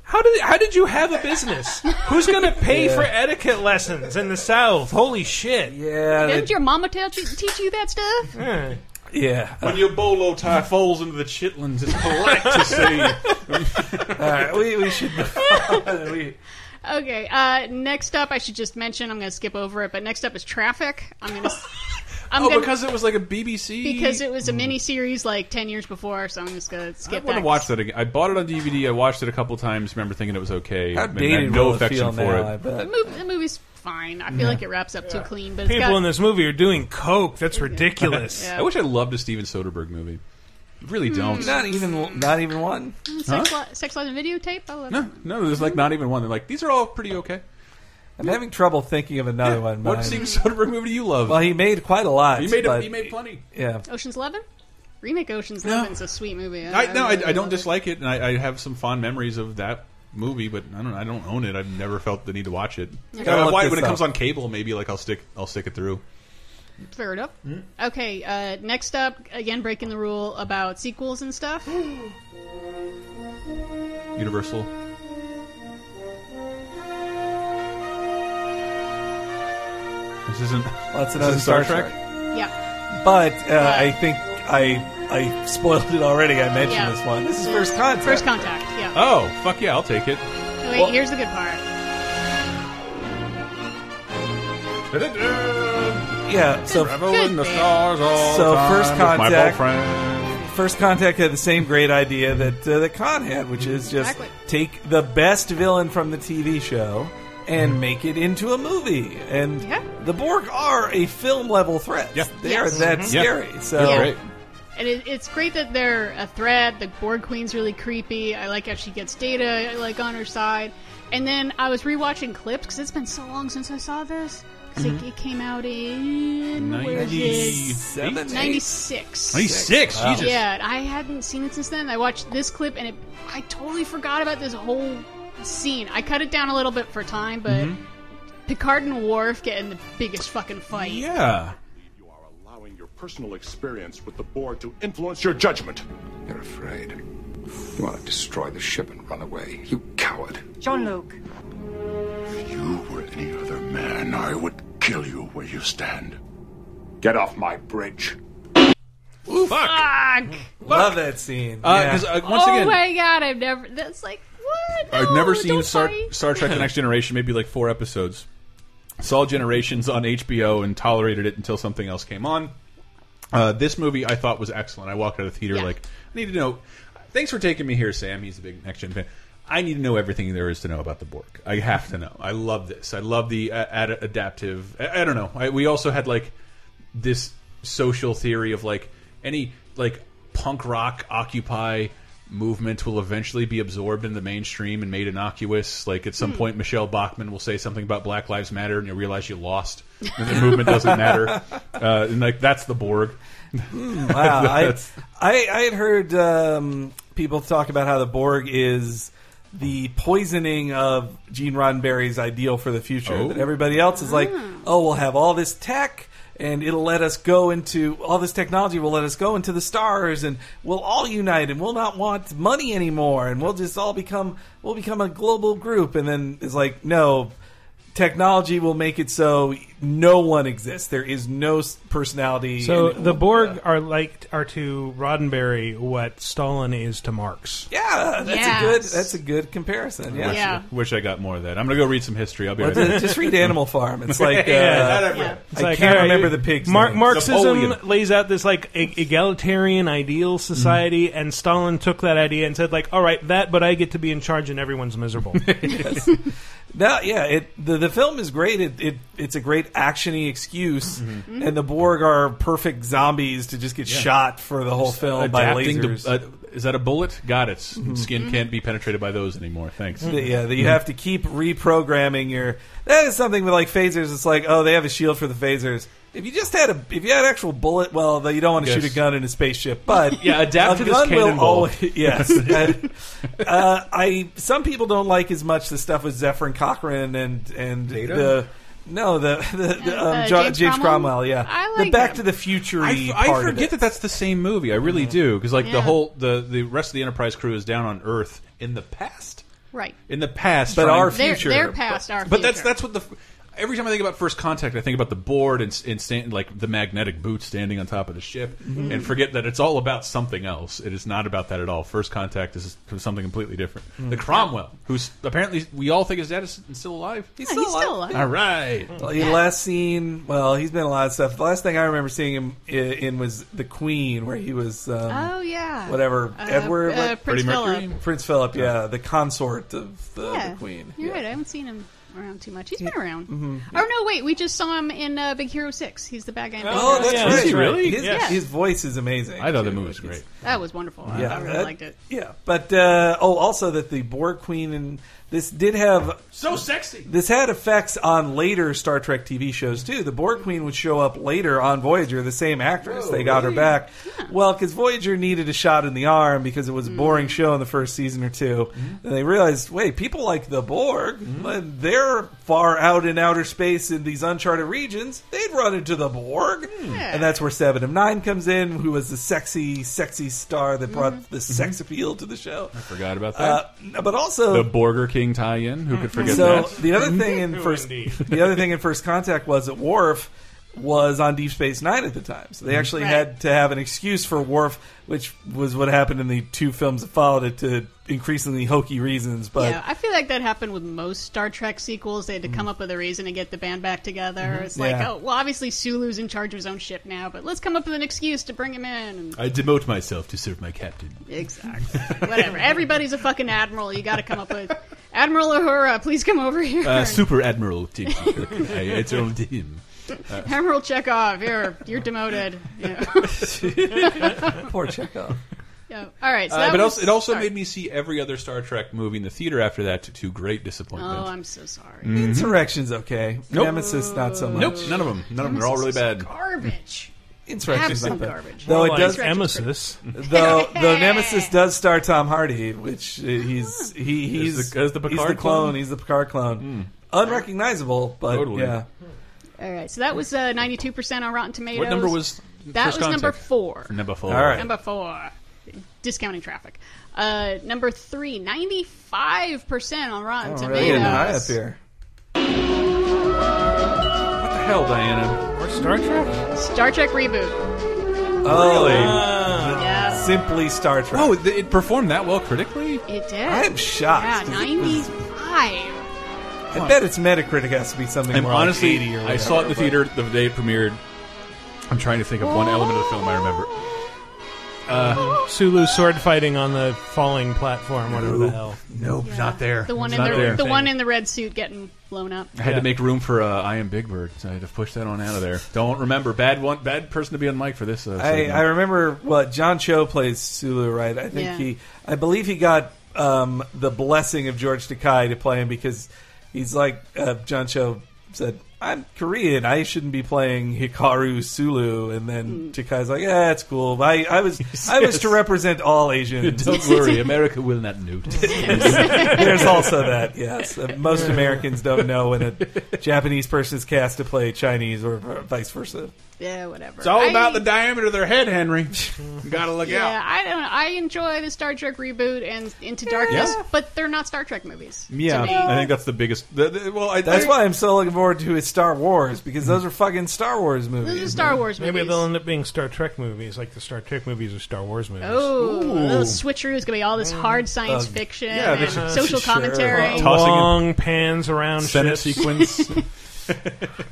Speaker 5: How did how did you have a business? Who's going to pay for etiquette lessons in the South? Holy shit!
Speaker 4: Yeah,
Speaker 6: *laughs*
Speaker 4: they-
Speaker 6: Didn't your mama tell you, teach you that stuff?
Speaker 5: Yeah.
Speaker 4: yeah. *laughs*
Speaker 3: When your bolo tie falls into the chitlins, it's polite
Speaker 6: *laughs*
Speaker 3: to say.
Speaker 4: All right, we, we should. *laughs* we,
Speaker 6: Okay. Uh, next up, I should just mention. I'm going to skip over it, but next up is traffic. I'm going to. I'm
Speaker 3: Oh,
Speaker 6: gonna,
Speaker 3: because it was like a BBC.
Speaker 6: because it was a mini series like 10 years before so i'm just gonna
Speaker 3: I
Speaker 6: skip
Speaker 3: want to
Speaker 6: that.
Speaker 3: watch that again. I bought it on DVD. I watched it a couple times. Remember thinking it was okay.
Speaker 4: how
Speaker 3: and I
Speaker 4: dated
Speaker 3: had no
Speaker 4: will it
Speaker 3: affection
Speaker 4: feel
Speaker 3: for
Speaker 4: now? I
Speaker 3: it.
Speaker 6: the,
Speaker 4: bet.
Speaker 6: mov- the movie's fine i feel like it wraps up too clean but it's
Speaker 5: People
Speaker 6: got,
Speaker 5: in this movie are doing coke. That's ridiculous.
Speaker 6: Yeah. Hmm.
Speaker 3: I wish I loved a Steven Soderbergh movie. I really don't.
Speaker 4: Not even, not even one.
Speaker 6: sex, li- sex lies and videotape i love
Speaker 3: No, no, there's like not even one. They're like these are all pretty okay.
Speaker 4: I'm having trouble thinking of another one. but
Speaker 3: What Steven
Speaker 4: I'm-
Speaker 3: Soderbergh movie do you love?
Speaker 4: Well, he made quite a lot.
Speaker 3: he made a,
Speaker 4: but-
Speaker 3: he made plenty.
Speaker 4: Yeah.
Speaker 6: ocean's 11 remake ocean's
Speaker 3: No.
Speaker 6: 11 is a sweet movie
Speaker 3: I no, I,
Speaker 6: really
Speaker 3: I don't
Speaker 6: love it.
Speaker 3: dislike it, and I, I have some fond memories of that movie, but I don't I don't own it. I've never felt the need to watch it. Uh,
Speaker 4: Gotta look
Speaker 3: Why- when
Speaker 4: this
Speaker 3: it comes
Speaker 4: up.
Speaker 3: on cable, maybe like I'll stick I'll stick it through.
Speaker 6: fair enough okay uh, next up again breaking the rule about sequels and stuff
Speaker 3: Universal. This isn't.
Speaker 4: Lots of
Speaker 3: This
Speaker 4: other
Speaker 3: is Star
Speaker 4: Star,
Speaker 3: Trek?
Speaker 4: Trek.
Speaker 6: yeah
Speaker 4: But uh, I think I I spoiled it already. I mentioned
Speaker 6: Yeah.
Speaker 4: this one. This is first contact.
Speaker 6: first contact yeah
Speaker 3: Oh fuck yeah! I'll take it.
Speaker 6: Oh, wait
Speaker 4: well-
Speaker 6: here's the good part
Speaker 4: yeah. So
Speaker 3: Travel
Speaker 6: Good
Speaker 3: in the
Speaker 6: man.
Speaker 3: stars all
Speaker 4: So
Speaker 3: the time
Speaker 4: First
Speaker 3: with My
Speaker 4: Contact-
Speaker 3: boyfriend.
Speaker 4: first contact had the same great idea that uh, that Con had, which is just
Speaker 6: Exactly.
Speaker 4: take the best villain from the TV show
Speaker 3: Mm-hmm.
Speaker 4: and make it into a movie. And
Speaker 6: Yeah.
Speaker 4: the Borg are a film level threat.
Speaker 3: Yeah.
Speaker 4: They
Speaker 6: Yes. Mm-hmm.
Speaker 4: are that
Speaker 3: Yeah.
Speaker 4: scary. So
Speaker 6: Yeah.
Speaker 3: Great.
Speaker 6: And it, it's great that they're a threat. The board queen's really creepy. I like how she gets data like on her side. And then I was rewatching clips because it's been so long since I saw this because it, it came out in where is it?
Speaker 4: Seven, eight.
Speaker 6: 96.
Speaker 3: He's six. Jesus.
Speaker 6: Yeah, and I hadn't seen it since then. I watched this clip and it, I totally forgot about this whole scene. I cut it down a little bit for time, but Picard and Worf get in the biggest fucking fight.
Speaker 3: Yeah.
Speaker 10: You are allowing your personal experience with the board to influence your judgment.
Speaker 8: You're afraid. You want to destroy the ship and run away. You coward.
Speaker 11: John Luke.
Speaker 8: If you were any other man, I would kill you where you stand.
Speaker 10: Get off my bridge.
Speaker 6: Fuck!
Speaker 4: Love that scene. Yeah.
Speaker 3: Because Uh, once
Speaker 6: oh
Speaker 3: again,
Speaker 6: my god, I've never. That's like what?
Speaker 3: I've
Speaker 6: No,
Speaker 3: never seen
Speaker 6: don't
Speaker 3: Star,
Speaker 6: fight.
Speaker 3: Star Trek: The Next Generation. Maybe like four episodes. Saw Generations on HBO and tolerated it until something else came on. Uh, this movie I thought was excellent. I walked out of the theater
Speaker 6: Yeah.
Speaker 3: like I need to know. Thanks for taking me here, Sam. He's a big next gen fan. I need to know everything there is to know about the Borg. I have to know. I love this. I love the uh, ad adaptive. I, I don't know. I, we also had like this social theory of like any like punk rock occupy movement will eventually be absorbed in the mainstream and made innocuous like at some point michelle bachmann will say something about black lives matter and you realize you lost and the movement doesn't matter uh, and like that's the borg
Speaker 4: *laughs* Wow, I,
Speaker 3: That's-
Speaker 4: I I had heard um, people talk about how the Borg is the poisoning of Gene Roddenberry's ideal for the future.
Speaker 3: Oh.
Speaker 4: That everybody else is like, oh, we'll have all this tech. And it'll let us go into all this technology. Will let us go into the stars, and we'll all unite, and we'll not want money anymore, and we'll just all become we'll become a global group. And then it's like, no, technology will make it so no one exists. There is no s- personality.
Speaker 5: So
Speaker 4: and-
Speaker 5: the Borg are like are to Roddenberry what Stalin is to Marx.
Speaker 4: Yeah, that's
Speaker 6: Yeah.
Speaker 4: a good that's a good comparison. Yeah.
Speaker 6: Yeah.
Speaker 3: wish i got more of that i'm gonna go read some history i'll be right back
Speaker 4: Just read Animal Farm. It's like uh, I
Speaker 5: It's like,
Speaker 4: can't
Speaker 5: all right,
Speaker 4: remember the pig's
Speaker 5: Mar-
Speaker 4: name.
Speaker 5: Marxism
Speaker 3: Napoleon.
Speaker 5: lays out this like e- egalitarian ideal
Speaker 4: Mm-hmm.
Speaker 5: society, and Stalin took that idea and said like, "All right, that, but I get to be in charge and everyone's
Speaker 4: *laughs*
Speaker 5: miserable."
Speaker 4: That- yeah, it the, the film is great. It, it it's a great actiony excuse, and the Borg are perfect zombies to just get shot for the whole film by
Speaker 3: Adapting
Speaker 4: lasers. Mm-hmm.
Speaker 3: to, uh, is that a bullet got it skin can't be penetrated by those anymore thanks
Speaker 4: *laughs* That- yeah, that you have to keep reprogramming your. That is something with like phasers. It's like, oh, they have a shield for the phasers. If you just had a, if you had an actual bullet, well, though you don't want to
Speaker 3: Yes.
Speaker 4: shoot a gun in a spaceship,
Speaker 3: *laughs*
Speaker 4: but
Speaker 3: Yeah, adapt
Speaker 4: a
Speaker 3: to this
Speaker 4: gun will
Speaker 3: cannonball. *laughs*
Speaker 4: always- *laughs* yes, And, uh, I some people don't like as much the stuff with Zephyr and Cochrane and and the. No, the the, the, um,
Speaker 6: Uh,
Speaker 4: Jo-
Speaker 6: James
Speaker 4: James,
Speaker 6: Cromwell?
Speaker 4: Cromwell, yeah,
Speaker 6: I
Speaker 4: the
Speaker 6: like
Speaker 4: Back
Speaker 6: him.
Speaker 4: to the Future.
Speaker 3: I, I
Speaker 4: part of
Speaker 3: forget
Speaker 4: it.
Speaker 3: that that's the same movie. I really do because like the
Speaker 6: Mm-hmm. Yeah.
Speaker 3: whole the the rest of the Enterprise crew is down on Earth in the past.
Speaker 6: Right.
Speaker 3: In the past,
Speaker 4: But
Speaker 3: trying-
Speaker 4: our
Speaker 6: Their,
Speaker 4: future,
Speaker 6: their past, our
Speaker 3: but that's
Speaker 6: future.
Speaker 3: that's what the every time I think about First Contact, I think about the board and, and stand, like the magnetic boot standing on top of the ship,
Speaker 6: Mm-hmm.
Speaker 3: and forget that it's all about something else. It is not about that at all. First Contact is something completely different.
Speaker 4: Mm-hmm.
Speaker 3: The Cromwell, who's apparently we all think his dad is still alive.
Speaker 4: He's
Speaker 6: Yeah, he's still alive.
Speaker 3: all right.
Speaker 4: Well, The last scene, well, he's been in a lot of stuff. The last thing I remember seeing him i- in was The Queen, where he was um,
Speaker 6: Oh yeah.
Speaker 4: whatever
Speaker 6: Uh,
Speaker 4: Edward
Speaker 6: uh,
Speaker 4: what-
Speaker 6: Prince
Speaker 3: Freddie
Speaker 6: Philip.
Speaker 3: Mercury?
Speaker 4: Prince Philip, yeah, the consort of the,
Speaker 6: Yeah,
Speaker 4: the Queen.
Speaker 6: You're
Speaker 4: yeah. Mm-hmm.
Speaker 6: right. I haven't seen him around too much. He's been around. Oh no, wait. We just saw him in uh, Big Hero Six. He's the bad guy. In Big
Speaker 4: Oh,
Speaker 6: Hero
Speaker 4: that's
Speaker 5: Yeah,
Speaker 4: right.
Speaker 5: is he really?
Speaker 4: His,
Speaker 5: Yeah.
Speaker 4: his voice is amazing.
Speaker 3: I thought the
Speaker 4: too.
Speaker 3: movie was great.
Speaker 6: That was wonderful. I- I really
Speaker 4: that-
Speaker 6: liked it.
Speaker 4: Yeah, but uh, oh, also that the Borg Queen and this did have
Speaker 3: So sexy.
Speaker 4: this had effects on later Star Trek TV shows too. The Borg Queen would show up later on Voyager, the same actress. they got her back. Well, because Voyager needed a shot in the arm because it was a boring show in the first season or two. And they realized, wait, people like the Borg, when they're far out in outer space in these uncharted regions, they'd run into the Borg. And that's where Seven of Nine comes in, who was the sexy, sexy star that brought the sex appeal to the show.
Speaker 3: Forgot about that.
Speaker 4: Uh, but also
Speaker 3: the Burger King tie-in. Who could forget
Speaker 4: so
Speaker 3: that?
Speaker 4: the other thing in first,
Speaker 5: indeed.
Speaker 4: *laughs* the other thing in first contact was that Worf was on Deep Space Nine at the time, so they actually
Speaker 6: Mm-hmm. Right.
Speaker 4: had to have an excuse for Worf, which was what happened in the two films that followed it to increasingly hokey reasons. But
Speaker 6: yeah, I feel like that happened with most Star Trek sequels. They had to come up with a reason to get the band back together. It's like,
Speaker 4: Mm-hmm. Yeah.
Speaker 6: oh, well, obviously Sulu's in charge of his own ship now, but let's come up with an excuse to bring him in.
Speaker 4: *laughs*
Speaker 6: And-
Speaker 3: I demote myself to serve my captain.
Speaker 6: Exactly. Whatever. Everybody's a fucking admiral. You got to come up with Admiral Uhura. Please come over here. *laughs*
Speaker 3: Uh, Super Admiral Tim Kirk. I, it's only to him.
Speaker 6: Admiral Chekhov. You're you're demoted. Yeah. *laughs*
Speaker 4: poor Chekhov. Mm-hmm.
Speaker 6: Yeah. All right. So
Speaker 3: Uh,
Speaker 6: that
Speaker 3: but
Speaker 6: was-
Speaker 3: also, it also
Speaker 6: sorry.
Speaker 3: made me see every other Star Trek movie in the theater after that to, to great disappointment.
Speaker 6: Oh, I'm so sorry.
Speaker 4: Insurrection's okay. Nemesis not so much.
Speaker 3: nope, none of them. None of them. They're all really bad.
Speaker 6: Garbage.
Speaker 4: Insurrection's not
Speaker 6: Absolute
Speaker 4: bad.
Speaker 6: garbage.
Speaker 4: Though it
Speaker 5: like
Speaker 4: does, *laughs*
Speaker 5: emesis.
Speaker 6: *laughs*
Speaker 4: though, though Nemesis does star Tom Hardy, which uh, he's he he's
Speaker 3: As the- as the
Speaker 4: he's the
Speaker 3: Picard
Speaker 4: clone.
Speaker 3: clone?
Speaker 4: He's the Picard clone. Unrecognizable, but
Speaker 3: Totally.
Speaker 4: yeah.
Speaker 6: All right. So that was uh, 92% on Rotten Tomatoes.
Speaker 3: What number was
Speaker 6: That
Speaker 3: First
Speaker 6: was number
Speaker 3: Contact?
Speaker 6: four.
Speaker 3: Number four.
Speaker 4: All right.
Speaker 6: Number four. Discounting traffic. Uh, number three, 95% on Rotten
Speaker 4: Oh,
Speaker 6: Tomatoes.
Speaker 4: really getting high up here.
Speaker 3: What the hell, Diana?
Speaker 5: Star Trek.
Speaker 6: Star Trek reboot.
Speaker 4: Oh,
Speaker 6: Yeah.
Speaker 4: simply Star Trek.
Speaker 3: Oh, it, it performed that well critically.
Speaker 6: It did.
Speaker 4: I'm shocked.
Speaker 6: Yeah, 95.
Speaker 4: I bet its Metacritic has to be something
Speaker 3: And
Speaker 4: more like
Speaker 3: honestly,
Speaker 4: 80 or
Speaker 3: I
Speaker 4: whatever.
Speaker 3: saw it in the theater the day it premiered. I'm trying to think of one element of the film I remember.
Speaker 5: Sulu sword fighting on the falling platform, whatever the hell.
Speaker 3: Nope, not there.
Speaker 6: The one
Speaker 3: It's
Speaker 6: in
Speaker 3: not
Speaker 6: the
Speaker 3: there.
Speaker 6: the one in the red suit getting blown up.
Speaker 3: I had to make room for uh, I am Big Bird, so I had to push that on out of there. Don't remember bad one bad person to be on mic for this. Uh,
Speaker 4: I,
Speaker 3: segment.
Speaker 4: I remember what John Cho plays Sulu, right? I think
Speaker 6: Yeah.
Speaker 4: he, I believe he got um, the blessing of George Takei to play him because he's like uh, John Cho said, "I'm Korean, I shouldn't be playing Hikaru Sulu," and
Speaker 6: Hmm.
Speaker 4: then Takei's like, "Yeah, it's cool. I, I was, I was to represent all Asians."
Speaker 3: *laughs* Don't worry, America will not *laughs* notice.
Speaker 5: *laughs*
Speaker 4: There's also that, yes. Uh, Most Americans don't know when a Japanese person is cast to play Chinese or v- vice versa.
Speaker 6: Yeah, whatever.
Speaker 3: It's all about
Speaker 6: I-
Speaker 3: the diameter of their head, *laughs* Henry. Gotta look
Speaker 6: Yeah,
Speaker 3: out.
Speaker 6: I don't know. I enjoy the Star Trek reboot and Into Darkness, but they're not Star Trek movies. to
Speaker 3: Yeah,
Speaker 6: me.
Speaker 3: I think that's the biggest. The, the- well, I,
Speaker 4: That's
Speaker 3: I-
Speaker 4: why I'm so looking forward to his Star Wars because those are fucking Star Wars
Speaker 6: Those are
Speaker 4: movies.
Speaker 6: Star Wars movies.
Speaker 5: Maybe they'll end up being Star Trek movies, like the Star Trek movies are Star Wars movies.
Speaker 6: Oh, those switcheroos gonna be all this hard science fiction
Speaker 3: yeah, they
Speaker 6: and
Speaker 3: should-
Speaker 6: social
Speaker 3: sure.
Speaker 6: commentary.
Speaker 3: Well, Tossing
Speaker 5: Long pans around
Speaker 3: Senate
Speaker 5: ships.
Speaker 3: *laughs* sequence.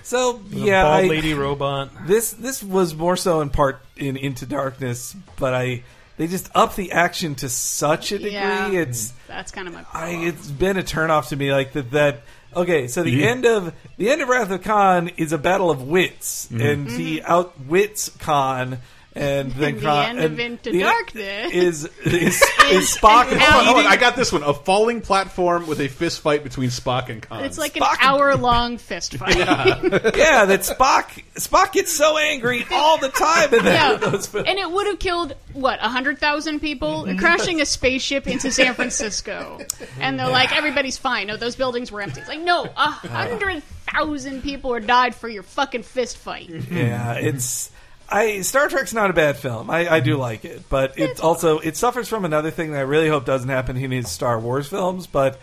Speaker 4: So
Speaker 5: The
Speaker 4: yeah,
Speaker 5: bald
Speaker 4: I-
Speaker 5: lady robot.
Speaker 4: this this was more so in part in Into Darkness, but I they just up the action to such a degree.
Speaker 6: Yeah.
Speaker 4: It's
Speaker 6: That's kind of my
Speaker 4: I, it's been a turnoff to me. Like that. that okay, so the
Speaker 3: Yeah.
Speaker 4: end of the end of Wrath of Khan is a battle of wits, and he outwits Khan. And
Speaker 6: Mm-hmm. And
Speaker 4: then
Speaker 6: the
Speaker 4: Khan,
Speaker 6: end of
Speaker 4: and
Speaker 6: Into
Speaker 4: the-
Speaker 6: Darkness
Speaker 4: is
Speaker 6: *laughs*
Speaker 4: is, is Spock
Speaker 3: Hold on, hold on,
Speaker 6: an
Speaker 4: fighting-
Speaker 3: Oh, I got this one. A falling platform with a fist fight between Spock and Khan.
Speaker 6: It's like an
Speaker 4: Spock-
Speaker 6: hour long fist fight.
Speaker 4: Oh, yeah that Spock Spock gets so angry all the time
Speaker 6: *laughs*
Speaker 4: in *laughs*
Speaker 6: Yeah.
Speaker 4: that, those films.
Speaker 6: And it would have killed what hundred thousand people crashing a spaceship into San Francisco, and they're like, "Everybody's fine." No, those buildings were empty. It's like, no, a hundred thousand people were died for your fucking fist fight.
Speaker 4: Yeah, it's I Star Trek's not a bad film. I, I do like it, but it also it suffers from another thing that I really hope doesn't happen in his Star Wars films. But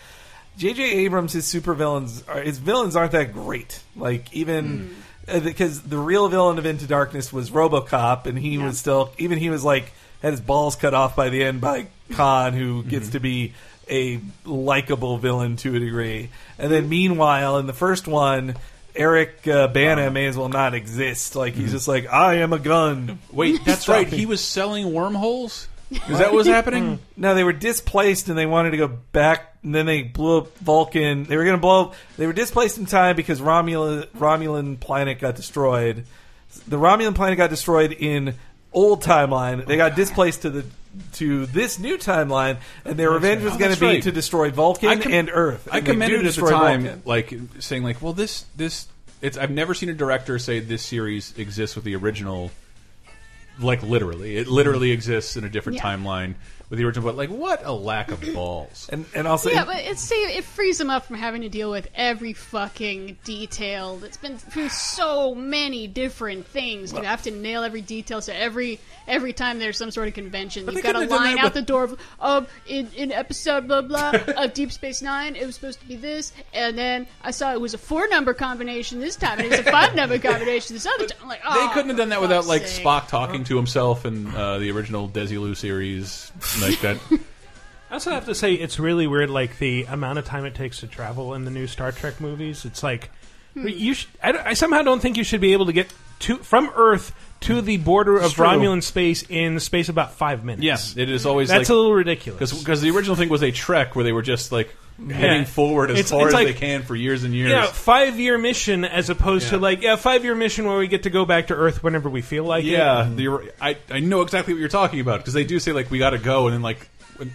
Speaker 4: J.J. Abrams, his supervillains, are- his villains aren't that great. Like even because the real villain of Into Darkness was RoboCop, and he was still even he was like had his balls cut off by the end by Khan, who gets to be a likable villain to a degree. And then meanwhile, in the first one. Eric uh, Bana may as well not exist. Like he's just like I am a gun.
Speaker 3: Mm-hmm. Wait, that's right. He was selling
Speaker 6: *laughs*
Speaker 3: wormholes. Is that what's happening?
Speaker 4: No, they were displaced and they wanted to go back. And then they blew up Vulcan. They were going to blow. up... They were displaced in time because Romulan Romulan planet got destroyed. The Romulan planet got destroyed in old timeline. They got displaced to the to this new timeline, and their revenge was
Speaker 3: Oh,
Speaker 4: going
Speaker 3: that's
Speaker 4: to be
Speaker 3: right.
Speaker 4: to destroy Vulcan
Speaker 3: com-
Speaker 4: and Earth.
Speaker 3: I
Speaker 4: And they do
Speaker 3: commended at the
Speaker 4: destroy
Speaker 3: time,
Speaker 4: Vulcan.
Speaker 3: like saying, like, well, this this it's. I've never seen a director say this series exists with the original. Like literally, it literally exists in a different
Speaker 6: Yeah.
Speaker 3: timeline with the original. But like, what a lack of balls!
Speaker 4: and and also
Speaker 6: Yeah, but it's see, it frees them up from having to deal with every fucking detail. It's been through so many different things. You have to nail every detail. So every every time there's some sort of convention,
Speaker 4: they
Speaker 6: you've got a
Speaker 4: couldn't have done
Speaker 6: line
Speaker 4: that
Speaker 6: out the
Speaker 4: with-
Speaker 6: door of, of in, in episode blah blah of Deep Space Nine. It was supposed to be this, and then I saw it was a four number combination this time, and it was a five number combination this other time. I'm like,
Speaker 3: They
Speaker 6: oh,
Speaker 3: couldn't have done that
Speaker 6: for
Speaker 3: without
Speaker 6: fuck's
Speaker 3: like
Speaker 6: sake.
Speaker 3: Spock talking to himself in uh, the original Desilu series, like that.
Speaker 5: I also have to say it's really weird, like the amount of time it takes to travel in the new Star Trek movies. It's like
Speaker 6: Hmm.
Speaker 5: you. Sh- I, don't- I somehow don't think you should be able to get to from Earth to the border of
Speaker 4: true.
Speaker 5: Romulan space in space about five
Speaker 3: *laughs*
Speaker 5: minutes.
Speaker 3: yes, it is always like
Speaker 5: that's a little ridiculous.
Speaker 3: because the original thing was a trek where they were just like heading forward as
Speaker 5: It's-
Speaker 3: far
Speaker 5: it's
Speaker 3: as
Speaker 5: like-
Speaker 3: they can for years and years.
Speaker 5: yeah, five year mission as opposed to
Speaker 3: Yeah.
Speaker 5: like yeah, five year mission where we get to go back to Earth whenever we feel like it.
Speaker 3: Yeah, you're, I I know exactly what you're talking about because they do say like we got to go and then like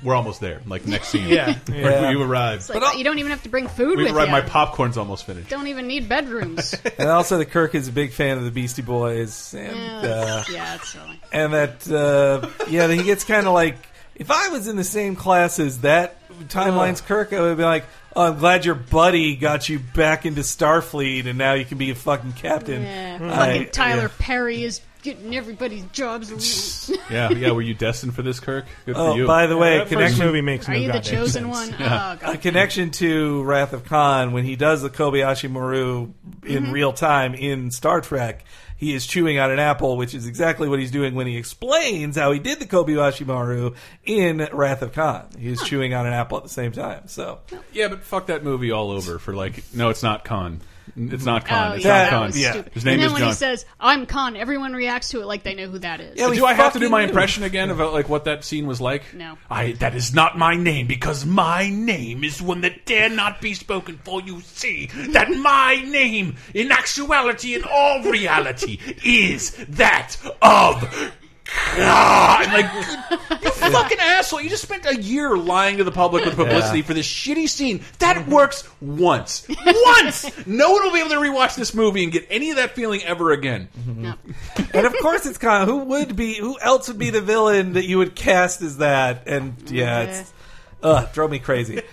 Speaker 3: we're almost there. Like next
Speaker 5: *laughs*
Speaker 3: scene,
Speaker 5: Yeah, yeah.
Speaker 3: Like, you arrive.
Speaker 6: It's like, you don't even have to bring food
Speaker 3: we
Speaker 6: with
Speaker 3: arrive.
Speaker 6: you.
Speaker 3: My popcorn's almost finished.
Speaker 6: don't even need bedrooms.
Speaker 4: and also the Kirk is a big fan of the Beastie Boys and. Uh,
Speaker 6: yeah, it's silly.
Speaker 4: and that uh, yeah, that he gets kind of like if I was in the same class as that timeline's Kirk, I would be like, oh, I'm glad your buddy got you back into Starfleet, and now you can be a fucking captain.
Speaker 6: Yeah,
Speaker 4: Mm. I-
Speaker 6: fucking Tyler
Speaker 4: yeah.
Speaker 6: Perry is getting everybody's jobs.
Speaker 3: yeah, yeah. Were you destined for this, Kirk? Good for you.
Speaker 4: Oh, by the way,
Speaker 5: that first
Speaker 4: connection
Speaker 5: movie makes
Speaker 6: *laughs* Are
Speaker 5: no
Speaker 6: you the
Speaker 5: goddamn
Speaker 6: chosen
Speaker 5: sense.
Speaker 6: one? Oh
Speaker 4: a
Speaker 6: god.
Speaker 4: connection to Wrath of Khan when he does the Kobayashi Maru in real time in Star Trek. He is chewing on an apple, which is exactly what he's doing when he explains how he did the Kobayashi Maru in Wrath of Khan. He is chewing on an apple at the same time. So
Speaker 3: yeah, but fuck that movie all over for like no, it's not Khan. It's not Khan.
Speaker 6: Oh,
Speaker 3: it's
Speaker 6: yeah,
Speaker 3: not
Speaker 6: that
Speaker 3: Khan.
Speaker 6: was stupid.
Speaker 3: His name
Speaker 6: and then
Speaker 3: is
Speaker 6: when
Speaker 3: John.
Speaker 6: he says, "I'm Khan," everyone reacts to it like they know who that is.
Speaker 4: Yeah, we
Speaker 3: Do I have to do my
Speaker 4: fucking knew.
Speaker 3: impression again about like what that scene was like?
Speaker 6: No.
Speaker 3: I that is not my name because my name is one that
Speaker 11: Dare not be spoken for, you see, that my name, in actuality, in all reality,
Speaker 3: *laughs*
Speaker 11: is that of
Speaker 3: God. Like *laughs* you fucking asshole! You just spent a year lying to the public with publicity
Speaker 4: Yeah.
Speaker 3: for this shitty scene. That works once, once. No one will be able to rewatch this movie and get any of that feeling ever again.
Speaker 4: and of course it's Khan. Who would be? Who else would be the villain that you would cast as that? And yeah, it's uh, drove me crazy. and,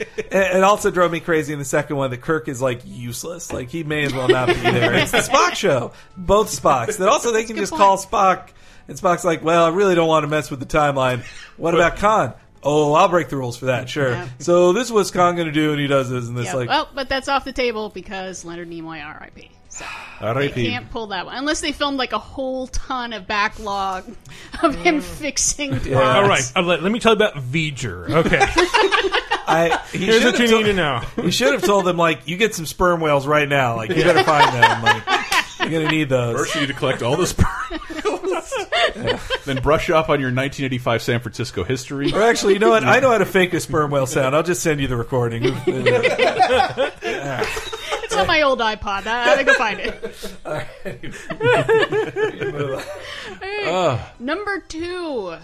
Speaker 4: it also drove me crazy in the second one that Kirk is like useless. Like he may as well not be there. It's the Spock show. Both Spocks. That also they can just call Spock. And Spock's like, well, I really don't want to mess with the timeline. What about Khan? Oh, I'll break the rules for that. Sure.
Speaker 6: Yeah.
Speaker 4: So this was Khan going to do, and he does this, and this
Speaker 6: Yeah,
Speaker 4: like.
Speaker 6: well, Oh, but that's off the table because Leonard Nimoy, R.I.P. So they can't pull that one unless they filmed like a whole ton of backlog of him fixing. plots.
Speaker 5: All right, uh, let, let me tell you about
Speaker 3: *laughs*
Speaker 5: V'ger. Okay,
Speaker 4: I, he
Speaker 5: here's
Speaker 4: should've
Speaker 5: what you
Speaker 4: told-
Speaker 5: need to know.
Speaker 4: You should have told them like you get some sperm whales right now. Like you better find them. Like you're gonna need those.
Speaker 3: First, you need to collect all *laughs* the sperm. *laughs* then brush up on your 1985 San Francisco history.
Speaker 4: Or actually, you know what? I know how to fake a sperm whale sound. I'll just send you the recording.
Speaker 6: It's on my old iPod. I I gotta go find it. Number two,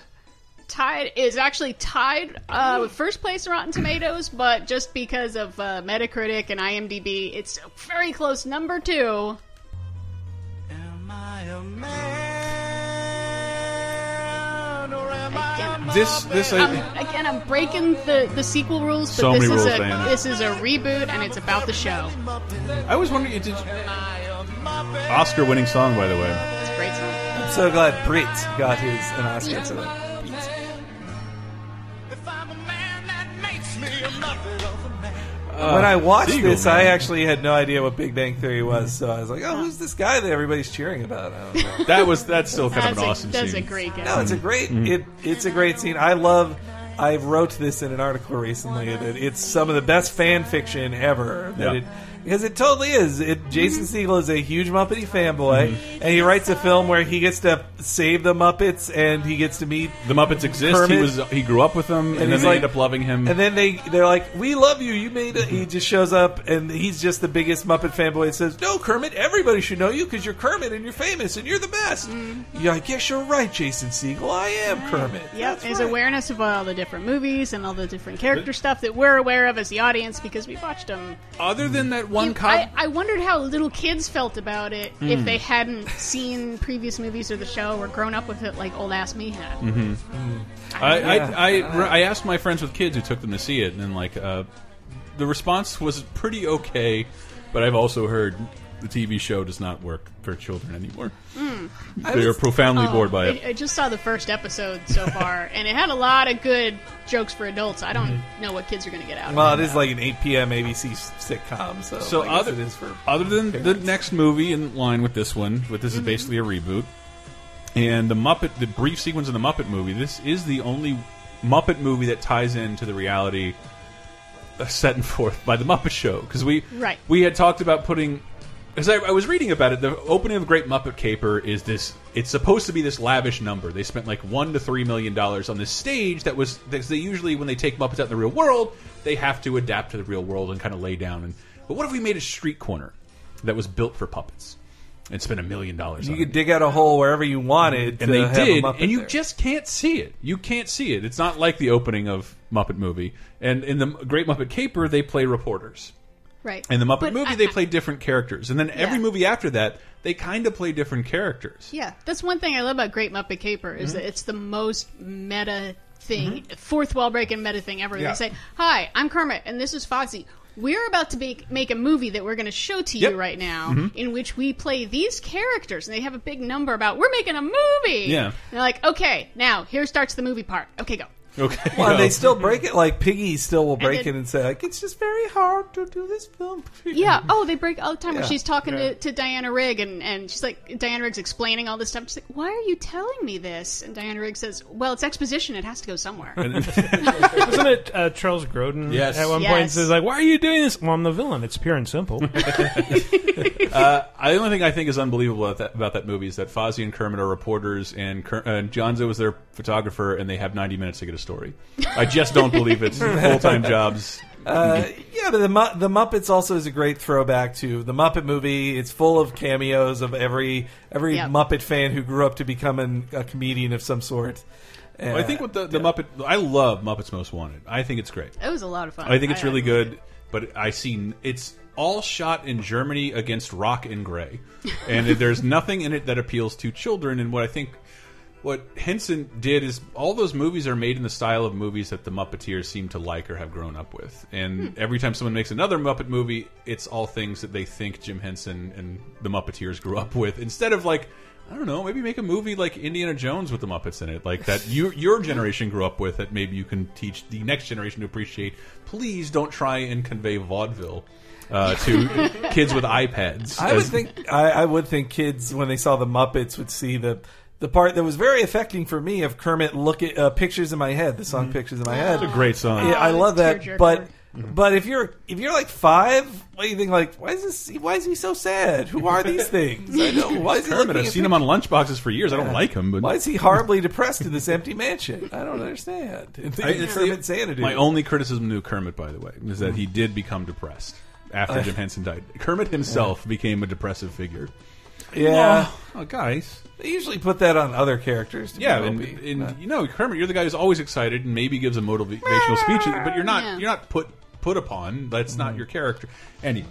Speaker 6: tied is actually tied uh, with first place in Rotten Tomatoes, but just because of uh, Metacritic and IMDb, it's very close. Number two,
Speaker 3: *laughs* This this uh,
Speaker 6: um,
Speaker 3: I,
Speaker 6: again, I'm breaking the, the sequel rules, but
Speaker 3: So
Speaker 6: this
Speaker 3: many
Speaker 6: is
Speaker 3: rules,
Speaker 6: a
Speaker 3: Diana.
Speaker 6: this is a reboot, and it's about the show.
Speaker 3: I was wondering. Did you... Oscar winning song by the way.
Speaker 6: It's a great song.
Speaker 4: I'm so glad Brit got his an Oscar for that. when I watched
Speaker 3: Siegel,
Speaker 4: this,
Speaker 3: Uh, man.
Speaker 4: I actually had no idea what Big Bang Theory was, so I was like, "Oh, who's this guy that everybody's cheering about?" I don't know.
Speaker 3: That was that's still kind
Speaker 6: That's,
Speaker 3: of an
Speaker 6: a,
Speaker 3: awesome
Speaker 6: that's
Speaker 3: scene.
Speaker 6: a great game.
Speaker 4: No, it's a great it it's a great scene. I love I wrote this in an article recently that it's some of the best fan fiction ever. That
Speaker 3: Yeah.
Speaker 4: it because it totally is. It, Jason Siegel is a huge Muppety fanboy, and he writes a film where he gets to save the Muppets and he gets to meet
Speaker 3: The Muppets exist.
Speaker 4: Kermit.
Speaker 3: He was he grew up with them, and, then
Speaker 4: he's
Speaker 3: they
Speaker 4: like-
Speaker 3: end up loving him.
Speaker 4: and then they they're like, "We love you. You made it." He just shows up, and he's just the biggest Muppet fanboy. And says, "No, Kermit. Everybody should know you because you're Kermit and you're famous and you're the best." Yeah, I guess you're right, Jason Siegel. I am Kermit.
Speaker 6: Yep,
Speaker 4: That's
Speaker 6: there's
Speaker 4: right.
Speaker 6: awareness of all the different movies and all the different character stuff that we're aware of as the audience because we've watched them.
Speaker 3: Other than that one cop,
Speaker 6: I, I wondered how little kids felt about it
Speaker 3: Hmm.
Speaker 6: if they hadn't seen previous movies or the show or grown up with it like old ass me had.
Speaker 3: Mm-hmm. I, I, I, I asked my friends with kids who took them to see it, and then like uh, the response was pretty okay. But I've also heard the TV show does not work for children anymore.
Speaker 6: Hmm.
Speaker 3: They are profoundly bored by it.
Speaker 6: I, I just saw the first episode
Speaker 3: *laughs*
Speaker 6: so far, and it had a lot of good jokes for adults. I don't
Speaker 3: Mm-hmm.
Speaker 6: know what kids are going to get out
Speaker 4: Well,
Speaker 6: of
Speaker 4: it is like an 8 p.m. ABC sitcom, so,
Speaker 3: So
Speaker 4: I guess
Speaker 3: other,
Speaker 4: it is for.
Speaker 3: other than the next movie in line with this one, but
Speaker 4: Mm-hmm.
Speaker 3: this is basically a reboot. And the Muppet, the brief sequence of the Muppet movie, this is the only Muppet movie that ties into the reality set and uh, forth by the Muppet Show because we
Speaker 6: Right.
Speaker 3: we had talked about putting. Because I, I was reading about it, the opening of Great Muppet Caper is this. It's supposed to be this lavish number. They spent like one to three million dollars on this stage that was. Because they usually, when they take Muppets out in the real world, they have to adapt to the real world and kind of lay down. And but what if we made a street corner that was built for puppets and spent a million dollars?
Speaker 4: You
Speaker 3: on it?
Speaker 4: could dig out a hole wherever you wanted,
Speaker 3: and
Speaker 4: to
Speaker 3: they
Speaker 4: have a
Speaker 3: did,
Speaker 4: Muppet
Speaker 3: and you
Speaker 4: there.
Speaker 3: just can't see it. You can't see it. It's not like the opening of Muppet movie. And in the Great Muppet Caper, they play reporters.
Speaker 6: it. Right.
Speaker 3: In the Muppet
Speaker 6: But
Speaker 3: movie,
Speaker 6: I-
Speaker 3: they play different characters, and then every
Speaker 6: Yeah.
Speaker 3: movie after that, they kind of play different characters.
Speaker 6: Yeah, that's one thing I love about Great Muppet Caper is that it's the most meta thing, fourth wall breaking meta thing ever.
Speaker 3: Yeah.
Speaker 6: They say, "Hi, I'm Kermit, and this is Foxy. We're about to make, make a movie that we're going to show to you
Speaker 3: Yep.
Speaker 6: right now, in which we play these characters." And they have a big number about we're making a movie.
Speaker 3: Yeah.
Speaker 6: and they're like, "Okay, now here starts the movie part. Okay, go." *laughs*
Speaker 3: Okay.
Speaker 4: Well, and they still break it. Like Piggy still will break
Speaker 6: it-
Speaker 4: it and say, like, "It's just very hard to do this film."
Speaker 6: Yeah. Oh, they break all the time.
Speaker 4: Yeah.
Speaker 6: When she's talking
Speaker 4: Yeah.
Speaker 6: to, to Diana Rigg, and, and she's like, Diana Rigg's explaining all this stuff. She's like, "Why are you telling me this?" And Diana Rigg says, "Well, it's exposition. It has to go somewhere."
Speaker 5: Isn't it uh, Charles Grodin?
Speaker 3: Yes.
Speaker 5: At one point
Speaker 6: Yes.
Speaker 5: says like, "Why are you doing this?" Well, I'm the villain. It's pure and simple.
Speaker 3: uh, I- the only thing I think is unbelievable about that, about that movie is that Fozzie and Kermit are reporters, and, Ker and Jonza was their photographer, and they have 90 minutes to get a story. I just don't believe
Speaker 6: *laughs*
Speaker 3: it's full time jobs.
Speaker 4: Uh, yeah, but the Mu- the Muppets also is a great throwback to the Muppet movie. It's full of cameos of every every
Speaker 6: Yep.
Speaker 4: Muppet fan who grew up to becoming a comedian of some sort. And,
Speaker 3: I think with the, the Muppet, I love Muppets Most Wanted. I think it's great.
Speaker 6: it was a lot of fun.
Speaker 3: I think it's really good, but I see it's all shot in Germany against rock and gray, and *laughs* there's nothing in it that appeals to children. And what I think. What Henson did is all those movies are made in the style of movies that the Muppeteers seem to like or have grown up with. And
Speaker 4: Hmm.
Speaker 3: every time someone makes another Muppet movie, it's all things that they think Jim Henson and the Muppeteers grew up with. Instead of like, I don't know, maybe make a movie like Indiana Jones with the Muppets in it, like that you your generation grew up with that maybe you can teach the next generation to appreciate. Please don't try and convey vaudeville uh, to kids with iPads.
Speaker 4: *laughs* I would
Speaker 3: as-
Speaker 4: think I, I would think kids when they saw the Muppets would see the the part that was very affecting for me of Kermit look at uh, pictures in my head, the song pictures in my head.
Speaker 3: It's Mm-hmm. a great song. Mm-hmm.
Speaker 4: Yeah, I
Speaker 6: Oh,
Speaker 4: love that.
Speaker 6: it's tearjerker.
Speaker 4: But but if you're if you're like five, what do you think? Like, why is this? Why is he so sad? Who
Speaker 3: *laughs*
Speaker 4: are these things? I know. Why is he
Speaker 3: Kermit,
Speaker 4: looking
Speaker 3: I've
Speaker 4: at
Speaker 3: seen him on lunchboxes for years. I don't like him, but
Speaker 4: Why is he horribly depressed in this empty mansion? I don't understand. And
Speaker 3: I- it's the-
Speaker 4: Kermit Sanity.
Speaker 3: My only criticism to Kermit, by the way, is that
Speaker 4: Mm.
Speaker 3: he did become depressed after Jim Henson died. Kermit himself became a depressive figure.
Speaker 4: yeah.
Speaker 3: Oh, oh, guys.
Speaker 4: They usually put that on other characters. To be
Speaker 3: Yeah, and,
Speaker 4: dopey,
Speaker 3: and
Speaker 4: but-
Speaker 3: you know Kermit, you're the guy who's always excited and maybe gives a motivational speech, but you're not
Speaker 6: Yeah.
Speaker 3: you're not put put upon. That's
Speaker 4: Mm.
Speaker 3: not your character. Anyway,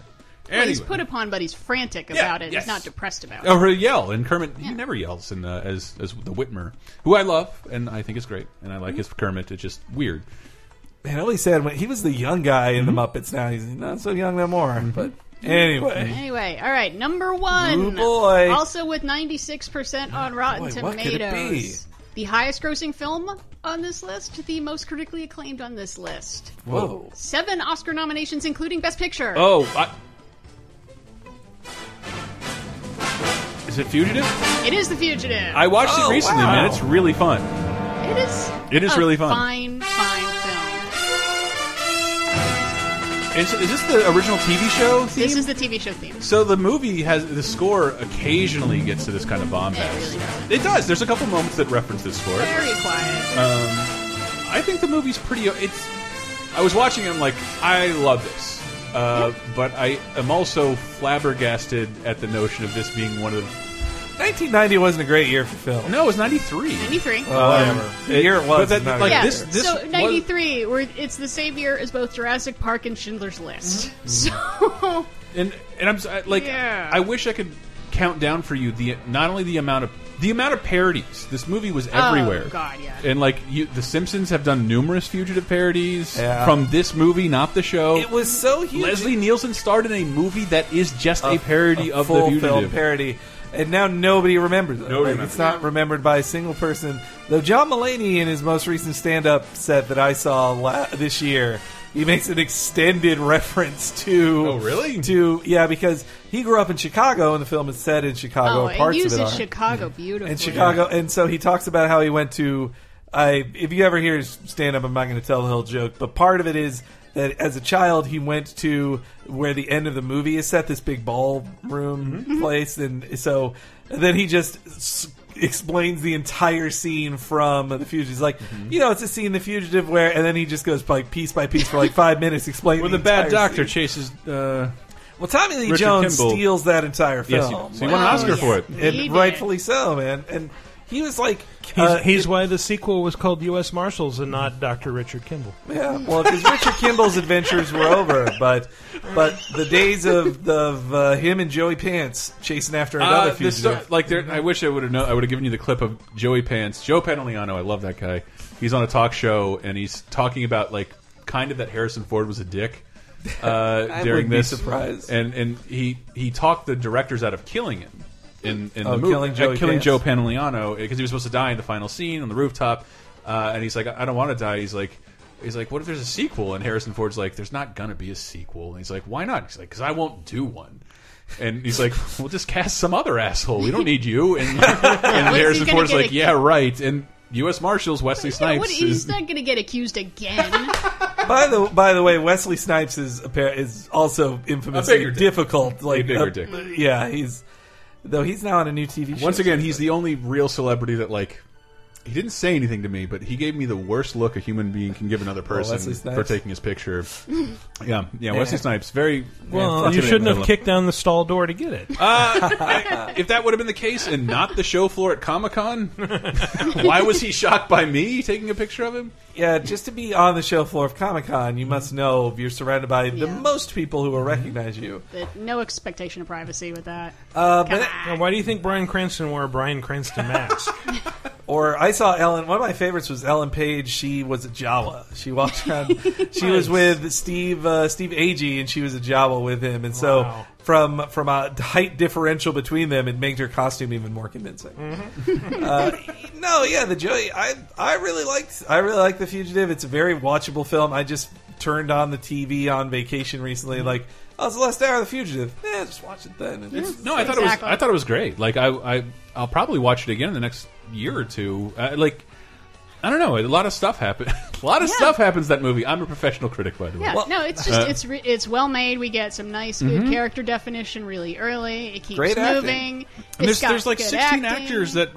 Speaker 6: Well,
Speaker 3: anyway.
Speaker 6: he's put upon, but he's frantic
Speaker 3: Yeah,
Speaker 6: about it.
Speaker 3: yes. Oh,
Speaker 6: He's not depressed about it.
Speaker 3: or he'll yell, and Kermit he never yells, in uh, as as the Whitmer, who I love and I think is great, and I
Speaker 6: Mm-hmm.
Speaker 3: like his Kermit. It's just weird.
Speaker 4: Man, only sad when he was the young guy in
Speaker 3: Mm-hmm.
Speaker 4: the Muppets. Now he's not so young no more. But anyway,
Speaker 6: Anyway, all right, number one.
Speaker 4: Oh, boy.
Speaker 6: Also with 96% on Rotten
Speaker 4: boy, what could it
Speaker 6: Tomatoes. The highest grossing film on this list, the most critically acclaimed on this list.
Speaker 4: whoa.
Speaker 6: Seven Oscar nominations, including Best Picture.
Speaker 3: Oh, I... is it Fugitive?
Speaker 6: It is The Fugitive.
Speaker 3: I watched
Speaker 4: Oh,
Speaker 3: it recently,
Speaker 4: wow.
Speaker 3: man. It's really fun.
Speaker 6: it is.
Speaker 3: It is
Speaker 6: a
Speaker 3: really fun.
Speaker 6: Fine, fine film.
Speaker 3: Is, is this the original TV show theme?
Speaker 6: This is the TV show theme.
Speaker 3: So the movie has the score occasionally gets to this kind of bombast.
Speaker 6: It really
Speaker 3: It does. There's a couple moments that reference this score.
Speaker 6: Very quiet.
Speaker 3: Uh, I think the movie's pretty. It's. I was watching it. I'm like, I love this, uh, but I am also flabbergasted at the notion of this being one of.
Speaker 4: 1990 wasn't a great year for film.
Speaker 3: No, it was '93.
Speaker 6: 93.
Speaker 4: Whatever. The year it was.
Speaker 3: But that-
Speaker 4: is not
Speaker 3: like,
Speaker 4: a great
Speaker 6: yeah,
Speaker 3: this-
Speaker 4: year.
Speaker 3: this
Speaker 6: so
Speaker 3: was-
Speaker 6: 93, where it's the same year as both Jurassic Park and Schindler's List.
Speaker 4: Mm-hmm.
Speaker 6: So,
Speaker 3: and and I'm s- I- like
Speaker 6: Yeah.
Speaker 3: I wish I could count down for you the not only the amount of the amount of parodies this movie was everywhere.
Speaker 6: Oh, God, yeah.
Speaker 3: And like you, the Simpsons have done numerous fugitive parodies
Speaker 4: Yeah.
Speaker 3: from this movie, not the show.
Speaker 4: It was so huge.
Speaker 3: Leslie Nielsen starred in a movie that is just a, parody
Speaker 4: a
Speaker 3: of
Speaker 4: full
Speaker 3: the
Speaker 4: film
Speaker 3: fugitive.
Speaker 4: parody, and now nobody remembers it.
Speaker 3: Nobody
Speaker 4: Like,
Speaker 3: remembers
Speaker 4: It's not remembered by a single person. Though John Mulaney in his most recent stand-up set that I saw la- this year, he makes an extended reference to.
Speaker 3: Oh, really?
Speaker 4: To yeah, because he grew up in Chicago, and the film is set in Chicago.
Speaker 6: oh,
Speaker 4: or
Speaker 6: it
Speaker 4: parts
Speaker 6: uses
Speaker 4: of it are. Mm-hmm.
Speaker 6: Chicago beautifully.
Speaker 4: And Chicago, and so he talks about how he went to. I if you ever hear his stand up, I'm not going to tell the whole joke, but part of it is that as a child he went to where the end of the movie is set, this big
Speaker 3: Mm-hmm.
Speaker 4: ballroom place, and so then he just. s- Explains the entire scene from The Fugitive. He's like,
Speaker 3: Mm-hmm.
Speaker 4: you know, it's a scene in The Fugitive where, and then he just goes like piece by piece for like five minutes, explaining
Speaker 3: Where the bad
Speaker 4: entire
Speaker 3: doctor
Speaker 4: scene.
Speaker 3: chases. Uh,
Speaker 4: Well, Tommy Lee
Speaker 3: Richard
Speaker 4: Jones
Speaker 3: Kimball.
Speaker 4: steals that entire
Speaker 3: yes,
Speaker 4: film.
Speaker 3: he, so he won an
Speaker 6: Wow.
Speaker 3: Oscar for it.
Speaker 6: Yes.
Speaker 4: And
Speaker 6: He did.
Speaker 4: rightfully so, man. And he was like,
Speaker 5: He's,
Speaker 4: uh,
Speaker 5: he's why the sequel was called U.S. Marshals and not Dr. Richard Kimball.
Speaker 4: yeah. Well, because Richard Kimball's adventures were over, but but the days of the of, uh, him and Joey Pants chasing after
Speaker 3: Uh,
Speaker 4: another
Speaker 3: the
Speaker 4: fugitive.
Speaker 3: sto- like there, I wish I would have known. I would have given you the clip of Joey Pants, Joe Pantoliano. I love that guy. He's on a talk show and he's talking about like kind of that Harrison Ford was a
Speaker 4: *laughs*
Speaker 3: dick uh, during
Speaker 4: wouldn't be
Speaker 3: this.
Speaker 4: surprised.
Speaker 3: And and he he talked the directors out of killing him in in
Speaker 4: Oh,
Speaker 3: the movie,
Speaker 4: killing Joey
Speaker 3: uh, killing
Speaker 4: Pants.
Speaker 3: Joe Pantoliano because he was supposed to die in the final scene on the rooftop. Uh, and he's like, I I don't want to die. He's like, he's like, what if there's a sequel? And Harrison Ford's like, there's not gonna be a sequel. And he's like, why not? He's like, because I won't do one. And he's like, we'll just cast some other asshole. We don't need you.
Speaker 6: *laughs*
Speaker 3: And, and
Speaker 6: he
Speaker 3: Harrison
Speaker 6: gonna
Speaker 3: Ford's
Speaker 6: get
Speaker 3: like,
Speaker 6: a-
Speaker 3: yeah, right. And U.S. Marshals Wesley
Speaker 6: Yeah,
Speaker 3: Snipes
Speaker 6: what,
Speaker 3: is
Speaker 6: he's not going to get accused again.
Speaker 4: by the by the way, Wesley Snipes is appa- is also
Speaker 3: A bigger
Speaker 4: infamously
Speaker 3: dick.
Speaker 4: difficult. Like
Speaker 3: A bigger
Speaker 4: uh,
Speaker 3: dick.
Speaker 4: Yeah, he's though he's now on a new TV show.
Speaker 3: Once again, he's the only real celebrity that like he didn't say anything to me, but he gave me the worst look a human being can give another person
Speaker 4: Wesley Snipes.
Speaker 3: for taking his
Speaker 5: *laughs*
Speaker 3: picture. yeah, yeah, Wesley
Speaker 4: Yeah.
Speaker 3: Snipes, very
Speaker 5: Well, you shouldn't have kicked down the stall door to get it.
Speaker 3: Uh, if that would have been the case, and not the show floor at Comic
Speaker 5: *laughs*
Speaker 3: Con, why was he shocked by me taking a picture of him?
Speaker 4: yeah, just to be on the show floor of Comic Con, you must know you're surrounded by the
Speaker 6: Yeah.
Speaker 4: most people who will recognize you.
Speaker 6: But no expectation of privacy with that.
Speaker 4: Uh,
Speaker 6: Come
Speaker 4: but-
Speaker 5: Now, why do you think Brian Cranston wore a Brian Cranston mask?
Speaker 4: Or I saw Ellen. One of my favorites was Ellen Page. She was a Jawa. She walked around. she was with Steve uh, Steve Agee, and she was a Jawa with him. And so
Speaker 5: Wow.
Speaker 4: from from a height differential between them, it made her costume even more convincing. *laughs* uh, no, yeah, the Joey. I I really liked I really liked the Fugitive. It's a very watchable film. I just turned on the TV on vacation recently. Like, oh, it's the last hour of the Fugitive. Eh, just watch it then. And it's-
Speaker 3: No, I thought it
Speaker 6: Exactly.
Speaker 3: was. I thought it was great. Like I, I, I'll probably watch it again in the next year or two. Uh, like. I don't know. A lot of stuff happens. *laughs* a lot of
Speaker 6: Yeah.
Speaker 3: stuff happens in that movie. I'm a professional critic, by the way.
Speaker 6: Yeah,
Speaker 4: Well- uh, Mm-hmm.
Speaker 6: no, it's just it's re- it's well made. We get some nice good character definition really early. It keeps
Speaker 4: Great acting.
Speaker 6: moving.
Speaker 3: And
Speaker 6: It's
Speaker 3: there's,
Speaker 6: got
Speaker 3: there's like
Speaker 6: good
Speaker 3: 16
Speaker 6: acting.
Speaker 3: actors that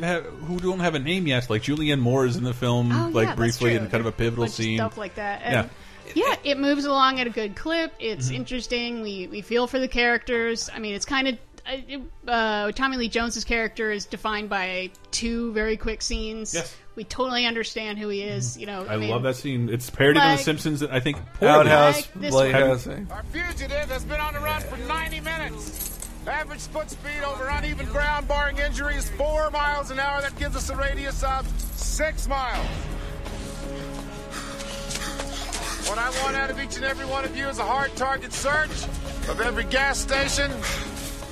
Speaker 3: have, who don't have a name yet. Like Julianne Moore is in the film,
Speaker 6: Oh, yeah,
Speaker 3: like
Speaker 6: that's
Speaker 3: briefly,
Speaker 6: true.
Speaker 3: in kind of a pivotal
Speaker 6: Bunch
Speaker 3: scene.
Speaker 6: stuff like that. And yeah, it moves along at a good clip. It's
Speaker 3: Mm-hmm.
Speaker 6: interesting. We we feel for the characters. I mean, it's kind of. Uh, Tommy Lee Jones's character is defined by two very quick scenes.
Speaker 3: Yes. Mm-hmm.
Speaker 6: We totally understand who he is. You know,
Speaker 3: I
Speaker 6: mean,
Speaker 3: love that scene. It's parodied on The
Speaker 6: Like-
Speaker 3: Simpsons. I think poorly.
Speaker 4: Outhouse, eh.
Speaker 6: Like this
Speaker 4: Blade
Speaker 6: one.
Speaker 4: House.
Speaker 2: Our fugitive has been on the run for 90 minutes. Average foot speed over uneven ground, barring injuries, four miles an hour. That gives us a radius of six miles. What I want out of each and every one of you is a hard target search of every gas station,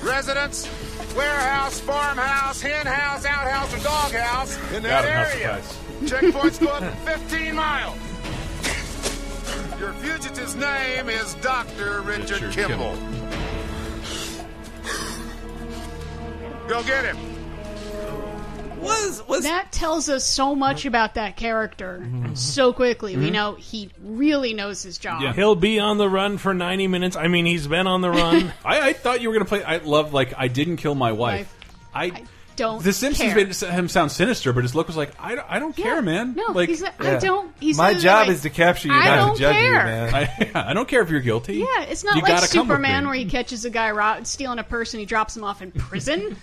Speaker 2: residence, warehouse, farmhouse, hen house, outhouse, or dog house in that
Speaker 3: Got it, House
Speaker 2: area.
Speaker 3: of
Speaker 2: Checkpoints go up to 15 miles. Your fugitive's name is Dr. Richard,
Speaker 3: Richard
Speaker 2: Kimball. Go get him.
Speaker 4: Was was
Speaker 6: that tells us so much
Speaker 3: Mm-hmm.
Speaker 6: about that character so quickly. We know he really knows his job.
Speaker 3: Yeah.
Speaker 5: He'll be on the run for 90 minutes. I mean, he's been on the run.
Speaker 3: I, I thought you were going to play. I love like I didn't kill my wife. I,
Speaker 6: don't
Speaker 3: The Simpsons
Speaker 6: care.
Speaker 3: made him sound sinister, but his look was like I, don't- I don't
Speaker 6: Yeah.
Speaker 3: care, man.
Speaker 6: No,
Speaker 3: like
Speaker 6: he's a, I
Speaker 4: Yeah.
Speaker 6: don't. He's
Speaker 4: my
Speaker 6: literally
Speaker 4: job
Speaker 6: like,
Speaker 4: is to capture you,
Speaker 6: I
Speaker 4: not
Speaker 6: don't
Speaker 4: to judge you,
Speaker 6: care.
Speaker 3: *laughs*
Speaker 4: man.
Speaker 3: I, I don't care if you're guilty.
Speaker 6: Yeah, it's not
Speaker 3: You
Speaker 6: like
Speaker 3: gotta come with
Speaker 6: Superman
Speaker 3: me.
Speaker 6: where he catches a guy rob- stealing a purse and he drops him off
Speaker 3: *laughs*
Speaker 6: in prison.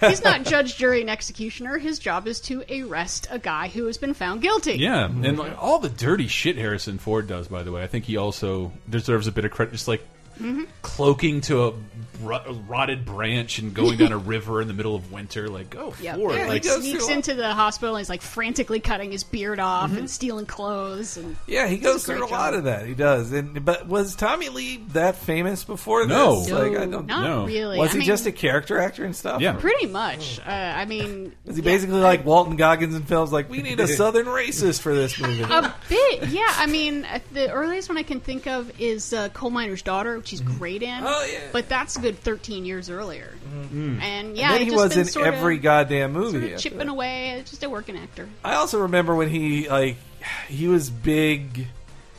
Speaker 6: He's not judge, jury, and executioner. His job is to arrest a guy who has been found guilty.
Speaker 3: Yeah, and like, all the dirty shit Harrison Ford does. By the way, I think he also deserves a bit of credit, just like
Speaker 6: Mm-hmm.
Speaker 3: cloaking to a rot- rotted branch and going
Speaker 6: *laughs*
Speaker 3: down a river in the middle of winter. Like, go
Speaker 6: Yep.
Speaker 3: Ford!
Speaker 6: Yeah,
Speaker 3: like,
Speaker 6: *laughs* he sneaks
Speaker 4: through all-
Speaker 6: into the hospital and he's like frantically cutting his beard off
Speaker 3: Mm-hmm.
Speaker 6: and stealing clothes. And
Speaker 4: *laughs* Yeah, he
Speaker 6: Does
Speaker 4: goes
Speaker 6: a
Speaker 4: through a
Speaker 6: great
Speaker 4: lot
Speaker 6: job.
Speaker 4: of that. He does. And but was Tommy Lee that famous before
Speaker 3: No.
Speaker 4: this?
Speaker 3: No,
Speaker 4: like I don't.
Speaker 6: not
Speaker 3: no.
Speaker 6: really.
Speaker 4: Was
Speaker 6: I
Speaker 4: he
Speaker 6: mean,
Speaker 4: just a character actor and stuff?
Speaker 3: Yeah.
Speaker 6: pretty much? Uh, I mean,
Speaker 4: Is he
Speaker 6: yeah.
Speaker 4: basically like Walton Goggins in films? Like we *laughs* need a Southern racist for this movie.
Speaker 6: a bit, Um, yeah. I mean, uh, the earliest one I can think of is uh, Coal Miner's Daughter, which he's great in.
Speaker 4: Oh, yeah.
Speaker 6: But that's a good 13 years earlier. And yeah,
Speaker 4: Mm-hmm. Mm. And then
Speaker 6: it's
Speaker 4: he
Speaker 6: just
Speaker 4: was
Speaker 6: been
Speaker 4: in
Speaker 6: sort
Speaker 4: every
Speaker 6: of,
Speaker 4: goddamn
Speaker 6: sort
Speaker 4: movie.
Speaker 6: of
Speaker 4: after
Speaker 6: chipping
Speaker 4: that.
Speaker 6: away. It's Just a working actor.
Speaker 4: I also remember when he like he was big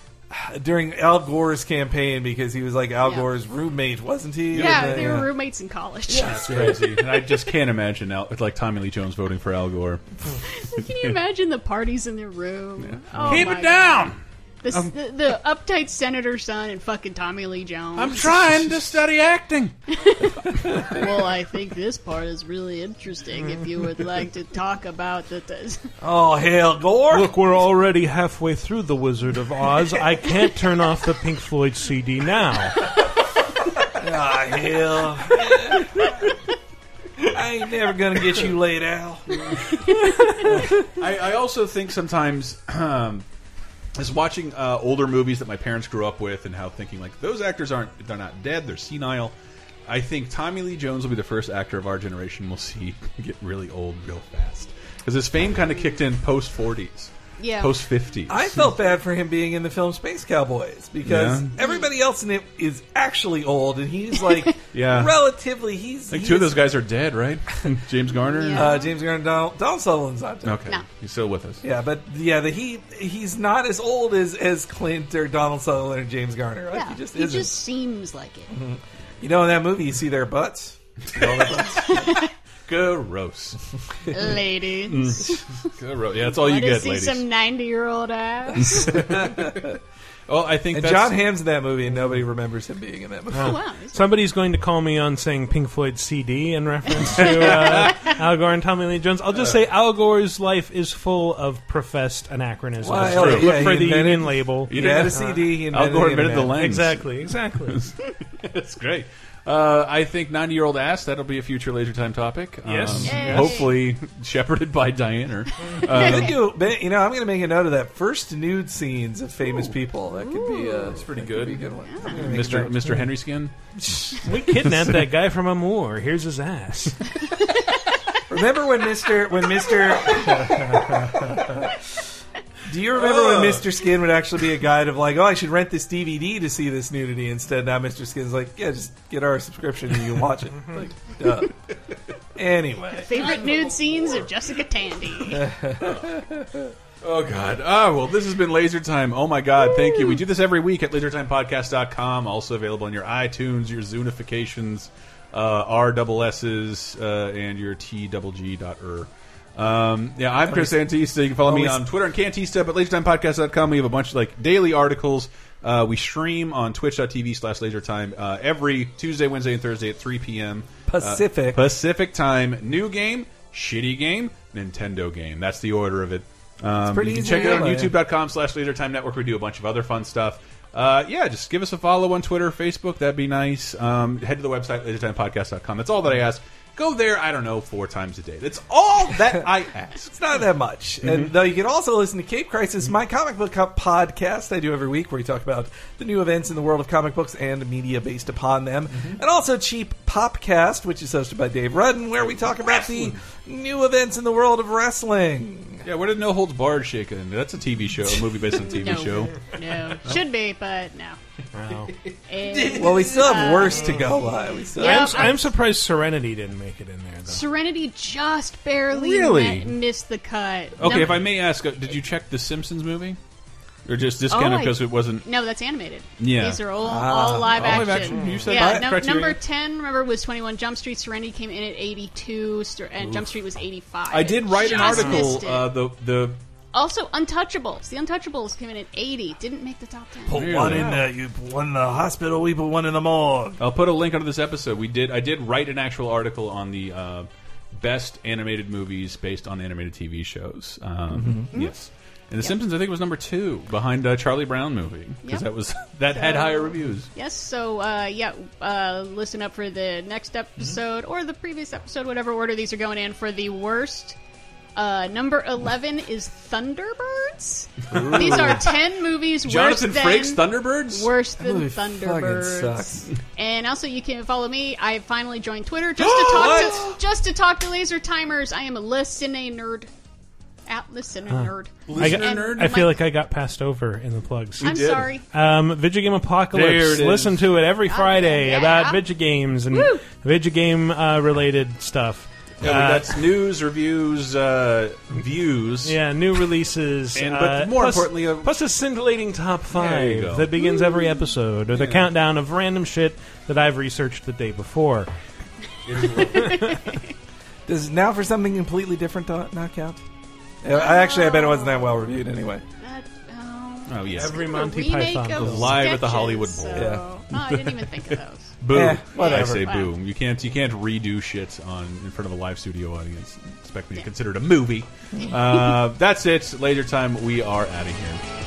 Speaker 4: *sighs* during Al Gore's campaign because he was like Al
Speaker 6: Yeah.
Speaker 4: Gore's roommate, wasn't he?
Speaker 6: Yeah,
Speaker 4: And then-
Speaker 6: they were roommates in college.
Speaker 3: that's crazy. and I just can't imagine now. It's like Tommy Lee Jones voting for Al Gore.
Speaker 6: *laughs* can you imagine the parties in their room? Oh,
Speaker 11: Keep
Speaker 6: my
Speaker 11: it
Speaker 6: God.
Speaker 11: down.
Speaker 6: The,
Speaker 4: Um,
Speaker 6: s- the, the uptight senator's son and fucking Tommy Lee Jones.
Speaker 11: I'm trying to study acting.
Speaker 6: well, I think this part is really interesting. If you
Speaker 4: *laughs*
Speaker 6: would like to talk about the,
Speaker 4: Oh hell, Gore!
Speaker 5: Look, we're already halfway through The Wizard of Oz. I can't turn off the Pink Floyd CD now.
Speaker 4: Ah, hell. I ain't never gonna get you laid out.
Speaker 3: I, I also think sometimes *clears throat* um, is watching uh, older movies that my parents grew up with and how thinking like those actors aren't they're not dead they're senile I think Tommy Lee Jones will be the first actor of our generation we'll see *laughs* get really old real fast because his fame kind of kicked in post forties,
Speaker 4: Yeah.
Speaker 3: post fifties.
Speaker 4: I felt bad for him being in the film Space Cowboys because
Speaker 3: Yeah.
Speaker 4: everybody else in it is actually old, and he's like,
Speaker 3: *laughs* Yeah.
Speaker 4: relatively.
Speaker 3: I
Speaker 4: He's
Speaker 3: think
Speaker 4: he's-
Speaker 3: two of those guys are dead, right? *laughs* James Garner.
Speaker 4: Uh, James Garner, Donald, Donald Sutherland's not dead.
Speaker 3: okay, he's still with us.
Speaker 4: Yeah, but yeah, the, he he's not as old as as Clint or Donald Sutherland or James Garner. Like,
Speaker 6: yeah,
Speaker 4: he just
Speaker 6: he
Speaker 4: isn't.
Speaker 6: just seems like it.
Speaker 4: Mhm. You know, in that movie, you see their butts. You see all their butts.
Speaker 3: Gross.
Speaker 4: Mm-hmm.
Speaker 6: Ladies.
Speaker 3: Mm. Gross. Yeah, that's all you
Speaker 6: Wanna
Speaker 3: get,
Speaker 6: see
Speaker 3: ladies.
Speaker 6: some ninety-year-old uh,
Speaker 3: *laughs*
Speaker 6: ass.
Speaker 3: Well, I think
Speaker 4: and
Speaker 5: that's-
Speaker 4: John Hamm's in that movie, and nobody remembers him being in that movie.
Speaker 3: Oh.
Speaker 5: Somebody's going to call me on saying Pink Floyd CD in reference to uh, Al Gore and Tommy Lee Jones. I'll just say Al Gore's life is full of professed anachronisms.
Speaker 4: Well,
Speaker 5: Look
Speaker 4: hell yeah, he
Speaker 5: for the
Speaker 4: invented-
Speaker 5: Union label.
Speaker 4: he had a CD, he
Speaker 3: Al Gore invented the lens.
Speaker 5: Exactly, exactly.
Speaker 3: That's great. Uh, I think 90 year old ass, that'll be a future laser time topic. Um,
Speaker 4: Yes. Yes.
Speaker 3: Hopefully, shepherded by Diana.
Speaker 4: I think you, but, you know, I'm going to make a note of that. First nude scenes of famous people. That could be. Uh, it's pretty good. good one. I'm gonna make a
Speaker 3: Mr.
Speaker 4: note.
Speaker 3: Mr. Henry Skin.
Speaker 5: we kidnapped that guy from a moor. Here's his ass.
Speaker 4: Remember when Mr. when Mr. Do you remember when Mr. Skin would actually be a guide of like, oh, I should rent this DVD to see this nudity instead? Now Mr. Skin's like, yeah, just get our subscription and you can watch it. Like, duh. Anyway.
Speaker 6: Favorite nude scenes of Jessica Tandy.
Speaker 3: Oh, God. Ah, well, this has been Laser Time. Oh, my God. Thank you. We do this every week at lasertimepodcast.com. Also available on your iTunes, your Zoonifications, uh, R double S's, uh, and your T double G dot er. Um, yeah, I'm Chris Antista. You can follow me
Speaker 4: Always-
Speaker 3: on Twitter and Cantista, but lasertimepodcast.com. We have a bunch of like daily articles. Uh, we stream on twitch.tv slash lasertime uh, every Tuesday, Wednesday, and Thursday at 3 p.m.
Speaker 4: Pacific.
Speaker 3: Uh, Pacific time. New game, shitty game, Nintendo game. That's the order of it. Um,
Speaker 4: pretty
Speaker 3: you can
Speaker 4: easy
Speaker 3: check
Speaker 4: to
Speaker 3: it out on
Speaker 4: follow, yeah.
Speaker 3: youtube.com slash lasertime network. We do a bunch of other fun stuff. Uh, yeah, just give us a follow on Twitter, Facebook. That'd be nice. Um, head to the website, lasertimepodcast.com. That's all that I ask. Go there, I don't know, four times a day. That's all
Speaker 4: *laughs*
Speaker 3: that I ask.
Speaker 4: It's not that much. And though you can also listen to Cape Crisis, my comic book co- podcast I do every week, where we talk about the new events in the world of comic books and media based upon them, and also Cheap Popcast, which is hosted by Dave Rudden, where we talk about the new events in the world of wrestling.
Speaker 3: Yeah, where did No Holds Barred shake in? That's a TV show, a movie based on a TV
Speaker 6: *laughs* no,
Speaker 3: show.
Speaker 6: no, should be, but no. Eh,
Speaker 4: Well, we still have
Speaker 6: uh,
Speaker 4: worse to go by. We still
Speaker 6: Yeah,
Speaker 5: I'm, I'm surprised Serenity didn't make it in there.
Speaker 6: Serenity just barely
Speaker 3: Really?
Speaker 6: met- missed the cut.
Speaker 3: Okay,
Speaker 6: No-
Speaker 3: if I may ask, uh, did you check the Simpsons movie, or just discounted
Speaker 6: Oh, I-
Speaker 3: because it wasn't?
Speaker 6: No, that's animated.
Speaker 3: Yeah.
Speaker 6: these are all,
Speaker 3: Ah.
Speaker 6: all live
Speaker 3: All live
Speaker 6: action.
Speaker 3: action. You said
Speaker 6: yeah,
Speaker 3: that
Speaker 6: num-
Speaker 3: criteria.
Speaker 6: number ten. Remember was twenty one Jump Street. Serenity came in at eighty two, and Jump
Speaker 3: Oof.
Speaker 6: Street was eighty five.
Speaker 3: I did write an article. Uh, the the
Speaker 6: also, Untouchables. The Untouchables came in at eighty. Didn't make the top ten.
Speaker 4: the you put one in the hospital, we put one in the morgue.
Speaker 3: I'll put a link under this episode. We did. I did write an actual article on the uh, best animated movies based on animated TV shows. Um,
Speaker 6: Mm-hmm.
Speaker 11: Mhm.
Speaker 3: Yes, and The Simpsons I think was number two behind uh, Charlie Brown movie because
Speaker 6: Yep.
Speaker 3: that was *laughs* that had
Speaker 6: So-
Speaker 3: higher reviews.
Speaker 6: Yes, so uh, yeah, uh, listen up for the next
Speaker 3: Mm-hmm.
Speaker 6: episode or the previous episode, whatever order these are going in. For the worst, uh, number eleven is Thunderbirds.
Speaker 3: Ooh.
Speaker 6: These are ten movies.
Speaker 3: Jonathan
Speaker 6: worse than,
Speaker 3: Frakes Thunderbirds?
Speaker 6: Worse
Speaker 3: That
Speaker 6: than
Speaker 3: movie fucking sucks.
Speaker 6: Thunderbirds. And also, you can follow me. I finally joined Twitter just
Speaker 3: *gasps*
Speaker 6: to talk to just to talk to laser timers. I am a listening nerd. At listening
Speaker 5: Huh.
Speaker 6: nerd.
Speaker 5: I,
Speaker 6: And
Speaker 5: got- I feel
Speaker 6: my-
Speaker 5: like I got passed over in the plugs.
Speaker 6: You I'm did. sorry.
Speaker 5: Um, video game
Speaker 3: There it
Speaker 5: apocalypse.
Speaker 3: is.
Speaker 5: Listen to it every Friday
Speaker 6: yeah.
Speaker 5: about video games and
Speaker 6: Woo.
Speaker 5: video game uh, related stuff.
Speaker 3: Yeah,
Speaker 5: Uh,
Speaker 3: that's news, reviews, uh, views.
Speaker 5: yeah, new releases,
Speaker 3: And-
Speaker 5: uh,
Speaker 3: but more
Speaker 5: plus-
Speaker 3: importantly, a-
Speaker 5: plus a scintillating top
Speaker 3: There you go.
Speaker 5: five that begins every episode, or the countdown of random shit that I've researched the day before.
Speaker 4: Does now for something completely different do- not count? Uh, I actually, I bet it wasn't that well reviewed anyway.
Speaker 3: Oh yeah,
Speaker 5: Every Monty
Speaker 6: remake Python of movie.
Speaker 3: live at the
Speaker 6: sketches,
Speaker 3: Hollywood Bowl.
Speaker 6: so- Yeah. Oh, I didn't even think of those.
Speaker 3: Boo!
Speaker 4: Eh,
Speaker 3: I
Speaker 4: whatever.
Speaker 3: say boo.
Speaker 6: Wow.
Speaker 3: You can't you can't redo shit on in front of a live studio audience. Expect me to consider it a movie. Uh, that's it. Later time. We are out of here.